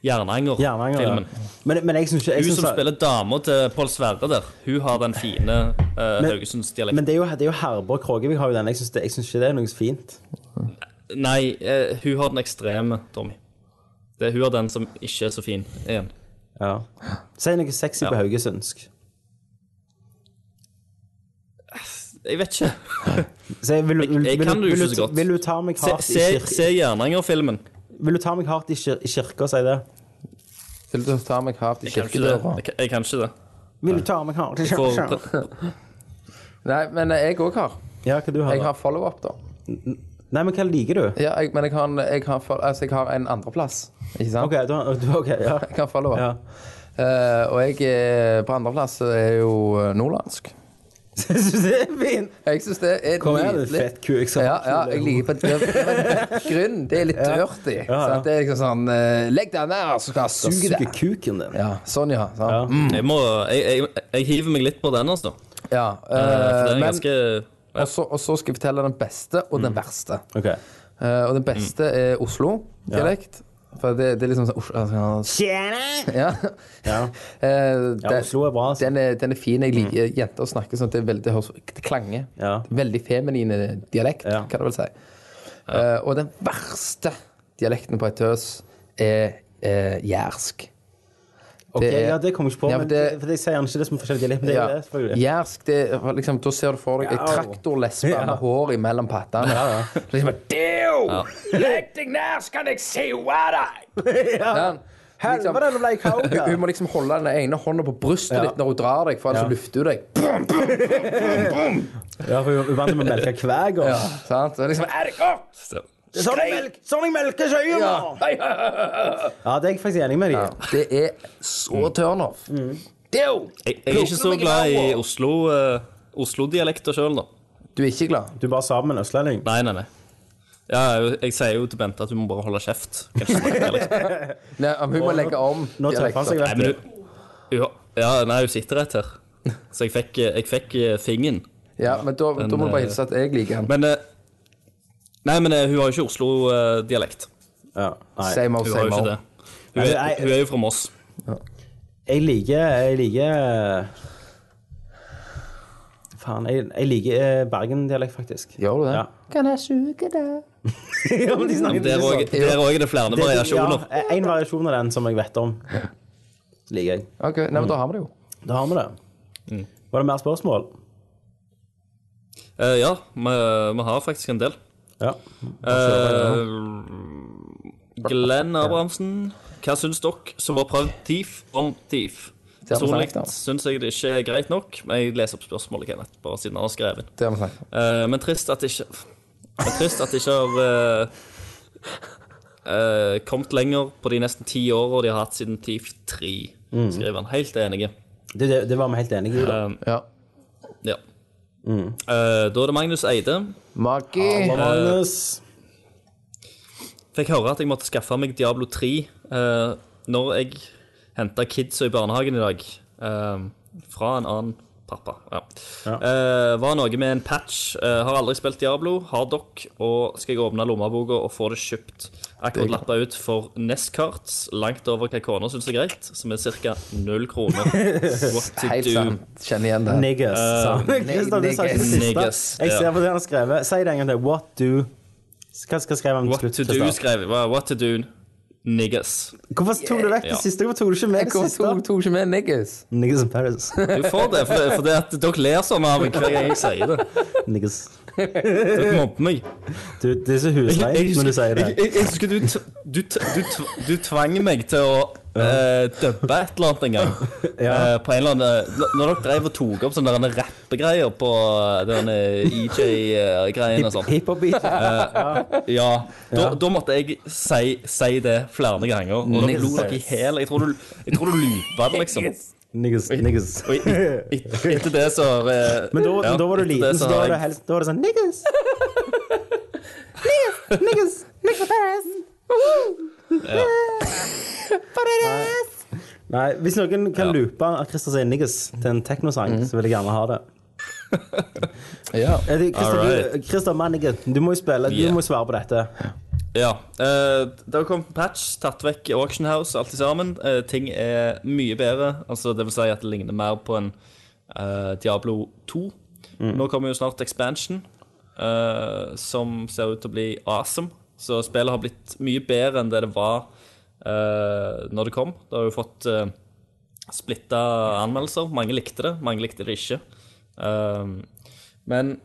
Jernanger. Jernanger-filmen. ja. Men, men jeg syns ikke jeg Hun synes som at- spiller dama til Pål Sverre der, hun har den fine uh, Men- Haugesundsdialekten. Men det er jo, det er jo Herborg Krogevik har jo den. Jeg syns det- jeg syns ikke det er noe fint. Nei, eh, hun har den ekstreme, Tommy. Det, hun har den som ikke er så fin. Igjen. Ja. Si noe sexy på Ja. haugesundsk. Jeg vet ikke. Si, vil, du- vil, Jeg- jeg vil, kan du- det jo vil, ikke så du- godt. vil du ta meg Se, hardt i se, kirka? se Jernanger-filmen. Vil du ta meg hardt i kir- i kirka, si det? Vil du ta meg hardt i Jeg kan ikke det. kirkedøra? Jeg kan- Jeg kan ikke det. Vil du ta meg hardt i For, kirka? Nei, men jeg òg har. Ja, hva du har? Jeg har follow-up, da. Nei, men hva liker du? Ja, jeg, men jeg har, en- jeg, har, fol- altså, jeg har en andreplass, ikke sant? OK, du har du- OK, ja. Jeg har follow-up. ja. [laughs] Eh, og jeg er på andreplass så er jeg jo eh, nordlandsk. Syns du det er fint? Jeg syns det er Kom her, din fettkuk. som- Ja, ja, jeg liker på det. Men grunn, det er litt dirty. ja. sant? Det er liksom sånn eh, Legg deg ned, så skal jeg suge Suger deg. kuken din. Ja, sånn, ja. sant? Ja. Mm, jeg, må, jeg, jeg, jeg hiver meg litt på den, altså. ja. Eh, for den eh, er men, ganske og, så, og så Mm. skal jeg fortelle den beste og den verste. Ok. Eh, og den beste er Oslo-dialekt. For det, det er liksom sånn Oslo altså, Tjene! Ja. Ja. Eh, ja, den- Oslo er bra. Altså. den, er, den er fin. Jeg liker jenter snakker sånn. at Det, er veldig, det høres det klanger. Ja. Veldig feminine dialekt, Ja. kan det vel si. Eh, og den verste dialekten på ei tøs er eh, jærsk. Ok, det er- ja, det kommer jeg ikke på, Ja, for men det, det- for jeg sier gjerne ikke det som forskjellig dialekt. Men det er jo det, selvfølgelig. Jærsk, det er liksom Da ser du for deg ei Au. traktorlespe Ja. med hår imellom pattene. [laughs] Liksom, Deo! Legg deg ned, så kan jeg se hva deg! [laughs] Ja. Helvete, nå ble jeg kald! Hun- ja. Hun må liksom holde den ene hånda på brystet Ja. ditt når hun drar deg, for ellers Ja. så lufter hun deg. Ja, for hun er vant til å melke hver gang. Ja, sant? Så Liksom, er det godt? Så- Sånn jeg melk- sånn jeg melker søya! Ja. ja, det er jeg faktisk enig med deg i. Det er så turnoff. Mm. Deo! Jeg, jeg er ikke så glad i Oslo, eh, Oslo-dialekter sjøl, da. Du er ikke glad? Du er bare sammen med en østlending. Nei, nei, nei. Ja, jeg, jeg sier jo til Bente at hun må bare holde kjeft. Kan ikke snakke, liksom. Nei, hun må legge om. Nå treffer han seg, Nei, vet men du. du ja, ja, nei, hun sitter rett her. Så jeg fikk, jeg fikk eh, fingeren. Ja, men da, da må du bare hilse at jeg liker han. Men eh, Nei, men eh, hun har jo ikke Oslo-dialekt. Ja, nei. Same old, Hun har same jo ikke old. det. Hun er, Nei, nei. hun er jo fra Moss. Jeg liker Jeg liker eh, Faen, jeg, jeg liker eh, Bergen-dialekt, faktisk. Gjør du det? Ja. [laughs] Ja, men der òg der òg er det flere variasjoner. Ja, eh, en variasjon av den som jeg vet om. Så liker jeg. Ok, Nei, Mm. men da har vi det jo. Da har vi det. Mm. Var det mer spørsmål? Eh, ja, vi, vi har faktisk en del. Ja. Eh, Glenn Abrahamsen, hva syns dere som har prøvd TIF om TIF? Det har vi Personlig snakket om. syns jeg det ikke er greit nok, men jeg leser opp spørsmålet Kenneth, bare siden han har skrevet. Det har vi snakket om. Eh, men trist at det ikke men Trist at det ikke har eh, eh, kommet lenger på de nesten ti åra de har hatt siden TIF 3, skriver han. Helt enig. Det, det, det var vi helt enige i. da. Ja. Ja. Eh, da er det Magnus Eide. Maki. Hva, Magnus? Fikk høre at jeg måtte skaffe meg Diablo 3 eh, når jeg henta kidsa i barnehagen i dag. eh, fra en annen pappa. Ja. Eh, var noe med en patch. eh, har aldri spilt Diablo. Har dokk. Og skal jeg åpne lommeboka og få det kjøpt. Akkurat lappa ut for Nescarts, langt over hva kona syns er greit, som er ca. null [laughs] kroner. What to Helt do? sant. Kjenner igjen det. [laughs] Niggas, sa han. Christian, du sa ikke niggas. det siste. Eh, Niggas, Jeg ser ja. på det han har skrevet. Si det en gang til. What do Hva skal jeg skrive om til What slutt? to do, Christian? skrev jeg. What to do, niggas. Hvorfor tok du vekk det Ja. siste? Hvorfor tok du ikke med det Hvorfor siste? tok- tok ikke med Niggas? Niggas in Paris. Du får det, for det, for det at dere ler sånn av meg hver gang jeg sier det. Niggas. Dere mobber meg. Du, det er så husleint når du sier det. Jeg, jeg, jeg husker du, t- du, t- du, tv- du tvang meg til å eh, dubbe et eller annet en [laughs] gang. Eh, på en eller annen, n- når dere drev og tok opp sånne der rappegreier på eh, denne E EJ-greiene og sånn. Hiphop-beat. Ja, da, da måtte jeg si, si det flere ganger. Og da lo dere i hæl. Jeg tror du, jeg tror du loopa det, [laughs] liksom. Niggas, niggas. Og i- i- i- etter det så har eh, Men da, ja, da var du etter liten, så da har var det, jeg- helst, da var det sånn Niggas! Niggas, niggas, niggas in Paris! Paris! Nei, hvis noen kan loope at Christer sier 'niggas' til en teknosang, Mhm. så vil jeg gjerne ha det. [laughs] Ja. Eh, det- Christer, Alright. du, Christer Mannigan, du må jo spille, du Yeah. må jo svare på dette. Ja. eh, det har kommet en patch, tatt vekk Auction House, alt i sammen. Eh, ting er mye bedre. Altså, det vil si at det ligner mer på en eh, Diablo 2. Nå kommer jo snart expansion, eh, som ser ut til å bli awesome. Så spillet har blitt mye bedre enn det det var eh, når det kom. Det har jo fått eh, splitta anmeldelser. Mange likte det, mange likte det ikke. Eh, men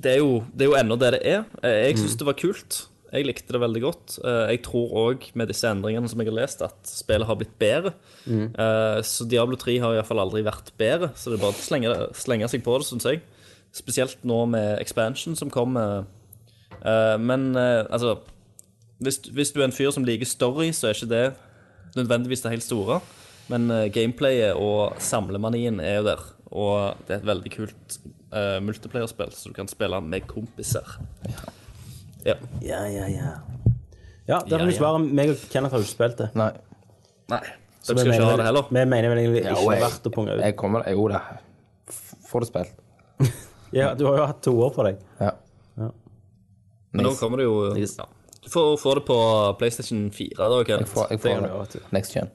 det er jo, det er jo ennå det det er. Eh, Jeg syns det var kult. Jeg likte det veldig godt. Eh, Jeg tror òg med disse endringene som jeg har lest, at spillet har blitt bedre. Eh, Så Diablo 3 har iallfall aldri vært bedre, så det er bare å slenge, slenge seg på det, syns jeg. Spesielt nå med expansion som kommer. Eh, Men eh, altså hvis, hvis du er en fyr som liker story, så er ikke det nødvendigvis det helt store. Men eh, gameplayet og samlemanien er jo der. Og det er et veldig kult uh, multiplayerspill, så du kan spille med kompiser. Ja. Ja, ja, ja. Ja, der Ja, kan du ja. svare. Meg og Kenneth har jo ikke spilt det. Nei. Nei. Så Dere skal vi ikke mener ha vel- det heller. Vi mener vel egentlig Ja, og ikke det er jeg- verdt å punge ut. Jeg kommer Jo da. F- Får det spilt. Ja, du har jo hatt to år på deg. Ja. Men nå kommer det jo ja. Du får, får det på PlayStation 4. da, Kenneth. Jeg får, jeg Det gjør får vi, vet det. Next gen.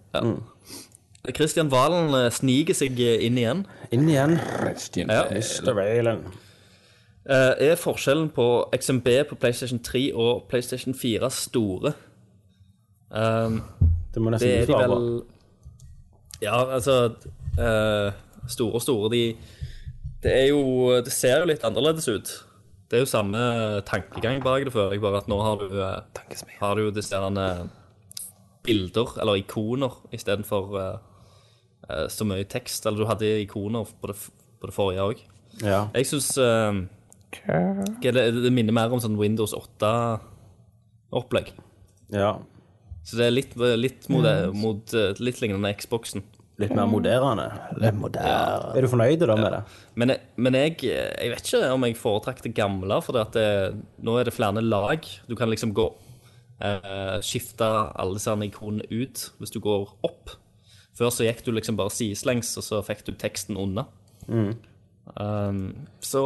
Christian Valen eh, sniker seg eh, inn igjen. Inn igjen. Ja. Mr. Valen. Eh, Er forskjellen på XMB på PlayStation 3 og PlayStation 4 store? Um, Det må det nesten er du de svare på. vel Ja, altså eh, Store og store, de Det er jo Det ser jo litt annerledes ut. Det er jo samme tankegang bak det, føler jeg, bare at nå har du eh, Har du disse herne bilder, eller ikoner, istedenfor uh, eh, så mye tekst. Eller du hadde ikoner på det, f- på det forrige òg. Ja. Jeg syns det, det minner mer om sånn Windows 8-opplegg. ja. Så det er litt, litt, mot, mot, eh, litt lignende Xboxen. Litt mer moderne. Litt moderne. Er du fornøyd da med det? Men, jeg- men jeg, jeg vet ikke om jeg foretrakk det gamle, for det at det, nå er det flere lag. Du kan liksom gå eh, Skifte alle disse her ikonene ut hvis du går opp. Før så gikk du liksom bare sideslengs, og så fikk du teksten unna. Um, så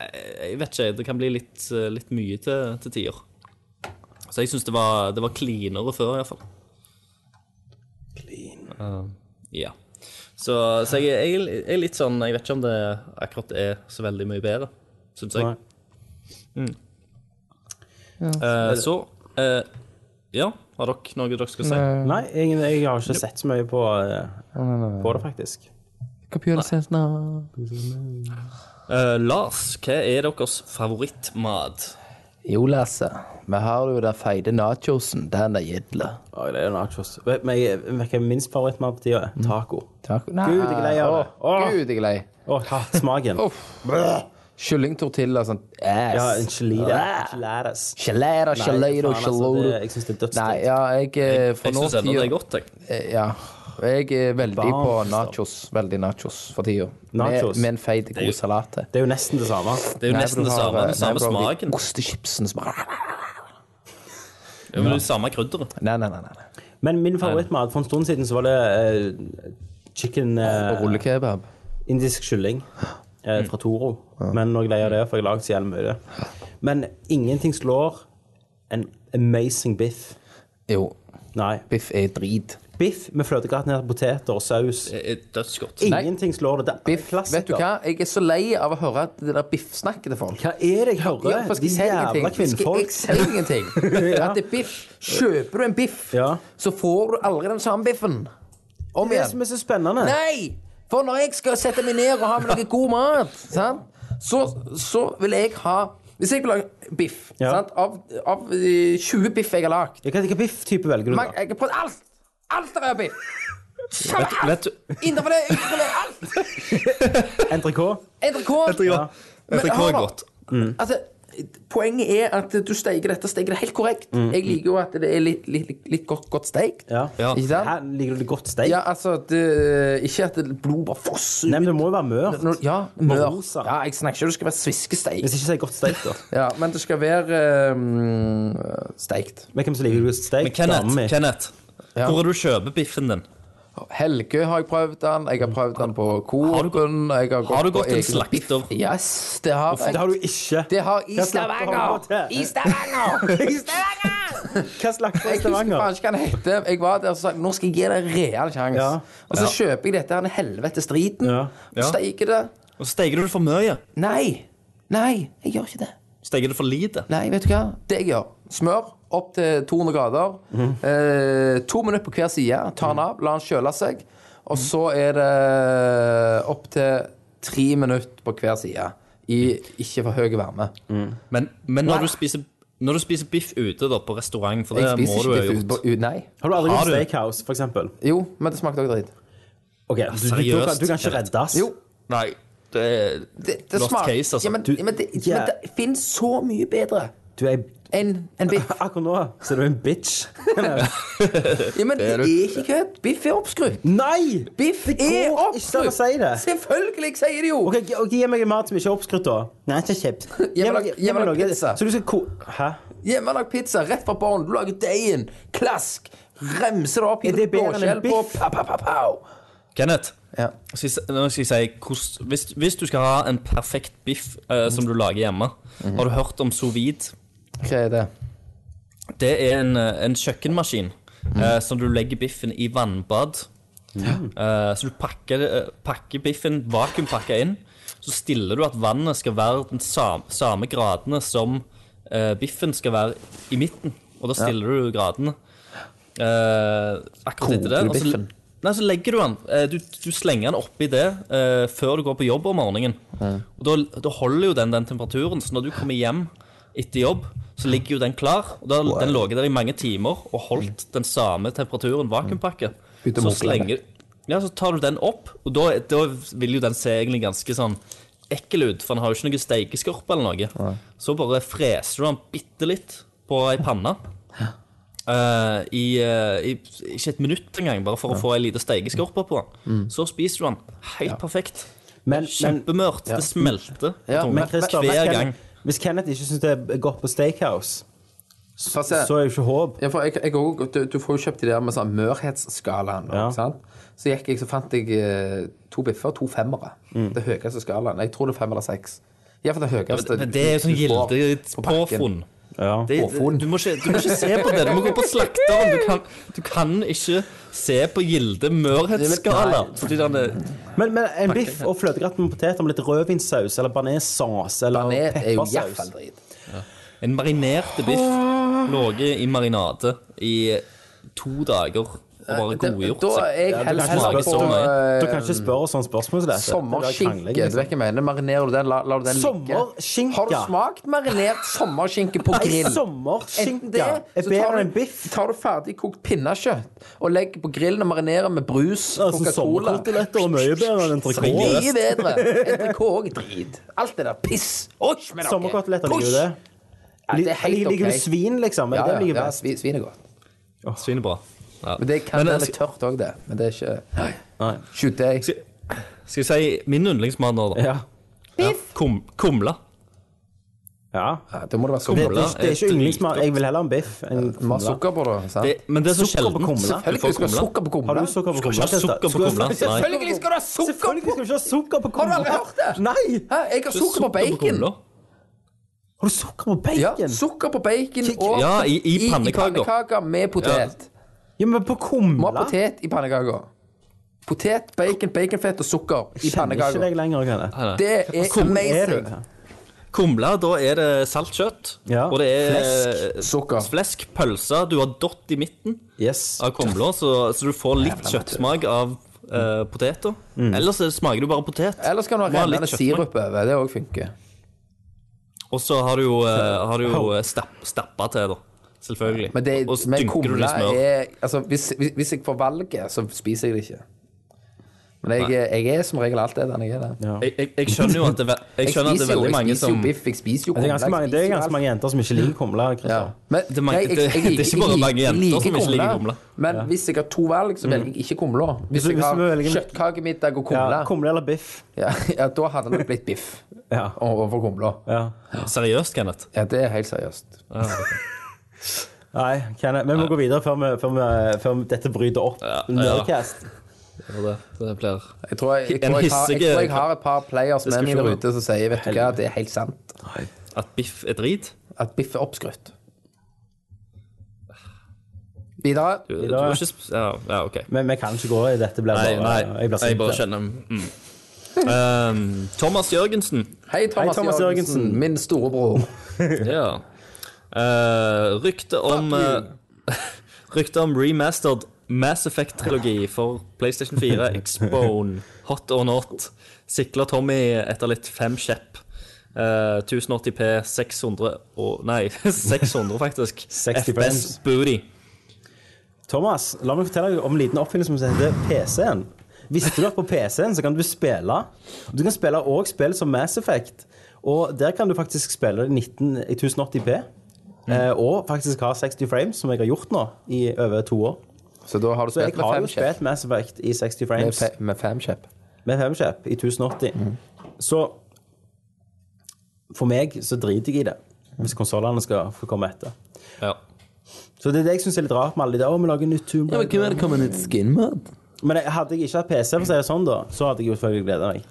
eh, jeg vet ikke. Det kan bli litt, eh, litt mye til, til tider. Så jeg syns det var, det var cleanere før, iallfall. Ja. Så, så jeg, jeg, jeg er litt sånn Jeg vet ikke om det akkurat er så veldig mye bedre, syns jeg. Nei. Eh, så eh, Ja, har dere noe dere skal si? Nei, jeg, jeg har ikke sett så mye på, eh, på det, faktisk. Computer says no. Eh, Lars, hva er deres favorittmat? Jo, Lasse. Vi har jo den feite nachosen. Den er gidle. Å, det er jo nachos. Vet- Men jeg- vet du hva min favorittmat på tida er? Mm. Taco. Takk. Nei. Gud, jeg er lei av det. Åh, Gud, jeg er lei. Å, hatt smaken. Kyllingtortilla, sånn ass. Ja, enchilada. Ah. Enchiladas. Gelera, Nei, gelero, faen, altså, geloro. det- Jeg syns det er Nei, dødsdigg. ja, jeg eh, For Jeg nå syns ennå det er godt. Jeg. Eh, Ja. Jeg er veldig på Varmt, da. nachos. Veldig nachos for tida. Med, Nachos? med en feit, god salat til. Det er jo nesten det samme. Det er jo nesten det samme. Den samme smaken. Ostechipsen som Ja, men det er det samme krydderet. Nei, nei, nei. nei. Men min favorittmat for en stund siden så var det eh, chicken eh, Rullekebab. indisk kylling eh, fra Toro. Men nå gleder jeg det, for jeg har lagd så jævlig mye. Men ingenting slår en amazing biff. Jo, Nei. biff er drit. Biff med fløtegratinerte poteter og saus. Det er Dødsgodt. Ingenting slår det. Det er Biff, vet du hva? Jeg er så lei av å høre det der biffsnakket til folk. Hva er det jeg hører? Ja, for skal De jeg si jævla ingenting? Skal jeg kvinnfolk. si ingenting? [laughs] Ja. At det er biff. Kjøper du en biff, Ja. så får du aldri den samme biffen. Om Det er det som igjen. er så spennende. Nei! For når jeg skal sette meg ned og ha med noe god mat, sant? Så, så vil jeg ha Hvis jeg vil lage biff Ja. sant? Av, av eh, 20 biff jeg har lagd Hva, hva biff-type velger du, Mange- da? Jeg har prøvd alt! Alt er rød biff! Samme alt! Vet du Innenfor det, utenfor det, alt! NTRK? NRK Ja. Vet du hva hør er da. godt? Altså, poenget er at du steker dette steiket det er helt korrekt. Jeg liker jo at det er litt, litt, litt, litt godt, godt steik. Ja. Mm. Ja. Ikke sant? Her liker du det godt steik? Ja, altså at det, Ikke at det blod bare fosser Nei, ut. men det må jo være mørt. Når- Ja, mør. rosa. Ja, jeg snakker ikke om det skal være sviskesteik. Hvis ikke så er det godt steik, da. Ja, men det skal være um, steikt. Men hvem som liker godt steik? Men Kenneth, Damen min. Kenneth Ja. hvor er det du kjøper biffen din? Helgø har jeg prøvd den. Jeg har prøvd den på Har du gått- Korgen. jeg Har du på gått til en egen- slakter? Yes, det har jeg. Det har du ikke. Det har i Hva slags har du Stavanger! gått til? I [laughs] Stavanger! I Stavanger! Hva slags Jeg husker restaurant? faen ikke hva den heter. Jeg var der og sa nå skal jeg gi deg en real sjanse. Ja. Og så kjøper jeg dette her den helvetes driten. Ja. Og steiker det. Og Steker du det for mye? Nei! Nei, jeg gjør ikke det. Steker du det for lite? Nei, vet du hva? Det jeg gjør. Smør opp til 200 grader. Eh, to minutter på hver side. Ta den av, la den kjøle seg. Og så er det eh, opp til tre minutter på hver side. I ikke for høy varme. Men, men når, Nei. du spiser, når du spiser biff ute da, på restaurant, for det Jeg må spiser du ikke ha biff gjort ut på ut- Nei. Har du aldri Har gått du? steakhouse, for eksempel? Jo, men det smakte også dritt. Ok, du, du, du, Seriøst? kan- du kan ikke reddes. Jo. Nei, det er Det, det Lost smak- case, altså. Ja, men, Du- ja, men, det, Ja. men det finnes så mye bedre Du er enn enn biff. [laughs] Akkurat nå så er du en bitch. Ja, men det er ikke kødd. Biff er oppskrytt. Nei! Biff Det går er ikke an å oppskrytt! si det. Selvfølgelig sier de jo! Ok, gi- ok, Gi meg mat som ikke er oppskrytt, da. Nei, ikke kjipt. Gi meg- Hjemmelag- gi meg hjemmelagd noe- pizza. Så du skal ko... Hæ? Hjemmelagd pizza rett fra bånn. Du lager deigen. Klask. Remser det opp. Er det gir bedre enn blåskjell en på, biff? pa, pa, pa, pa. Kenneth, Ja. skal jeg, si- nå skal jeg si hvordan- hvis, hvis du skal ha en perfekt biff eh, som du lager hjemme, har du hørt om sous vide? Hva er det? Det er en, eh, en kjøkkenmaskin eh, Mm. som du legger biffen i vannbad. Eh, så du pakker, eh, pakker biffen, vakuumpakker inn. Så stiller du at vannet skal være den samme, samme gradene som eh, biffen skal være i midten. Og da stiller du gradene. Eh, akkurat etter det. Koker du Og så- biffen? Nei, så legger du den. eh, Du, du slenger den oppi det eh, før du går på jobb om morgenen. Og da, da holder jo den den temperaturen, så når du kommer hjem etter jobb, så ligger jo den klar. Og da, Den lå der i mange timer og holdt Mm. den samme temperaturen, vakuumpakke. Uten å Så mokle slenger Ja, så tar du den opp, og da, da vil jo den se egentlig ganske sånn ekkel ut, for den har jo ikke noe steikeskorpe eller noe. Så bare freser du den bitte litt på ei panne. Eh, i, eh, i ikke et minutt engang, bare for å få ei lita steikeskorpe på den. Så spiser du den. Helt perfekt. Men, Mm. men, Kjempemørt. Det smelter på Ja, tungen men Christer, hvis, hver gang. Kenneth- hvis Kenneth ikke syns det er godt på Steakhouse, Fast jeg- så er det jo ikke håp. Ja, for jeg, jeg, også- du, du får jo kjøpt de der med sånn mørhetsskalaen. Ja. Ikke sant? Så gikk jeg, så fant jeg eh, to biffer og to femmere. Det høyeste skalaen. Jeg tror det er fem eller seks. Ja, for det høyeste Men det er jo sånn Altså, du får på bakken. gildepåfunn. Ja. Det, Påfunn. du, må ikke, du må ikke se på det. Du må gå på slakteren. Du kan, du kan ikke se på gilde mørhetsskala. Fordi den er Men, men en biff og fløtegratt med poteter med litt rødvinssaus eller bearnéssaus eller Banet er jo i hvert fall peppersaus drit. en marinerte biff ligget i marinade i to dager og bare godgjort. Da seg. er jeg Du kan heller ikke smaker heller på spørre så mye. eh, Du kan ikke spørre sånne spørsmål som dette. sommerskinke. Du liksom. vet hva jeg mener. Marinerer du den, lar, lar du den ligge? Sommerskinke? Har du smakt marinert sommerskinke på grill? Enten Sommerskinke det, er så bedre tar enn du, biff. tar du ferdig kokt pinnekjøtt og legger på grillen og marinerer med brus og Altså, Coca-Cola. Sommerkoteletter er mye bedre enn entrecôte. Mye bedre. [laughs] NTK òg drit. Alt det der piss. Osh, med dere. Sommerkoteletter liker Push. du det. Ja, det er helt Lig- Liker ok. du svin, liksom? Er Ja, det det du ja, liker ja best? svin, svin er godt. Svinebra. Ja. Men det kan Men, være eh, litt tørt òg, det. Men det er ikke Nei. Nei. Shoot deg. Skal jeg si min yndlingsmat nå, da? Ja. Kum, kumle. ja. Ja, da må det være Det, sukker. det, det er er ikke yndlingsmat. Jeg vil heller ha en biff enn Mer sukker på det. sant? Det, men det er så Sukker på sjelden. kumle. Du Selvfølgelig får skal du ha kumle. sukker på Har kumla. du sukker på Du skal kumla? ikke ha sukker på kumle. Nei. Selvfølgelig skal du ha sukker Selvfølgelig på skal du ikke ha sukker på Har du kumla. aldri hørt det? Nei! Hæ, jeg har sukker på bacon. kumle. Har du sukker på Ja, bacon? sukker på bacon og Ja, i- i pannekaker. pannekaker med potet. Ja, men på Må kumla? ha potet i pannekaker. Potet, bacon, baconfett og sukker i Kjenner ikke pannekaker. deg lenger, Kenneth. Det er amazing. Kumle, da er det salt kjøtt. Ja. Og det er Sukker. flesk, pølse. Du har dott i midten Yes. av kumla, så, så du får litt kjøttsmak av eh, poteter. Ellers så smaker du bare potet. Ellers kan du ha Du må ha litt rennende kjøttmark. sirup over. Det òg funker. Og så har du jo, eh, har du jo eh, stapp, stappa til, da. Selvfølgelig. Men, det, og så men dynker du kumle det i smør. er altså, hvis, hvis- hvis jeg får valget, så spiser jeg det ikke. Men jeg, jeg er som regel alt det den jeg er. Det. Jeg, jeg, jeg skjønner jo at det, er ve- [laughs] jeg skjønner at det er spiser jo- veldig mange jeg spiser som jo biff, jeg spiser jo kumle. Det er ganske mange, det er ganske mange jenter som ikke liker kumle. Ja. Christian. Men, Det er mange- nei, jeg- jeg det- det er liker- ikke bare jeg mange liker- jenter som ikke liker kumle. Men hvis jeg har to valg, så Mm. velger jeg ikke kumle. Hvis du- jeg hvis har du velger- kjøttkakemiddag og Ja, kumle, kumle eller biff. ja, [laughs] ja, da hadde det nok blitt biff Ja. overfor kumle. ja. Seriøst, Kenneth. Ja, det er helt seriøst. Nei, Kenneth, vi må gå videre før, vi, før, vi, før dette bryter opp. Ja, ja. Nerdcast. Det, det blir Jeg tror jeg, jeg, En tror jeg, har, jeg, hissige- tror jeg har et par players med meg der Diskusjoner. ute som sier vet du hva, det er helt sant. at biff er drit. At biff er oppskrytt. Videre. Du, du har ikke sp- ja, ja, OK. Men vi kan ikke gå i dette. Blir Nei, bare, nei, jeg blir sint. bare kjenner mm. [laughs] um, Thomas Jørgensen. Hei, Thomas, Thomas Jørgensen. Jørgensen. Min storebror. Ja. Eh, rykte om eh, [laughs] Rykte om remastered Mass Effect-trilogi for PlayStation 4, Xbone, [laughs] Hot or Not. Sikler Tommy etter litt fem kjepp. Eh, 1080P, 600 og Nei, [laughs] 600 faktisk. 60 FPS frames. Booty. Thomas, la meg fortelle deg om en liten oppfinnelse som heter PC-en. Visste du at på PC-en så kan du spille? Du kan spille òg spill som Mass Effect. Og der kan du faktisk spille i 19 i 1080p. Mm. eh, Og faktisk ha 60 frames, som jeg har gjort nå i over to år. Så da har du Så jeg spilt med har fem jo kjepp. spilt Mass Effect i 60 Med, frames fe- Mm. med fem kjepp. med femkjepp i 1080. Så for meg så driter jeg i det, hvis konsollene skal få komme etter. Ja. Så det er det jeg syns er litt rart med alle de der. Å, vi lager nytt Tomb Raider». det kommer nytt skinmod? Men jeg- hadde jeg ikke hatt PC, for å si det sånn, da, så hadde jeg jo selvfølgelig gleda meg.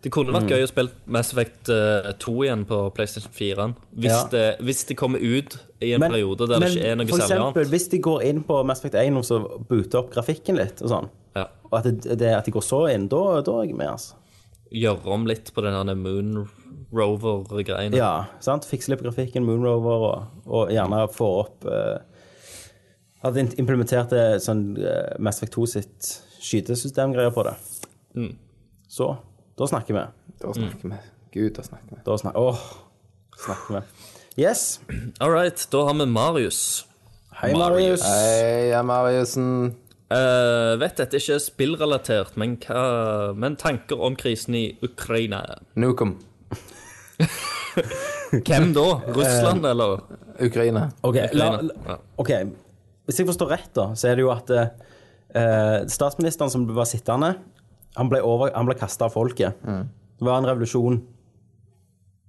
Det kunne vært gøy å spille Mass Effect eh, 2 igjen på PlayStation 4. Hvis, Ja. det, hvis det kommer ut i en periode der det ikke er noe for særlig eksempel, annet. hvis de går inn på Mass Effect 1 og så booter opp grafikken litt, og sånn, Ja. og at, det, det, at de går så inn, da, da er jeg med, altså. Gjøre om litt på den her Moon Rover-greiene. Ja, sant? Fikse litt grafikken, Moonrover, og, og gjerne få opp eh, At de implementerte sånn eh, Mass Effect 2 sitt skytesystemgreier på det. Mm. Så da snakker vi. Da Mm. snakker vi. Gud, da snakker vi. Da snakker Åh, snakker vi. Yes. All right, da har vi Marius. Hei, Marius. Hei, ja, Mariusen. Eh, vet dette ikke er spillrelatert, men, hva, men tanker om krisen i Ukraina. Nukem. Hvem da? Eh, Russland, eller? Ukraina. Ok, la, Ja. la, ok, hvis jeg forstår rett da, så er det jo at eh, statsministeren som var sittende, han ble, over- han ble kastet av folket. Mm. Det var en revolusjon.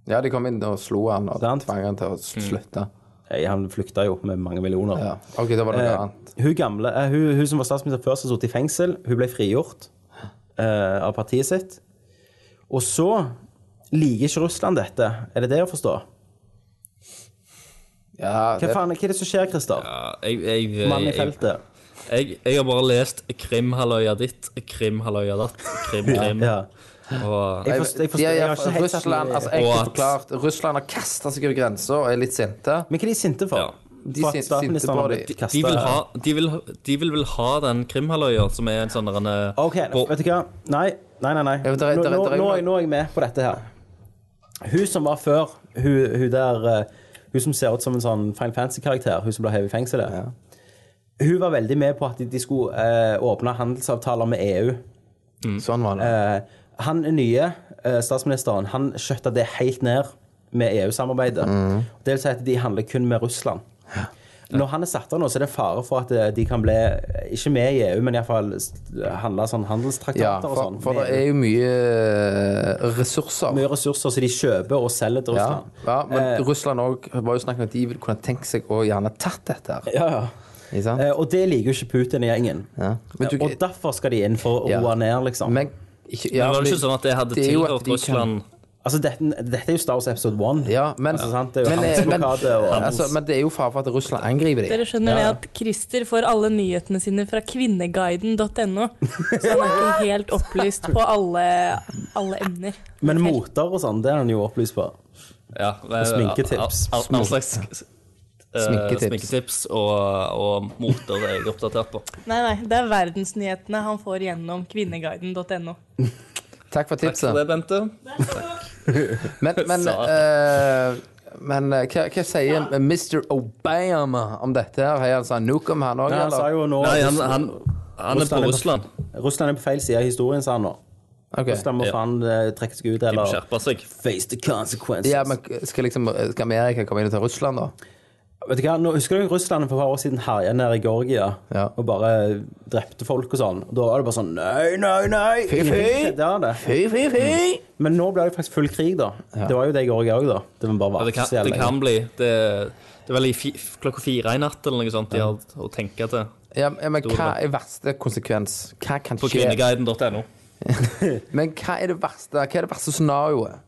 Ja, de kom inn og slo han og Sant. Mm. tvang han til å slutte. Eh, Han flykta jo med mange millioner. Ja. OK, da var det noe Eh, annet. hun, gamle, eh, hun, hun som var statsminister før, som satt i fengsel, hun ble frigjort eh, av partiet sitt. Og så liker ikke Russland dette. Er det det å forstå? Ja, Hva, det, faen, hva er det som skjer, Christer? Ja, jeg, jeg, eh, Mann i jeg, jeg, feltet. jeg, jeg har bare lest Krimhalvøya ditt, Krimhalvøya datt, Krim, Krim. Ja. Og Jeg forstår, jeg forstår, de er, jeg har ikke helt Mm. Russland, altså, Og enkelt at- forklart, Russland har kasta seg over grensa og er litt sinte. Men hva er de sinte for? Ja. De for at sin- statsministeren sinte på har de- blitt kastet- de vil, ha, de, vil, de vil vel ha den Krimhalvøya som er en sånn der en, eh, Ok, og- vet du hva? Nei, nei, nei. nei. Ja, men der er- nå, der er- nå, der er- nå, er jeg- nå er jeg med på dette her. Hun som var før, hun, hun der eh, Hun som ser ut som en sånn Fine Fancy-karakter, hun som ble hevet i fengselet. Hun var veldig med på at de, de skulle eh, åpne handelsavtaler med E EU. Sånn var det. Eh, han nye eh, statsministeren han skjøtta det helt ned med EU-samarbeidet. Mm. Det vil si at de handler kun med Russland. Når han er satt av nå, så er det fare for at eh, de kan bli eh, ikke med i EU, men iallfall handle sånn handelstraktater Ja, og for, sånn. for med det er EU. jo mye eh, ressurser. mye ressurser som de kjøper og selger til ja, Russland. Eh, ja, men Russland òg var jo snakk om at de ville kunne tenkt seg å gjerne tatt dette her. Ja, ja. Ikke sant? Eh, og det liker jo ikke Putin i gjengen. Ja. Men du- og derfor skal de inn for å Ja. roe ned, liksom. Men ikke, ja, Men var det men- ikke sånn at det hadde det er jo at tilhørt de kan- Russland? altså, dette, dette er jo Star Wars Episode 1. Ja, men, Altså, sant? Det er jo men, eh, men, handelsblokade og altså, men det er jo fare for at Russland angriper dem. Dere skjønner det at Christer får alle nyhetene sine fra kvinneguiden.no. Så han er ikke helt opplyst på alle, alle emner. Men moter og sånn, det er han jo opplyst på. Ja, eh, sminketips. all- all- All slags eh, Sminketips. sminketips og, og moter er jeg oppdatert på. Nei, nei, det er verdensnyhetene han får gjennom kvinneguiden.no. Takk Takk for for tipset. det, Bente. Men, men, Sa- eh, men eh, hva, hva sier Mr. Obama om dette? her? Har han sånn Nukem, han òg, Nei, han sa eller? jo nå Nei, han, han, han er på Russland. Russland er på feil side av historien, sa han nå. Ok. Russland må Ja. faen eh, trekke seg ut, De må eller skjerpe seg. face the consequences. Ja, men skal, liksom, skal Amerika komme inn og ta Russland, da? Vet du hva, nå Husker du Russland for et par år siden herja nede i Georgia Ja. og bare drepte folk og sånn? Og Da var det bare sånn Nei, nei, nei! Fy, fy. Ingenting skjedde av det. Fy, fy, fy! Men nå ble det faktisk full krig, da. Det var jo det i Georgia òg, da. Det var bare Ja, Det kan, varsel. det kan bli. Det, det er vel i fi, klokka fire i natt eller noe sånt de har å tenke til. Ja, men hva er verste konsekvens? Hva kan På skje? kvinneguiden.no. Men hva er det verste Hva er det verste scenarioet?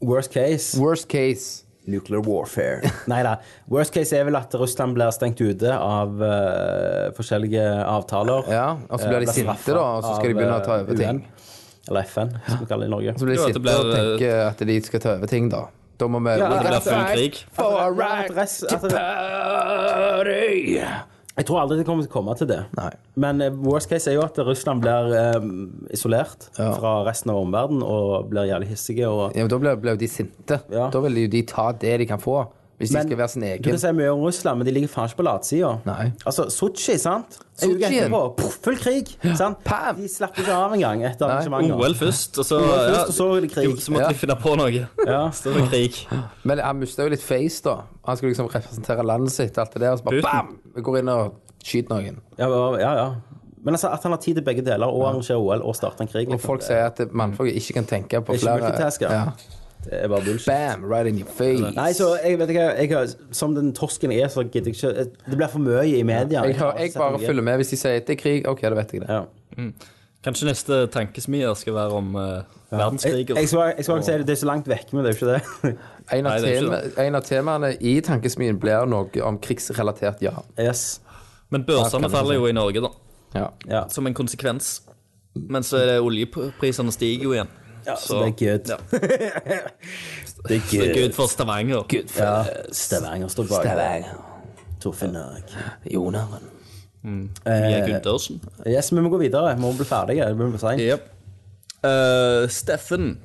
Worst case Worst case. Nuclear warfare. [laughs] Nei da. Worst case er vel at Russland blir stengt ute av eh, forskjellige avtaler. Ja, og så blir de Eh, sinte, da, og så skal de av, begynne å ta over eh, ting. UN, Eller FN, som vi kaller det i Norge. Så blir Jo, at de det sinte og blir, eh, tenker at de skal ta over ting, da. Da må vi Det blir full krig. For a Ja, at right rest- to at- party! Jeg tror aldri det kommer til å komme til det. Nei. Men eh, worst case er jo at Russland blir eh, isolert Ja. fra resten av omverdenen og blir jævlig hissige. Og... Ja, men da blir blir jo de sinte. Ja. Da vil jo de ta det de kan få. Hvis de skal være sin Du egen. kan si mye om Russland, men de ligger faen ikke på latsida. Nei. Altså, Sotsji, sant? En uke Sotsjien. etterpå, poff, full krig. Sant? Pam. De slapp ikke av engang etter arrangementet. OL først, og så, OL først, ja, og så er det krig. de- så måtte Ja. de finne på noe. Ja. [laughs] Så er det krig. Men han mista jo litt face, da. Han skulle liksom representere landet sitt, alt det der, og så bare Putin. bam! Vi går inn og skyter noen. Ja, ja, ja. Men altså, at han har tid til begge deler, og arrangerer OL og starter en krig liksom. Og folk sier at mannfolk ikke kan tenke på Ikke flere multitasker. Ja. Det er bare bullshit. Bam! Right in your face. Nei, så jeg vet ikke jeg, har- Som den torsken jeg er, så gidder jeg ikke Det blir for mye i media. jeg, hører, jeg bare følger med hvis de sier det er krig. OK, da vet jeg det. Ja. Kanskje neste tankesmier skal være om eh, Jeg, verdenskrig. og- jeg, skal, jeg skal ikke si det, det er så langt vekk, men det [laughs] er jo ikke det. En av, Nei, det er ikke tema, en av temaene i tankesmien blir noe om krigsrelatert ja. Yes. Men Ja, kan børsene du faller si. jo i Norge, da. ja. Ja. Som en konsekvens. Men så er det oljeprisene stiger jo igjen. Ja, så det er good. Ja. Det er Det er good. good for Stavanger. Ja. Stavanger står bak. Torfinn Erik. Jonaren. Mia Eh, Gundersen. yes, vi må gå videre. Vi må bli ferdige. Det blir for sent. Yep. Eh, Steffen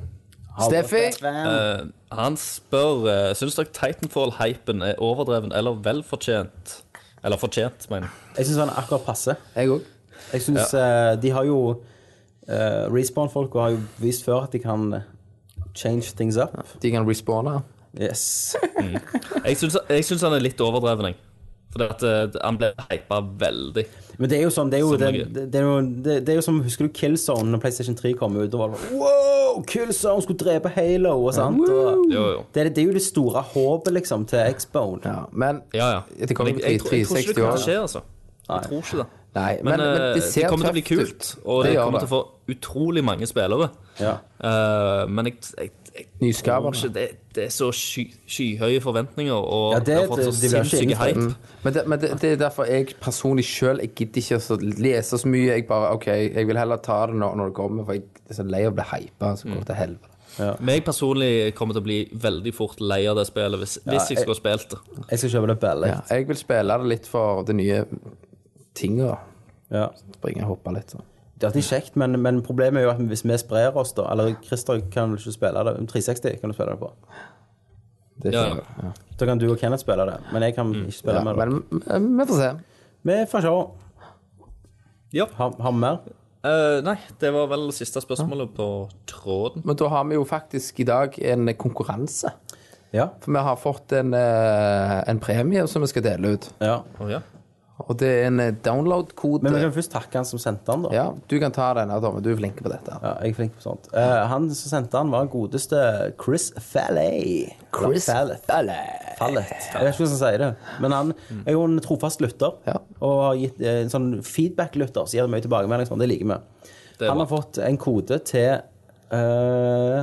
Steffi! eh, han spør uh, Syns dere Titanfall-hypen er overdreven eller velfortjent? Eller fortjent, mener jeg. Jeg syns han er akkurat passe. Jeg òg. Jeg synes, eh, De har jo uh, Respawn-folka har jo vist før at de kan eh, change things up. De kan respawne. Yes. Jeg syns- Jeg syns han er litt overdreven, jeg. Fordi at eh, han ble hypa veldig. Men det er jo sånn Det er jo, Som det, noe. det, det er jo, det, det er jo som Husker du Killzone når PlayStation 3 kom ut? Og var det sånn, wow, Killzone skulle drepe Halo og sånt. Og Jo, jo. det, er- det er jo det store håpet liksom til X-Bone. Ja. Men Ja, ja. Det kommer Men jeg, jeg, til tror- jeg tror ikke 360 det år. kommer til å skje, altså. Jeg tror ikke det. Nei, men, Men, men, eh, det det, ser kommer til å bli tøft ut. kult, og Det det, gjør kommer det. til å få utrolig mange spillere. Ja. Eh, men jeg, jeg, jeg Nyskaperne. tror ikke det, det er så sky, skyhøye forventninger, og Ja, det, det- har fått så det- det blir sinnssyke ikke hype. innfridd. Men, det, men det, det er derfor jeg personlig sjøl Jeg gidder ikke å lese så mye. Jeg bare, ok, jeg vil heller ta det når, når det kommer, for jeg er så lei av å bli hypa. Så går det til helvete. Mm. Men jeg personlig kommer til å bli veldig fort lei av det spillet hvis, hvis jeg skulle ha spilt det. Jeg skal kjøpe det billig. Ja, jeg vil spille det litt for det nye tinga. Ja. Springe og hoppe litt. sånn. Det er alltid kjekt, men, men problemet er jo at hvis vi sprer oss, da Eller Christer kan vel ikke spille det. 360 kan du spille det på. Det er Ja, ikke- ja. Da kan du og Kenneth spille det, men jeg kan ikke spille Ja, med det. men men vi får se. Vi får se. Ja. Har har vi mer? Eh, nei, det var vel siste spørsmålet på tråden. Men da har vi jo faktisk i dag en konkurranse. Ja. For vi har fått en, eh, en premie som vi skal dele ut. ja. Å, ja. Og det er en eh, Men vi download-kode. kan først takke han som sendte den, da. Ja, du kan ta den, Tommy. Du er flink på dette. Ja, jeg er flink på sånt. Eh, han som sendte han, var godeste Chris Fallet. Chris Fallet. Fallet. Jeg vet ikke hvordan han sier det. Men han er jo en trofast lytter, Ja. og har gitt eh, en sånn feedback-lytter som gir mye tilbakemelding. Sånn. Det liker vi. Det er Han bra. har fått en kode til eh,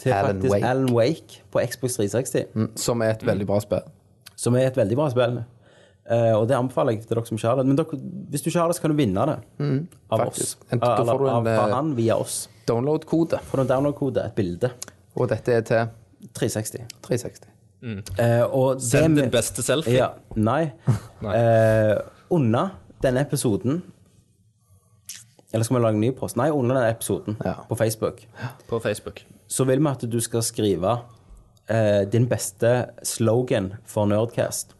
til Alan faktisk Wake. Mm. Alan Wake på Xbox 360, Som er et veldig Mm. bra spill. som er et veldig bra spill. Eh, og det anbefaler jeg til dere som ikke har det. Men dere, hvis du ikke har det, så kan du vinne det av Mm, faktisk. oss. En- da får du Eller en, av, eh, fra han via oss. Download-kode. Får du en download-kode, et bilde. Og dette er til 360. 360. Eh, og det Send med- din beste selfie. Ja, nei. [laughs] Nei. Eh, under denne episoden Eller skal vi lage en ny post? Nei, under denne episoden Ja. på Facebook. På Facebook. Så vil vi at du skal skrive eh, din beste slogan for Nerdcast.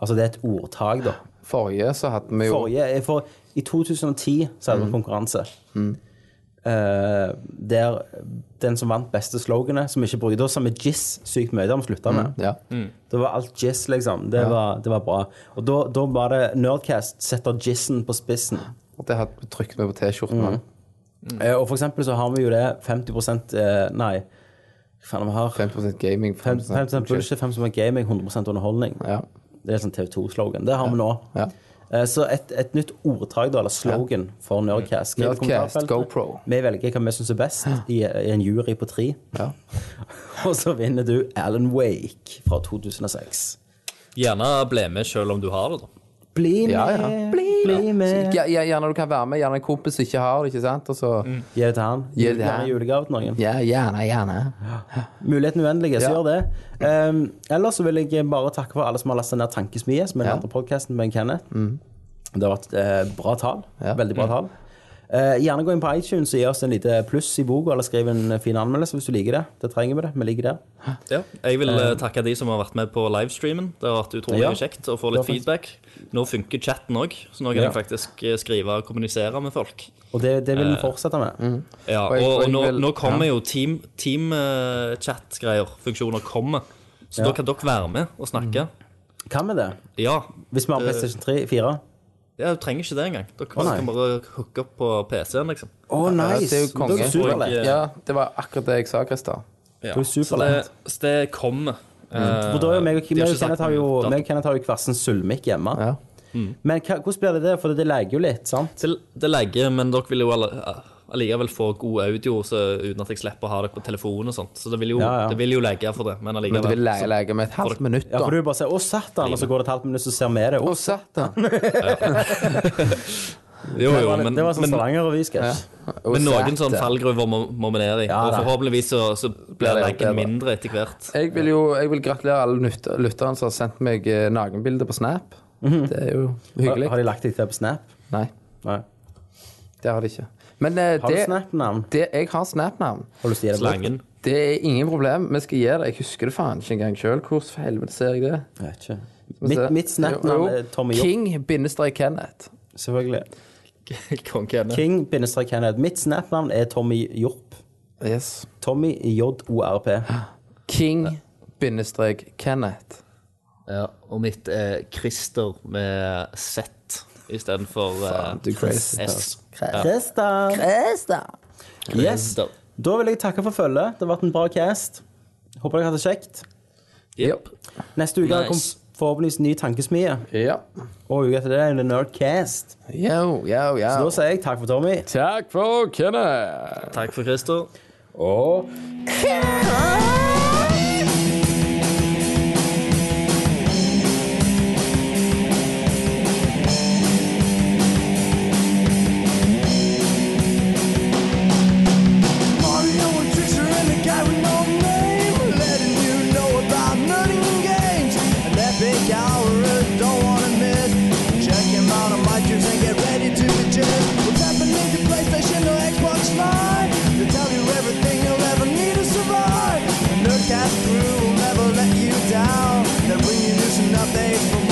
Altså det er et ordtak, da. Forrige så hadde vi jo Mm. Forrige, eh, for, I 2010 så hadde vi konkurranse. Eh, der den som vant beste sloganet, som ikke brukte oss, som er Jizz sykt mye, det har vi slutta med. Mm, Ja. Det var alt jizz, liksom. Det, var, det var bra. Og da, da var det Nerdcast setter jizzen på spissen. Og det hadde vi trykt med på Mm. T-skjorten. Mm. Eh, og for eksempel så har vi jo det 50 eh, Nei, hva faen er det vi har? 5 gaming. 5, 5% bullshit, 5 gaming, 100 underholdning. Ja. Det er sånn TV2-slogan. Det har vi nå. Ja. Eh, Så et, et nytt ordtak, da, eller slogan, for Nerdcast. Skriv i Nerdcast, kommentarfeltet. GoPro. Vi velger hva vi syns er best i, i en jury på tre. Ja. [laughs] Og så vinner du Alan Wake fra 2006. Gjerne bli med sjøl om du har det, da. Bli med, Ja, ja. Bli, med. Ja, ja, gjerne du kan være med. Gjerne en kompis som ikke har det. ikke sant? Og så, Mm. Gi det til han. Gi det til Gjerne han. julegave til noen. ja, gjerne, gjerne. Muligheten uendelig, så Ja. gjør det. Um, ellers så vil jeg bare takke for alle som har lastet ned Tankesmie, som er den Ja. Mm. andre podkasten med Kenneth. Det har vært eh, bra tall. Ja. Mm. Veldig bra tall. Eh, gjerne gå inn på iTunes og gi oss en lite pluss i boka, eller skriv en eh, fin anmeldelse hvis du liker det. Det trenger vi det. Vi liker det. Ja. Jeg vil eh, takke de som har vært med på livestreamen. Det har vært utrolig Ja. kjekt å få litt Det har feedback. Nå funker chatten òg, så nå kan Ja. jeg faktisk eh, skrive og kommunisere med folk. Og det, det vil vi fortsette med. mm. Ja, jeg- og, og og jeg nå, vil- nå kommer jo team, team eh, chat-greier, funksjoner kommer. Så da kan dere være med og snakke. Mm. Kan vi det? Ja, Hvis vi har Det- PlayStation 3, 4? ja, du trenger ikke det engang. Dere Å, nei. kan bare hooke opp på PC-en, liksom. Å, nice! det er jo Da konge. er du superlett. Og, eh, Ja, det var akkurat det jeg sa, Christer. Ja. Det er Så, superlett. det, så det kommer. Eh, For da er jo meg og, de har ikke meg og sagt Kenneth har jo, noe dato. meg og Kenneth har jo hver sin sølvmikk hjemme. Ja. Men hva, hvordan blir det det? For det legger jo litt, sant? Det, det legger, men dere vil jo alle- eh, allikevel få god audio så, uten at jeg slipper å ha det på telefonen og sånt. Så det vil jo, Ja, ja. Det vil jo legge for det, men allikevel. Men det vil så- lege, lege med et halvt minutt, Ja, da. for du bare sier 'Å, satan', og så går det et halvt minutt, så ser vi det. Å, Å, [laughs] satan. jo, det jo, var litt- men, det var sånn men, Stavanger-revy-sketsj. Å, men noen satan. sånn fallgruver må, må vi ned i. Ja, og da. forhåpentligvis så, så Ja, blir det er leggen bedre. mindre etter hvert. Jeg vil jo jeg vil gratulere alle lytter- lytterne som har sendt meg eh, nakenbilder på Snap. Det er jo Mhm. Har, hyggelig. har de lagt deg til på Snap? Nei, Nei. det har de ikke. Men eh, Har du det, Snap-navn? det Jeg har Snap-navn. Har du lyst til å gi det bort? [laughs] Slangen. Det er ingen problem. Vi skal gi det. Jeg husker det faen ikke engang sjøl. Hvor for helvete ser jeg det? Jeg vet ikke. Vi Mitt, ser- mitt Snap-navn er Tommy Jopp, King-Kenneth. selvfølgelig. Kongene. King-Kenneth. Mitt Snap-navn er Tommy Jorp. Yes. Tommy J-O-R-P. King-Kenneth. Ja, og mitt er Christer med Z istedenfor du crazy, eh, S. Krista. Yes. Christer. Da vil jeg takke for følget. Det har vært en bra cast. Håper dere har hatt det kjekt. Yep. Neste uke Nice. kommer forhåpentligvis ny tankesmie. Ja. Og uka etter det er det Nerdcast. Yo, yo, Så yo. da sier jeg takk for Tommy. Takk for Kenneth. Takk for Christer. Og Mario and Trickster and the guy with no name were letting you know about nutting games. An epic hour, don't wanna miss. Check him out on iTunes and get ready to digest. What's happening to PlayStation or Xbox Live? They tell you everything you'll ever need to survive. The Nerdcast crew will never let you down. They bring you news and updates from